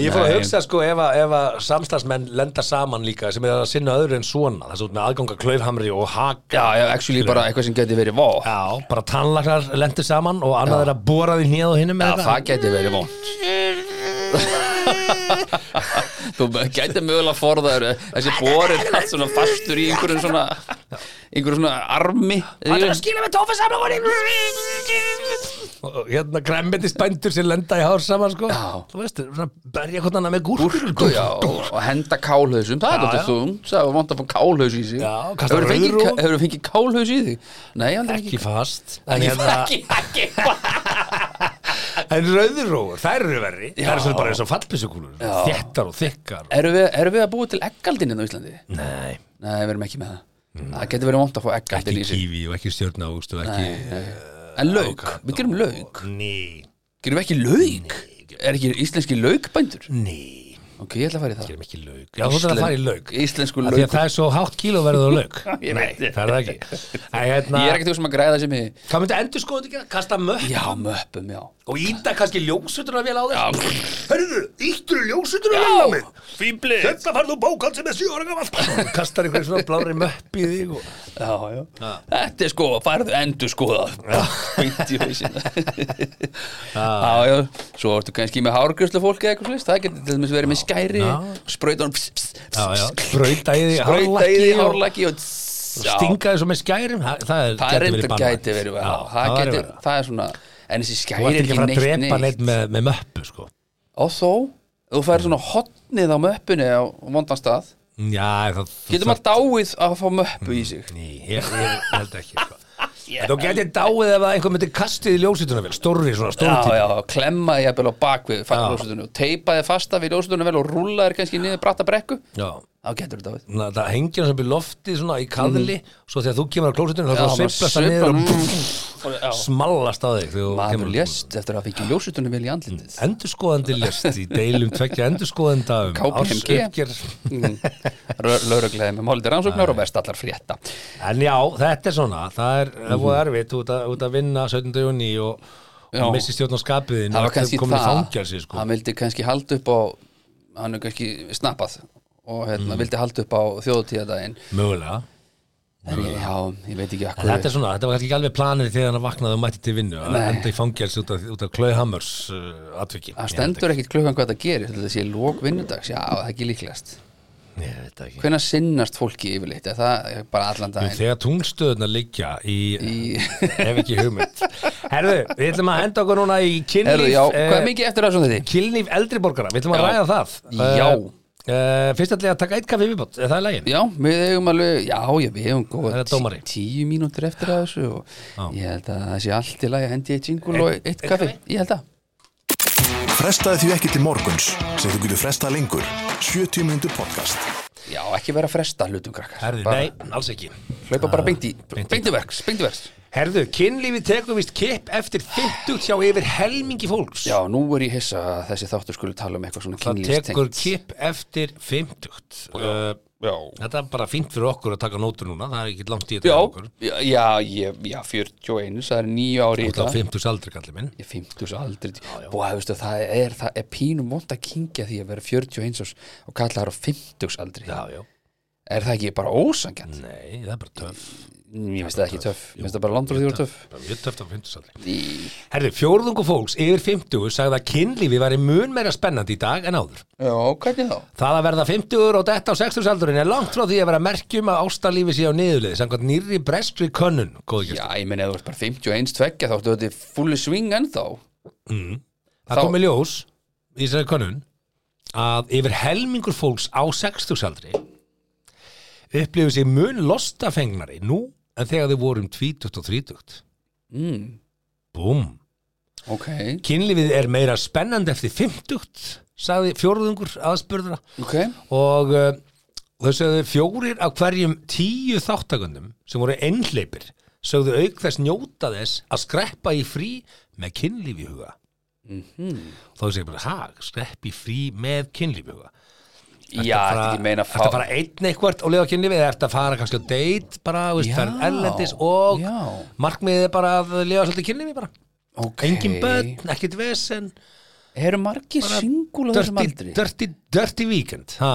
Speaker 5: Ég fór að
Speaker 3: Nei.
Speaker 5: hugsa sko ef að, ef að samstagsmenn lenda saman líka sem er að sinna öðru en svona þess að með aðganga klaufhamri og haka
Speaker 3: Já, já, actually bara eitthvað sem geti verið vó Já,
Speaker 5: Já, bara tannlakar lendu saman og annað er að bóra því hnið á hinnum eða
Speaker 3: það geti verið vond Þú gæti mögulega forðaður eh, Þessi borin allt svona fastur í einhverjum svona einhverjum svona armi
Speaker 5: Það er að skila með tófa saman og hérna gremmendist bændur sem lenda í hár saman sko
Speaker 3: Já.
Speaker 5: Þú veist, svona berja hvort annað með
Speaker 3: Gúrku,
Speaker 5: gúrku
Speaker 3: já, og henda kálhausum það er
Speaker 5: Já,
Speaker 3: þetta
Speaker 5: já.
Speaker 3: þungt, það var vant að fá kálhaus í sig
Speaker 5: Já, og kasta
Speaker 3: hefur fengið,
Speaker 5: rauðróf.
Speaker 3: hefur fengið kálhaus í þig? Nei, hann er ekki
Speaker 5: Ekki fast En,
Speaker 3: ekki,
Speaker 5: hérna,
Speaker 3: ekki, ekki
Speaker 5: en rauðurrófur, þær eru verri Þær eru svona bara eins og fallbissukúlur Þéttar og þykkar
Speaker 3: Erum við, erum við að búa til eggaldinin á Íslandi?
Speaker 5: Nei,
Speaker 3: Nei, við erum ekki með það Það getur verið vant að fá eggaldin
Speaker 5: Mm. ekki
Speaker 3: í sig
Speaker 5: kífi og ekki stjórnáust og ekki
Speaker 3: En lauk, við gerum lauk
Speaker 5: Ný,
Speaker 3: Gerum við ekki lauk? Er ekki íslenski laukbændur?
Speaker 5: ný
Speaker 3: Ok, ég ætla að fara í það
Speaker 5: Gerum ekki lauk Já, þú þarf að fara í lauk
Speaker 3: Íslensku
Speaker 5: Af Því að
Speaker 3: lauk
Speaker 5: það er svo hátt kílóverðið á [laughs] lauk
Speaker 3: Ég
Speaker 5: Nei,
Speaker 3: veit.
Speaker 5: það er það ekki Æ, hérna,
Speaker 3: Ég er ekkert þú sem að græða sem ég
Speaker 5: Hvað myndi endur skoðu ekki? Kasta möpp
Speaker 3: Já, möppum, já
Speaker 5: og íta kannski ljósuturna vel á þess
Speaker 3: Já.
Speaker 5: Hörðu, íttur ljósuturna vel á Hérna mig Fýbli Þetta farðu bókald sem er sjö ára gamall Kastar einhver svona blári möpp í þig og...
Speaker 3: Já, já. Þetta er sko, farðu endur skoða Bínt í
Speaker 5: [laughs]
Speaker 3: hausin Já, já Svo ertu kannski með hárgjörslu fólki eða eitthvað slist Það getur til dæmis verið með skæri Sprauta hann
Speaker 5: Já, já, sprauta í þig
Speaker 3: Sprauta í því
Speaker 5: hárlakki og-
Speaker 3: hárlaki og
Speaker 5: og
Speaker 3: Já,
Speaker 5: Stinga þessu með skærim Það, það, er-
Speaker 3: Það
Speaker 5: gæti
Speaker 3: er
Speaker 5: verið
Speaker 3: endur
Speaker 5: bannað.
Speaker 3: gæti verið
Speaker 5: Já,
Speaker 3: já, Það
Speaker 5: væri
Speaker 3: getur,
Speaker 5: verið.
Speaker 3: það er svona En þessi
Speaker 5: Þú
Speaker 3: skæri
Speaker 5: ert
Speaker 3: er
Speaker 5: ekki að fara að
Speaker 3: ekki
Speaker 5: drepa
Speaker 3: neitt
Speaker 5: neitt
Speaker 3: neitt
Speaker 5: með, með möppu sko
Speaker 3: Og þó, þú fær svona hotnið á möppunni á vondan stað
Speaker 5: Já, það
Speaker 3: Getur maður dáið að fá möppu
Speaker 5: Mm.
Speaker 3: í sig
Speaker 5: Ný, ég, ég held ekki
Speaker 3: [laughs]
Speaker 5: sko. Þú getur dáið ef að einhver myndi kastið í ljósutuna vel Stórri svona,
Speaker 3: Já,
Speaker 5: stórri
Speaker 3: já, klemma þið jafnvel á bakvið ljósutunni og teipa þið fasta við ljósutunni vel og rúlla þið kannski niður bratta brekku
Speaker 5: já.
Speaker 3: þá getur þetta við
Speaker 5: Na, það hengir hans upp í lofti svona í kaðli svo þegar þú kemur á klósutinu þá
Speaker 3: Mhm. Já,
Speaker 5: þá
Speaker 3: maður
Speaker 5: sveiflast það niður og
Speaker 3: sveiflar,
Speaker 5: pff, smallast á þig þegar þú
Speaker 3: Maður
Speaker 5: kemur
Speaker 3: lést eftir að fengið ljósutunni vel í andlitið
Speaker 5: Endurskoðandi lest í deilum tvekja endurskoðenda um
Speaker 3: KPMG.
Speaker 5: ársupgjör. Mm.
Speaker 3: [laughs] Lauruglegaði með málið rannsóknar og verðst allar frétta
Speaker 5: En já, þetta er svona Það er mm -hmm. erfitt út að, út að vinna 17. júni og,
Speaker 3: Mhm. Já.
Speaker 5: og missi stjórn á skapiðin
Speaker 3: Það var kannski
Speaker 5: komin í
Speaker 3: það
Speaker 5: fangelsi sko.
Speaker 3: Hann vildi kannski halda upp á hann er kannski snappað og
Speaker 5: Mm.
Speaker 3: hérna, vildi halda upp á þjóðutíðadaginn
Speaker 5: Mögulega
Speaker 3: en ég, já, ég veit ekki
Speaker 5: En þetta
Speaker 3: akkur
Speaker 5: er svona, þetta var kannski ekki alveg planið þegar hann vaknaði og mætti til vinnu að enda í fangelsi út af, út af Klauhammers uh, atviki
Speaker 3: það stendur ekkit klukkan hvað það gerir þetta sé lók vinnudags, já, það er ekki líklast
Speaker 5: Ég veit það ekki
Speaker 3: hvenær sinnast fólki yfirleitt Er það er bara allan
Speaker 5: Jú,
Speaker 3: daginn
Speaker 5: Þegar tungnstöðuna liggja í,
Speaker 3: Í-
Speaker 5: ef ekki hugmynd Herðu, við ætlum að henda okkur núna í kynlíf
Speaker 3: Herðu, já, hvað er
Speaker 5: eh,
Speaker 3: mikið eftir af svona þetta?
Speaker 5: Kynlíf eldri borgara, við ætlum að
Speaker 3: Já.
Speaker 5: ræða það
Speaker 3: Já.
Speaker 5: Eh, Uh, fyrst ætla ég að taka eitt kaffi viðbót, er það í lægin?
Speaker 3: Já, við eigum alveg, já, já, við eigum
Speaker 5: Það
Speaker 3: góða
Speaker 5: er dómari.
Speaker 3: tí- tíu mínútur eftir að þessu og ég held að það sé allt í lagi að hendi eitt jingul og eitt kaffi, ég held að
Speaker 2: Frestaði því ekki til morguns sem þú getur frestað lengur 70 mínútur podcast
Speaker 3: Já, ekki vera að fresta hlutum krakkar
Speaker 5: Herðu,
Speaker 3: Bara-
Speaker 5: nei, alls ekki
Speaker 3: Hlaupa bara beint í,
Speaker 5: beint í.
Speaker 3: beint í verks, beint í verks
Speaker 5: Herðu, kynlífi tekur vist kipp eftir 50 hjá yfir helmingi fólks
Speaker 3: Já, nú er ég hissa að þessi þáttur skulle tala um eitthvað svona
Speaker 5: Það
Speaker 3: kynlífstengt
Speaker 5: tekur kipp eftir 50 uh, Þetta er bara fínt fyrir okkur að taka nótur núna Það er ekki langt í þetta
Speaker 3: Já,
Speaker 5: hjá okkur
Speaker 3: já, já, ég, já, 41, það er nýja ári í
Speaker 5: Þú ert á
Speaker 3: dag
Speaker 5: 50 aldri, kalli minn
Speaker 3: Ég fimmtus aldrei Og það, veistu, það er, það er pínum vond að kingja því að vera 41 árs og kalla það á fimmtus aldrei
Speaker 5: Já, Mm. já,
Speaker 3: Er það ekki bara ósangjant?
Speaker 5: nei, það er bara töff
Speaker 3: Ég finnst það ekki töff, ég finnst það bara landur því úr töff
Speaker 5: Bara mjög töff á 50 aldri Herðu, fjórðungu fólks yfir 50 sagði að kynlífi væri mun meira spennandi í dag en áður
Speaker 3: Já, hvernig þá?
Speaker 5: Það að verða 50 og detta á 60 aldurinn er langt frá því að vera merkjum að ástarlífi sé á niðurlið samkvæmt nýrri brestri könnun
Speaker 3: Já,
Speaker 5: góðgjörn.
Speaker 3: ég meina ef þú ert bara 51 tveggja þá ertu þetta fulli swing ennþá
Speaker 5: Mm. Það
Speaker 3: þá-
Speaker 5: komi ljós í þessari könnun að yfir helmingur fólks á 60 aldri upplifu sig mun lostafengnari nú en þegar þau vorum 20 og 30.
Speaker 3: mm,
Speaker 5: Búm.
Speaker 3: Ok,
Speaker 5: Kynlífið er meira spennandi eftir 50 sagði fjórðungur aðspurðra
Speaker 3: ok
Speaker 5: og uh, þau sögðu fjórir af hverjum tíu þáttakundum sem voru einhleipir sögðu auk þess njóta þess að skreppa í frí með kynlífi huga
Speaker 3: Mhm.
Speaker 5: þá segir bara, ha, skrepp í frí með kynlífi huga
Speaker 3: Já, Ah, þetta ekki meina
Speaker 5: fá... að fara einn eitthvað og lifa á kynlífi eða ertu að fara kannski á date bara, þú veist,
Speaker 3: Já,
Speaker 5: ferð erlendis og
Speaker 3: já.
Speaker 5: markmiðið er bara að lifa svolítið kynlífi bara
Speaker 3: Ok.
Speaker 5: engin börn, ekkit vesen
Speaker 3: Eru margir singul á þessum
Speaker 5: dirty,
Speaker 3: aldri?
Speaker 5: dirty, dirty weekend ha.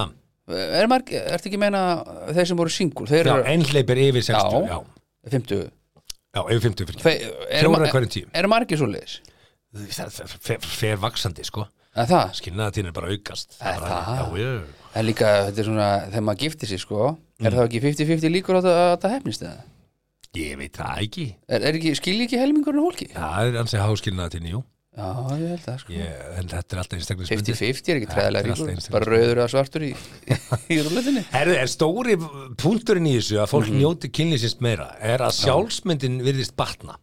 Speaker 3: Er margir, ertu ekki að meina þeir sem voru singul? Þeir
Speaker 5: já,
Speaker 3: eru
Speaker 5: einhleipir yfir 60
Speaker 3: Já.
Speaker 5: já.
Speaker 3: 50
Speaker 5: Já, yfir 50 fyrir
Speaker 3: Þeir, eru
Speaker 5: Fjórar
Speaker 3: ma-
Speaker 5: af hverjum tíu.
Speaker 3: Eru margir svo leiðis?
Speaker 5: Það fer- fer- fer vaksandi, sko
Speaker 3: Það, það
Speaker 5: Skilnaðatíðin er bara að aukast
Speaker 3: Er
Speaker 5: bara,
Speaker 3: það?
Speaker 5: Já, já
Speaker 3: Það er líka, þetta er svona, þegar maður giftir sér sko
Speaker 5: Mm.
Speaker 3: Er það ekki 50-50 líkur á það að það hefnist eða?
Speaker 5: Ég veit það ekki
Speaker 3: Er, er ekki, skilji ekki helmingurinn á hólki?
Speaker 5: Það er ansið háskilnaðatíðin, jú
Speaker 3: Já, ég held það sko
Speaker 5: ég, En þetta er alltaf einstaklega
Speaker 3: 50-50 er
Speaker 5: þetta
Speaker 3: ekki
Speaker 5: er
Speaker 3: træðilega
Speaker 5: alltaf
Speaker 3: ríkur
Speaker 5: eins.
Speaker 3: Bara rauður eða svartur í, í rúletinni
Speaker 5: Herðu, er stóri punkturinn í þessu að fólk
Speaker 3: Mhm.
Speaker 5: njóti kynlýsins meira er að sjálfsmyndin virðist batna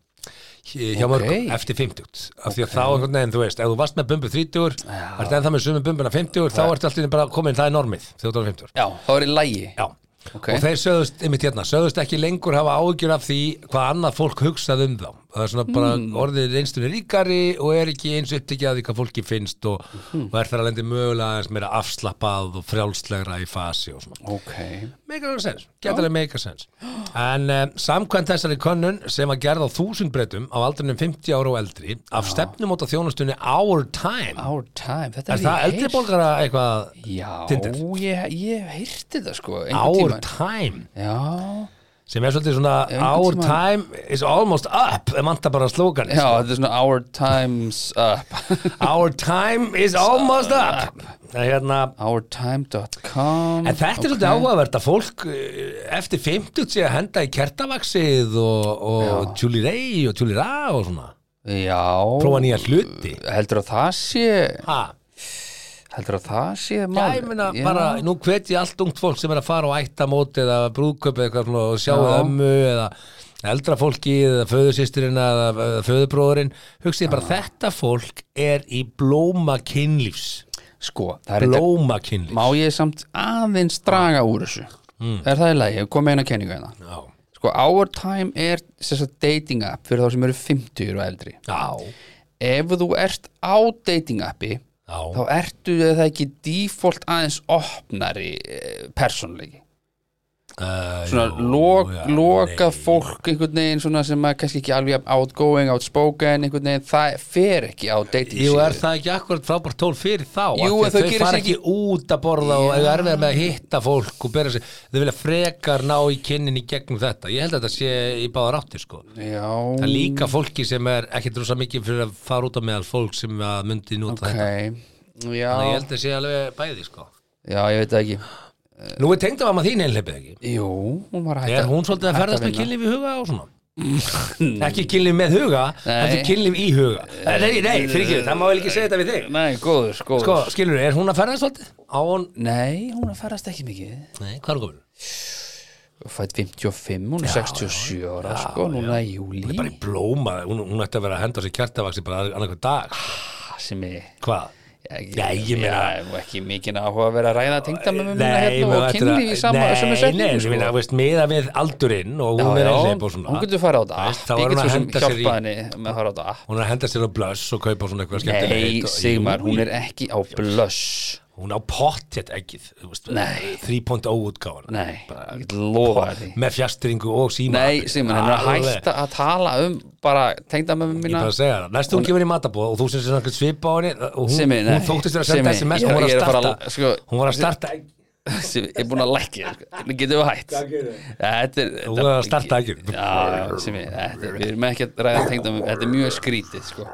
Speaker 5: hjá
Speaker 3: Ok.
Speaker 5: mörgum eftir 50 af því að þá, einhvern veginn, þú veist, ef þú varst með bumbu 30 ertu ennþá með sömu bumbuna 50 þá ertu alltaf bara komin, það er normið þegar þú ert 50
Speaker 3: Já, þá er í lægi
Speaker 5: Já
Speaker 3: Ok.
Speaker 5: Og þeir sögðust, einmitt hérna, sögðust ekki lengur hafa áhyggjur af því hvað annað fólk hugsað um þá. Það er svona bara orðið reynstunni ríkari og er ekki eins upptekið að því hvað fólki finnst og, og er það að lendi mögulega eins meira afslappað og frjálslegra í fasi og svona.
Speaker 3: Ok,
Speaker 5: Make a sense, getalega make a sense. En um, samkvæmt þessari könnun sem að gerða á þúsund breytum á aldrinum 50 ára og eldri af stefnum át að þjónastunni Our Time.
Speaker 3: our time Þetta
Speaker 5: er það
Speaker 3: ég
Speaker 5: eldri
Speaker 3: heyrt.
Speaker 5: borgara eitthvað?
Speaker 3: Já,
Speaker 5: Tinder?
Speaker 3: ég, ég heyrti það sko
Speaker 5: Our
Speaker 3: einhvern tímann.
Speaker 5: Time.
Speaker 3: Já,
Speaker 5: sem er svolítið svona
Speaker 3: einhvern
Speaker 5: our
Speaker 3: tímann-
Speaker 5: time is almost up það manta bara slókan
Speaker 3: já, þetta er svona our time's up [laughs]
Speaker 5: our time is almost up Það er hérna
Speaker 3: ourtime.com
Speaker 5: En þetta er svolítið áhugavert að fólk eh, eftir 50 sé að henda í kertavaxið og, og Julie Ray og Julie Ra og svona
Speaker 3: Já
Speaker 5: prófa nýja hluti
Speaker 3: Heldur að það sé
Speaker 5: ha,
Speaker 3: Heldur að það sé
Speaker 5: Já,
Speaker 3: málið?
Speaker 5: ég meina bara, nú hvet ég allt ungt fólk sem er að fara á ættamót eða brúðköp eða eitthvað svona og sjá
Speaker 3: Já.
Speaker 5: ömmu eða eldra fólki eða föðusýsturinn eða, eða föðubróðurinn hugsið bara þetta fólk er í blóma kynlífs
Speaker 3: Sko, það er þetta
Speaker 5: blóma kynlífs
Speaker 3: Má ég samt aðeins draga úr þessu Er það í lagi? Ég kom með eina kenningu hérna
Speaker 5: Já.
Speaker 3: Sko, our time er þess að dating app fyrir þá sem eru 50 og eldri
Speaker 5: Já.
Speaker 3: Ef þú ert á dating appi
Speaker 5: Já.
Speaker 3: þá ertu eða það ekki default aðeins opnari eh, persónleiki
Speaker 5: Eh,
Speaker 3: svona
Speaker 5: jú,
Speaker 3: lok,
Speaker 5: já,
Speaker 3: lokað
Speaker 5: nei.
Speaker 3: fólk einhvern veginn svona sem að kannski ekki alveg jafn outgoing, outspoken einhvern veginn, það fer ekki á dating
Speaker 5: Jú, er
Speaker 3: síðu.
Speaker 5: það ekki akkurat frábært tól fyrir þá Af
Speaker 3: Jú,
Speaker 5: því að
Speaker 3: en þau
Speaker 5: þau
Speaker 3: gera
Speaker 5: fara
Speaker 3: sér
Speaker 5: ekki út að borða og eru erfiðar með að hitta fólk og bera sig, þau vilja frekar ná í kynnin í gegnum þetta, ég held að þetta sé í báðar áttir sko Það
Speaker 3: Já,
Speaker 5: er líka fólki sem er ekkert rosa mikið fyrir að fara út á meðal fólk sem að myndi nút
Speaker 3: ok
Speaker 5: þetta. Þannig
Speaker 3: Já,
Speaker 5: að ég held að sé alveg bæði, sko.
Speaker 3: já, ég veit það ekki
Speaker 5: Nú er tengdamamma þín einhleipið ekki.
Speaker 3: Jú, hún var hægt
Speaker 5: Er hún svolítið að
Speaker 3: hætt
Speaker 5: ferðast með
Speaker 3: vinna.
Speaker 5: kynlíf í huga og svona? ekki kynlíf með huga heldur kynlíf í huga Eh, nei, nei, fyrir það má vel ekki segja þetta við þig
Speaker 3: Nei, góður, góður
Speaker 5: sko, skilur, er hún að ferðast alltaf? á hún,
Speaker 3: Nei, hún er að farast ekki mikið
Speaker 5: nei, hvað er hún komin?
Speaker 3: Fætt 55, hún er 67 ára sko, núna í júli
Speaker 5: bara í blóma, hún, hún ætti að vera að henda sér kjartavaksi bara annað hver dag
Speaker 3: sem er
Speaker 5: hvað? Já, ég meina-
Speaker 3: já, og ekki mikið áhuga að vera að ræða tengdamömmu mína
Speaker 5: Nei,
Speaker 3: hérna og
Speaker 5: maður ættir
Speaker 3: kynlíf í sama
Speaker 5: nei,
Speaker 3: sem er
Speaker 5: nei,
Speaker 3: setningu sko.
Speaker 5: ég meina, þú veist, miða við aldurinn og hún er einhleip og svona
Speaker 3: hún getur farið á þetta
Speaker 5: Veist,
Speaker 3: app,
Speaker 5: þá
Speaker 3: ég
Speaker 5: er hún
Speaker 3: get svo
Speaker 5: að
Speaker 3: sem
Speaker 5: henda sér í
Speaker 3: hjálpað henni með að fara á þetta app.
Speaker 5: hún er að henda sér á blöss og kaupa svona eitthvað
Speaker 3: Nei,
Speaker 5: skemmtilegt og-
Speaker 3: Sigmar,
Speaker 5: Jú,
Speaker 3: hún er ekki á blöss
Speaker 5: hún á pottjett ekkið þú veist,
Speaker 3: Nei.
Speaker 5: 3.0 útgáfan
Speaker 3: Nei, ég get lofa því
Speaker 5: með fjastringu og síma
Speaker 3: Nei, Sigmar, henni er að
Speaker 5: Alveg.
Speaker 3: hætta að tala um bara tengdamömmu
Speaker 5: Ég er
Speaker 3: mína
Speaker 5: bara að segja það, næstu hún gefur í matabóð og þú sem sem eitthvað svipa á henni og hún,
Speaker 3: Simmi, nei.
Speaker 5: hún þóttist þér að senda
Speaker 3: Simmi,
Speaker 5: sms
Speaker 3: ég-
Speaker 5: hún var
Speaker 3: ég
Speaker 5: að
Speaker 3: er að fara að-
Speaker 5: starta,
Speaker 3: sko-
Speaker 5: hún var að starta
Speaker 3: sem er búin að lækja getum við hætt þetta er
Speaker 5: Þú verður að starta ekki.
Speaker 3: já, sem ég, þetta, er- við erum ekki að ræða tengdum um- þetta er mjög skrítið sko.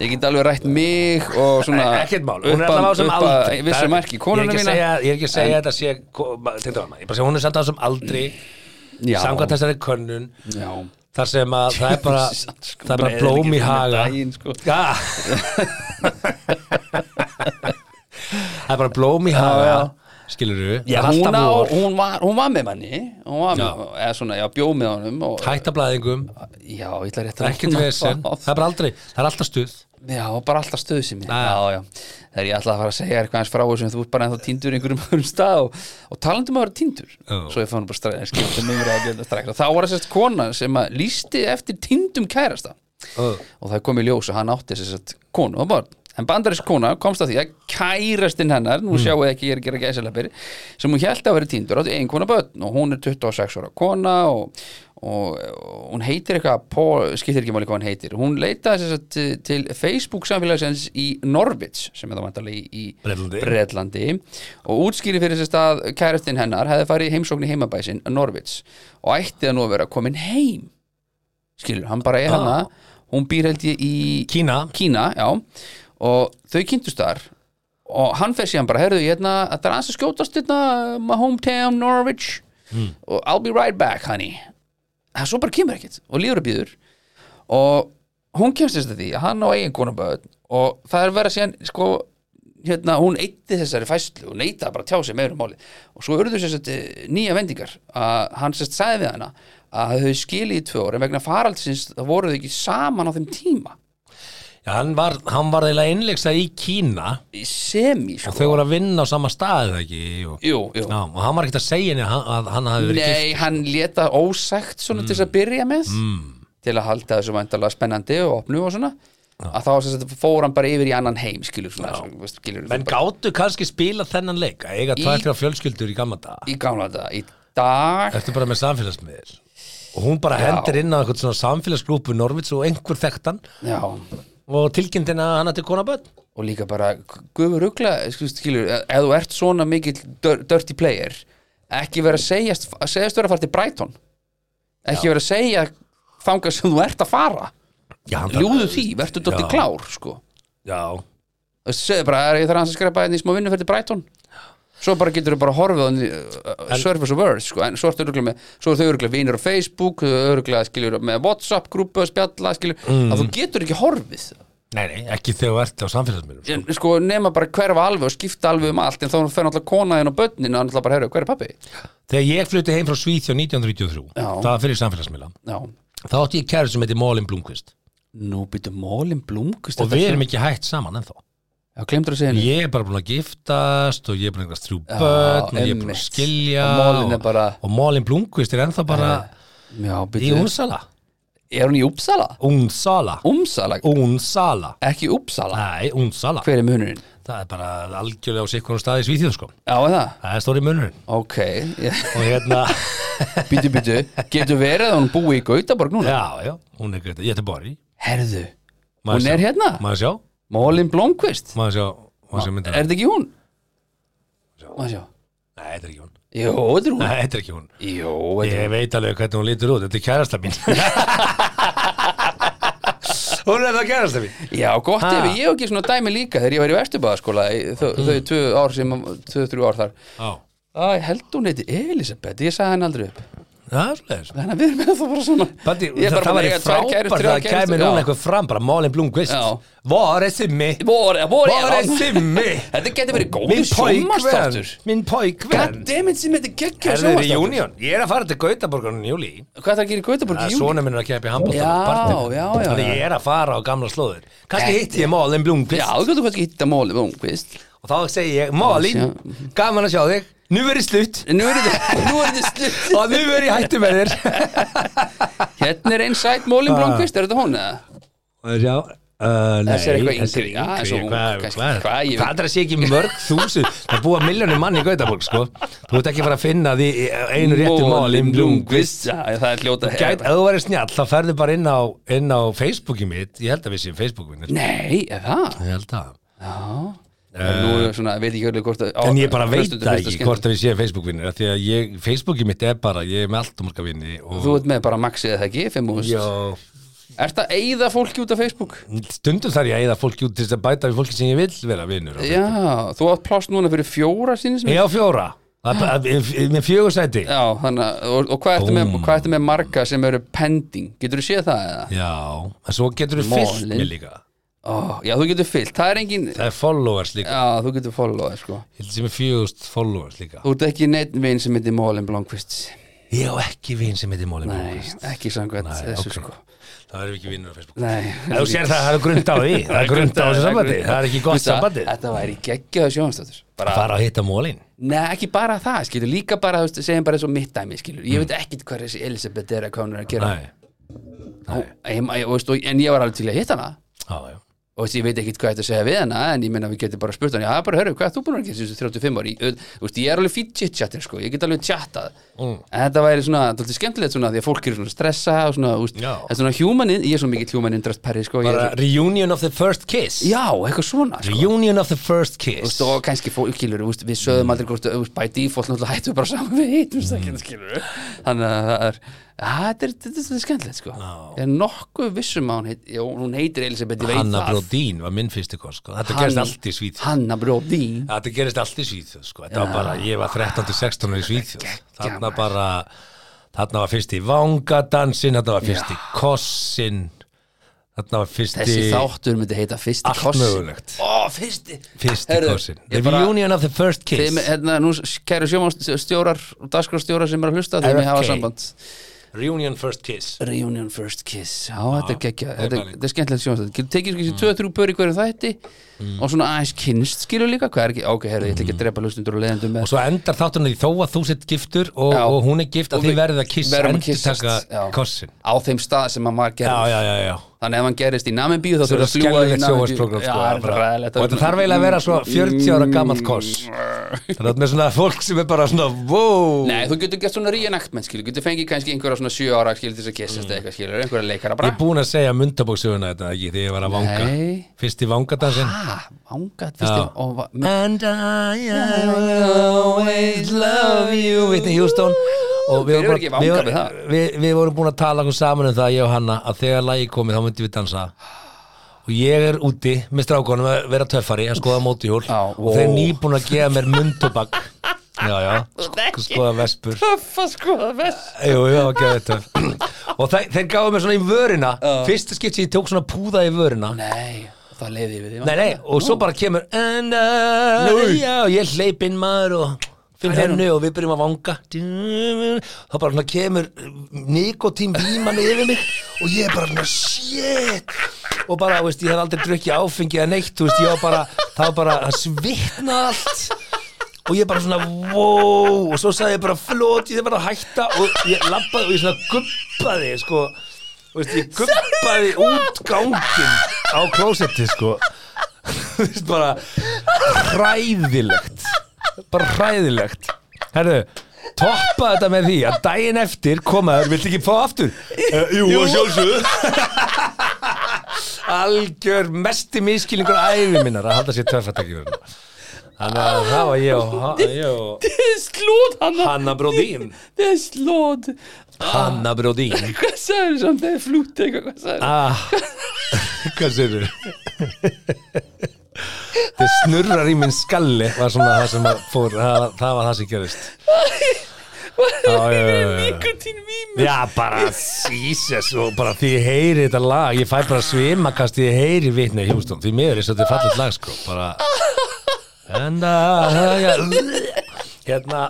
Speaker 3: ég get alveg rætt mig og svona
Speaker 5: E, ekkert mál, hún er allavega á þessum aldri
Speaker 3: vissum
Speaker 5: Það-
Speaker 3: marki, konuna
Speaker 5: ég er ekki að
Speaker 3: mína
Speaker 5: segja- ég er ekki að segja þetta sé ko- ma- til dæma, ég bara segja hún er samt á þessum aldri
Speaker 3: já,
Speaker 5: samkvæmt þessari könnun
Speaker 3: já,
Speaker 5: þar sem að það er
Speaker 3: [laughs]
Speaker 5: bara
Speaker 3: Sko,
Speaker 5: það er bara
Speaker 3: breiðir
Speaker 5: blóm
Speaker 3: ekki
Speaker 5: í haga
Speaker 3: daginn, sko. [laughs]
Speaker 5: Ja. það er bara blóm í haga skilur þú, það
Speaker 3: já
Speaker 5: er
Speaker 3: hún,
Speaker 5: alltaf
Speaker 3: á,
Speaker 5: vor
Speaker 3: hún, var, hún var með manni hún var með,
Speaker 5: Já.
Speaker 3: eða svona, já, bjó með honum og,
Speaker 5: hætta blæðingum,
Speaker 3: já, ég ætla rétt
Speaker 5: ekkert vesen það er bara aldrei, það er alltaf stuð
Speaker 3: Já, bara alltaf stöðu sem ég
Speaker 5: Já,
Speaker 3: Já, já, þegar ég ætlaði að fara að segja eitthvað eins frá þessum þú ert bara ennþá tindur í einhverjum [laughs] öðrum stað og, og talandum að vera tindur
Speaker 5: Já.
Speaker 3: Svo ég fann bara strax, skipta mig verið að geta strax Og þá var þessast kona sem að lýsti eftir tindum kærasta
Speaker 5: Ó.
Speaker 3: Og það kom í ljós og hann átti þessast konu og bara En bandarísk kona komst að því að kærastinn hennar, nú sjáu þið ekki ég er að gera gæsalapir, sem hún held að vera tindur átti ein kona börn og hún er 26 ára kona og, og, og hún heitir eitthvað, Paul, skiptir ekki máli hvað hann heitir, hún leitaði þess að til, til Facebook samfélagsins í Norvits sem er það vantarlega í í
Speaker 5: Bretlandi.
Speaker 3: Bretlandi og útskýri fyrir þess að kærastinn hennar hefði farið í heimsókn í heimabæsin Norvits og ætti að nú að vera komin heim skilur, hann bara er
Speaker 5: Ah.
Speaker 3: hana hún býr held ég í
Speaker 5: Kína,
Speaker 3: Kína, já og þau kynntust þar og hann fer síðan bara, heyrðu, hérna þetta er aðeins að skjótast hérna, my hometown Norwich og I'll be right back, honey það svo bara kemur ekkert og líður að býður og hún kemst þess að því að hann á eigin konaböð og það er verið að síðan, sko hérna, hún eitti þessari fæslu og neita bara að tjá sig meira um máli og svo urðu sérst eh, nýja vendingar að hann sérst sagði við hana að þau höfðu skilið í tvö ára en vegna faraldsins það voru þau ekki saman á þeim tíma
Speaker 5: já, hann var hann var þeirlega innlegsta í Kína
Speaker 3: í semi
Speaker 5: og
Speaker 3: sko.
Speaker 5: þau voru að vinna á sama stað eða ekki og,
Speaker 3: jú, jú.
Speaker 5: já, og hann var ekkert að segja henni að hann- að hann hafi verið gift
Speaker 3: nei, hann leta ósækt svona til þess að byrja með mm. til að halda þessu væntalega spennandi og opnu og svona að þá sem sagt, fór hann bara yfir í annan heim skilur svona, svona veist, skilur,
Speaker 5: menn
Speaker 3: bara,
Speaker 5: gáttu kannski spila þennan leik að eiga
Speaker 3: Í-
Speaker 5: tvær þrjá fjölskyldur í gamla dag
Speaker 3: í gamla þetta í dag
Speaker 5: Ertu bara með samfélagsmiðil og hún bara hendir inn á eitthvað svona samfélagsgrúpu Norvits og einhver þekktan
Speaker 3: já,
Speaker 5: og tilkynntin að hann ætti konabönd
Speaker 3: og líka bara guður ugla skilur, e- ef þú ert svona mikill dir- dirty player ekki vera að segjast að segjast vera að fara til Brighton ekki vera að segja þangað sem þú ert að fara
Speaker 5: Já, hann þarf-
Speaker 3: ljúðu því, verður dóttir
Speaker 5: Já.
Speaker 3: klár sko
Speaker 5: Já,
Speaker 3: Þú veist, segðu bara, er ég þarf aðeins að skrepa hérna í smá vinnu fyrir Brighton svo bara getur þau bara horfið á hann í, uh, surface of earth, sko, en svo er þau örugglega með svo er þau öruglega vinur á Facebook þau öruglega skilur með WhatsApp grúpu að spjalla skilur,
Speaker 5: Mm.
Speaker 3: að þú getur ekki horfið
Speaker 5: nei, nei, ekki þegar þú ert á samfélagsmiðlum
Speaker 3: en, sko, nema bara hverfa alveg og skipta alveg um allt en þá fer náttúrulega konaðin og börnin og náttúrulega bara, herru, hver er pappi?
Speaker 5: Þegar ég flutti heim frá Svíþjóð 1933
Speaker 3: Já.
Speaker 5: það var fyrir samfélagsmiðla
Speaker 3: Já,
Speaker 5: þá átti ég kæri sem heiti Mólin Blomqvist
Speaker 3: nú býtu mólin blómkust
Speaker 5: og við erum ekki hægt saman ennþá
Speaker 3: Já, glemdur að segja henni
Speaker 5: Ég er bara búin að giftast og ég er búin að eignast þrjú börn og ég er búin að
Speaker 3: einmitt.
Speaker 5: skilja
Speaker 3: Og Mólin er bara- Eh,
Speaker 5: og Mólin Blomqvist er ennþá bara
Speaker 3: Já,
Speaker 5: í
Speaker 3: býtu,
Speaker 5: Únsala
Speaker 3: er hún í Uppsala?
Speaker 5: Únsala
Speaker 3: Umsala,
Speaker 5: Únsala
Speaker 3: ekki Uppsala
Speaker 5: Nei, Únsala
Speaker 3: Hver er munurinn?
Speaker 5: Það er bara algjörlega á sikkunum staði í Svíþjóð sko
Speaker 3: Já, er það?
Speaker 5: Það er stóri munurinn
Speaker 3: Ok, ég
Speaker 5: Og hérna,
Speaker 3: [laughs] Býtu, býtu, getur verið að hún búi í Gautaborg núna?
Speaker 5: já, já, hún er greita, ég ætti bara í
Speaker 3: Herðu, hún er hérna,
Speaker 5: Maður sjá,
Speaker 3: Mólin Blomqvist
Speaker 5: maður sjá, maður sjá myndina
Speaker 3: Er þetta ekki hún? Má sjá
Speaker 5: Nei, þetta er ekki hún Nei,
Speaker 3: Jó, þetta er hún
Speaker 5: þetta er ekki hún
Speaker 3: Jó, þetta
Speaker 5: Ég veit alveg hvernig hún lítur út, þetta er kærasta
Speaker 3: [laughs]
Speaker 5: mín Hún er það kærasta mín
Speaker 3: er Já, gott
Speaker 5: Ha. Mm.
Speaker 3: ef ég og ekki svona dæmi líka þegar ég var í Vesturbæðaskóla í þau, þau tvö ár sem, tvö, þrjú ár þar
Speaker 5: Já,
Speaker 3: Æ, held hún heiti Elisabeth, ég sagði henni aldrei upp
Speaker 5: það er svoleiðis
Speaker 3: þannig að við erum með það bara svona
Speaker 5: Bandi,
Speaker 3: Ég er
Speaker 5: það,
Speaker 3: bara
Speaker 5: það
Speaker 3: búin að
Speaker 5: væri
Speaker 3: eiga tvær
Speaker 5: frábært
Speaker 3: kærur,
Speaker 5: að
Speaker 3: þrjár
Speaker 5: það kæmi
Speaker 3: kærur,
Speaker 5: núna
Speaker 3: já.
Speaker 5: eitthvað fram bara Málin Blomqvist
Speaker 3: Já.
Speaker 5: Vore simmi
Speaker 3: Vore, vore,
Speaker 5: Vore simmi
Speaker 3: Þetta getur verið góð
Speaker 5: Minn pojkvenn
Speaker 3: sjómastáttur
Speaker 5: Minn pojkvenn
Speaker 3: Goddammit sem þetta geggjur
Speaker 5: Herðu í
Speaker 3: sjómastáttur
Speaker 5: Union Ég er að fara til Gautaborgarinn í júli
Speaker 3: Hvað það að gera í Gautaborg í júni?
Speaker 5: Svona minn er að keppa í handbóltan
Speaker 3: Já, já, já,
Speaker 5: Þannig
Speaker 3: já.
Speaker 5: ég er að fara á gamla slóður Kannski
Speaker 3: Þetta-
Speaker 5: hitti ég Málin Blomqvist
Speaker 3: Já, þú getur kannski hitta móli Blomqvist
Speaker 5: Og þá segi ég Málin, gaman að sjá þig Nú verið slutt
Speaker 3: [laughs] En Nú er
Speaker 5: [laughs]
Speaker 3: þetta, nú er þetta slutt
Speaker 5: Og nú verið hættu með
Speaker 3: [laughs]
Speaker 5: þér
Speaker 3: Hérna er einn sætt móli
Speaker 5: Ah.
Speaker 3: Blomqvist, er þetta hún eða?
Speaker 5: Já, uh, nei,
Speaker 3: Þessi er eitthvað yngri, já,
Speaker 5: yngri,
Speaker 3: þessi er ung,
Speaker 5: hvað-
Speaker 3: kannski,
Speaker 5: hvað-
Speaker 3: hvað ég veit.
Speaker 5: Það er að sé ekki mörg
Speaker 3: [laughs]
Speaker 5: þúsund Það búa miljónum mann í Gautaborg sko. Þú ert ekki að fara að finna því í einu réttu máli um Blomqvist
Speaker 3: Já, það er hljóta
Speaker 5: Gæt, ef þú verður snjall, þá ferðu bara inn á, inn á Facebooki mitt Ég held að við séum sko. Facebookinir
Speaker 3: Nei, er það?
Speaker 5: Ég held að
Speaker 3: Nú er svona, veit ekki hvernig hvort að
Speaker 5: Eh. En ég bara veit
Speaker 3: föstudag-
Speaker 5: það
Speaker 3: föstudag-
Speaker 5: ekki hvort að við séum Facebookvinnir Því að ég, Facebooki mitt er bara, ég er með allt um orka vinni og,
Speaker 3: Þú ert með bara maxið eða ekki, 5.000
Speaker 5: Já,
Speaker 3: Ert að eyða fólki út af Facebook?
Speaker 5: Stundum þarf ég að eða fólki út til þess að bæta við fólki sem ég vil vera vinnur
Speaker 3: Já, þú átt plást núna fyrir fjóra síni sem
Speaker 5: Ég á fjóra Það er bara- Með fjögur sæti
Speaker 3: Já, þannig að, og, og hvað ertu, með,
Speaker 5: Búmm.
Speaker 3: hvað ertu með marga sem eru pending? Getur þú séð það eða?
Speaker 5: Já, en svo getur þú fyllt
Speaker 3: Málin.
Speaker 5: mér líka
Speaker 3: Ó, já, þú getur fyllt, það er engin
Speaker 5: Það er followers líka
Speaker 3: Já, þú getur followað, sko
Speaker 5: Ég held sem er fjögust followers líka
Speaker 3: Þú ert ekki neitt vin sem heitir Mólin Blomqvist
Speaker 5: Ég á ekki vin sem heitir Mólin
Speaker 3: Nei, ekki samkvæmt
Speaker 5: Nei,
Speaker 3: þessu,
Speaker 5: ok.
Speaker 3: sko
Speaker 5: Það verður ekki vinnur á Facebook
Speaker 3: Nei,
Speaker 5: Ef þú sér það, það er grund á
Speaker 3: [laughs]
Speaker 5: því Það er grund á þessu sambandi Það er ekki gott
Speaker 3: Þú veist að
Speaker 5: sambandi
Speaker 3: Þetta væri geggjaðu sjónastöður
Speaker 5: Bara að fara að hitta Mólin
Speaker 3: Nei, ekki bara það, skilur, líka bara, þú veist, segjum bara svo mitt dæmi, skilur Ég veit ekkit hvað þessi Elisabeth er að komin að gera
Speaker 5: Mm. Nei,
Speaker 3: Ó, ég, ég, veist, og, En ég var alveg til að hitta hana
Speaker 5: já, já
Speaker 3: og veist, ég veit ekkit hvað þetta að segja við hana en ég meina við getum bara spurt hana, já bara hörru, hvað ert þú búin að gera þessu 35 ári, Ég- þú veist, ég er alveg fýtt chit-chatter sko, ég get alveg chattað en þetta væri svona, þetta er skemmtilegt svona því að fólk eru svona stressa og svona, þú veist,
Speaker 5: Já.
Speaker 3: en svona human, in- ég er svo mikill human interest perri sko, ég er
Speaker 5: Bara
Speaker 3: svo,
Speaker 5: reunion of the first kiss
Speaker 3: já, eitthvað svona sko.
Speaker 5: Reunion of the first
Speaker 3: Þú
Speaker 5: kiss
Speaker 3: veist, og kannski fólkilur, við sögðum aldrei hvort, þú veist, by default náttúrulega hættum við bara saman við hittum
Speaker 5: Mm.
Speaker 3: stakinn, skilur við. þannig að það er að þetta er, þetta er, þetta er skemmtilegt sko ég er nokkuð vissum að hún, heit, já, hún heitir Elisabeth, ég veit
Speaker 5: Hanna
Speaker 3: það
Speaker 5: Brodín var minn fyrstu kost sko. Þetta
Speaker 3: Hann-
Speaker 5: gerist allt í Svíþjóð
Speaker 3: Hanna Brodín
Speaker 5: Þetta gerist allt í Svíþjóð sko. Þetta var bara, ég var 13-16 í Svíþjóð Þarna bara Þarna var fyrst í vangadansin Þarna var fyrst í kossin Þarna var fyrst í
Speaker 3: Þessi þáttur myndi heita fyrsti
Speaker 5: allt
Speaker 3: koss
Speaker 5: mögulegt
Speaker 3: Ó, fyrsti
Speaker 5: Fyrst í
Speaker 3: Heyrðu,
Speaker 5: kossin
Speaker 3: ég
Speaker 5: The
Speaker 3: bara-
Speaker 5: reunion of the first kiss
Speaker 3: Þið með, hérna, nú kæru sjómanstjórar og dagskrárstjórar sem er að hlusta þið með hafa
Speaker 5: RFK.
Speaker 3: samband
Speaker 5: Reunion first kiss
Speaker 3: Reunion First Kiss Já, þetta er
Speaker 5: Ah,
Speaker 3: gekkja,
Speaker 5: er
Speaker 3: þetta, er-
Speaker 5: pæling. Mm.
Speaker 3: þetta er skemmtilegt sjómanstjóð Getur tekið þessi tvö, þrjú pör í hverju þætti og svona aðeins kynst skilur líka hvað er ekki, ok, herri, ég ætla ekki að drepa hlustundur og leiðendur
Speaker 5: Mm. Og
Speaker 3: með
Speaker 5: svo endar þáttunni því þó að þú sett giftur og,
Speaker 3: Já.
Speaker 5: og hún er gift
Speaker 3: Og
Speaker 5: að þið
Speaker 3: við
Speaker 5: verðið að kissa
Speaker 3: verðum að
Speaker 5: endur taka
Speaker 3: kyssast, já.
Speaker 5: kossin
Speaker 3: á þeim stað sem hann var
Speaker 5: Já,
Speaker 3: gerð
Speaker 5: já, já, já
Speaker 3: Þannig ef hann gerist í Namibíu þá
Speaker 5: Það
Speaker 3: þurfa
Speaker 5: er
Speaker 3: að fljúa í
Speaker 5: skjálfilegt sjóhansprogram
Speaker 3: Já,
Speaker 5: sko,
Speaker 3: það er
Speaker 5: bara-
Speaker 3: hræðilegt.
Speaker 5: Og þetta þarf eiginlega að vera svo 40 ára gamalt koss
Speaker 3: Mm.
Speaker 5: Þannig að með svona fólk sem er bara svona Wow
Speaker 3: Nei, þú getur gert svona reenactment, skilur, getur fengið kannski einhverja svona 7 ára, skilur, til þess að kissast eða eitthvað, skilur, einhverja leikara
Speaker 5: Mm. Ég
Speaker 3: bara.
Speaker 5: er búin að segja myndabóksöguna þetta ekki þegar ég var að vanga
Speaker 3: Nei.
Speaker 5: Fyrst í vangadansin
Speaker 3: Ah, vangat, fyrst ég, og va- með-
Speaker 5: And I, I will always love you Whitney Houston Og við
Speaker 3: Þeir eru
Speaker 5: vorum,
Speaker 3: ekki
Speaker 5: bara, við,
Speaker 3: vangar við
Speaker 5: vorum,
Speaker 3: það.
Speaker 5: við, við vorum búin að tala okkur saman um það ég og Hanna að þegar lagi komið þá myndum við dansa og ég er úti með strákonum að vera töffari að skoða mótihjól
Speaker 3: Já,
Speaker 5: og þeir
Speaker 3: ó.
Speaker 5: nýbúin að gefa mér mundtobak já, já, sk- skoða vespur
Speaker 3: Töffa skoða vest
Speaker 5: Jú, jú, það var geðveikt töff.
Speaker 3: [laughs]
Speaker 5: og þeir, þeir gáðu mér svona í vörina fyrsta skipt sem ég tók svona púða í vörina
Speaker 3: Nei, það leiði við því
Speaker 5: Nei, nei, og svo bara kemur And I, já, og ég hleyp inn maður og finn
Speaker 3: Þar er
Speaker 5: hennu og við byrjum að vanga þá bara svona kemur nikotín víman yfir mig og ég er bara svona shit og bara, þú veist, ég hef aldrei drukkið áfengi eða neitt, þú veist, ég var bara það var bara að svitna allt og ég bara svona, wow og svo sagði ég bara, flót, ég er bara að hætta og ég labbaði og ég svona guppaði sko, og veist, ég guppaði út gangin á klósetti, sko Þú veist, bara hræðilegt bara hræðilegt herðu, toppa þetta með því að daginn eftir komaður, viltu ekki fá aftur? Uh, jú, jú. sjálfsögðu algjör mesti miskilingur æfi minnar að halda sér töffatækjum þannig að það var ég og, ég og
Speaker 3: Það er slóð, Hanna
Speaker 5: Hanna Brodín
Speaker 3: Það er slóð
Speaker 5: Hanna Brodín
Speaker 3: Hvað sagði þú samt, það er flút eitthvað Hvað sagði
Speaker 5: ah, [laughs] Hvað segir þú? Þið snurrar í minn skalli var svona það sem að fór það, það var það sem gerist Nikotín vímur Já, bara, Jesus og bara því ég heyri þetta lag ég fæ bara svimakast því ég heyri vitni hjústun því miður er svo þetta er fallið lag sko bara en að hérna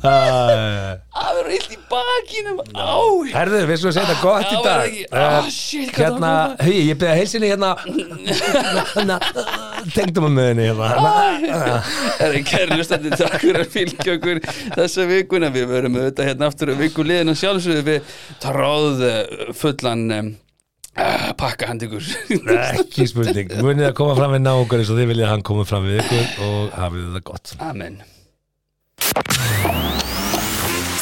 Speaker 5: Ah,
Speaker 3: Það verður illt í bakinu Á,
Speaker 5: Herðu, við skulum segja þetta gott í
Speaker 3: Það var
Speaker 5: dag
Speaker 3: ekki- ah,
Speaker 5: Eh,
Speaker 3: shit, hvað
Speaker 5: Hérna,
Speaker 3: það
Speaker 5: hei, ég beða heilsinni hérna hérna, Tengdum að möðinni
Speaker 3: [laughs]
Speaker 5: hérna
Speaker 3: Ah, Það er kæri hlustandi takk fyrir að fylgja okkur þessa vikuna Við verum auðvitað hérna aftur að viku liðin og sjálfsögðu við tróð eh, fullan um, uh, pakka hand ykkur
Speaker 5: Hérna, Ekki spurning, munið að koma fram við náungar eins og þið viljið að hann koma fram við ykkur og hafið þetta gott
Speaker 3: [laughs] Amen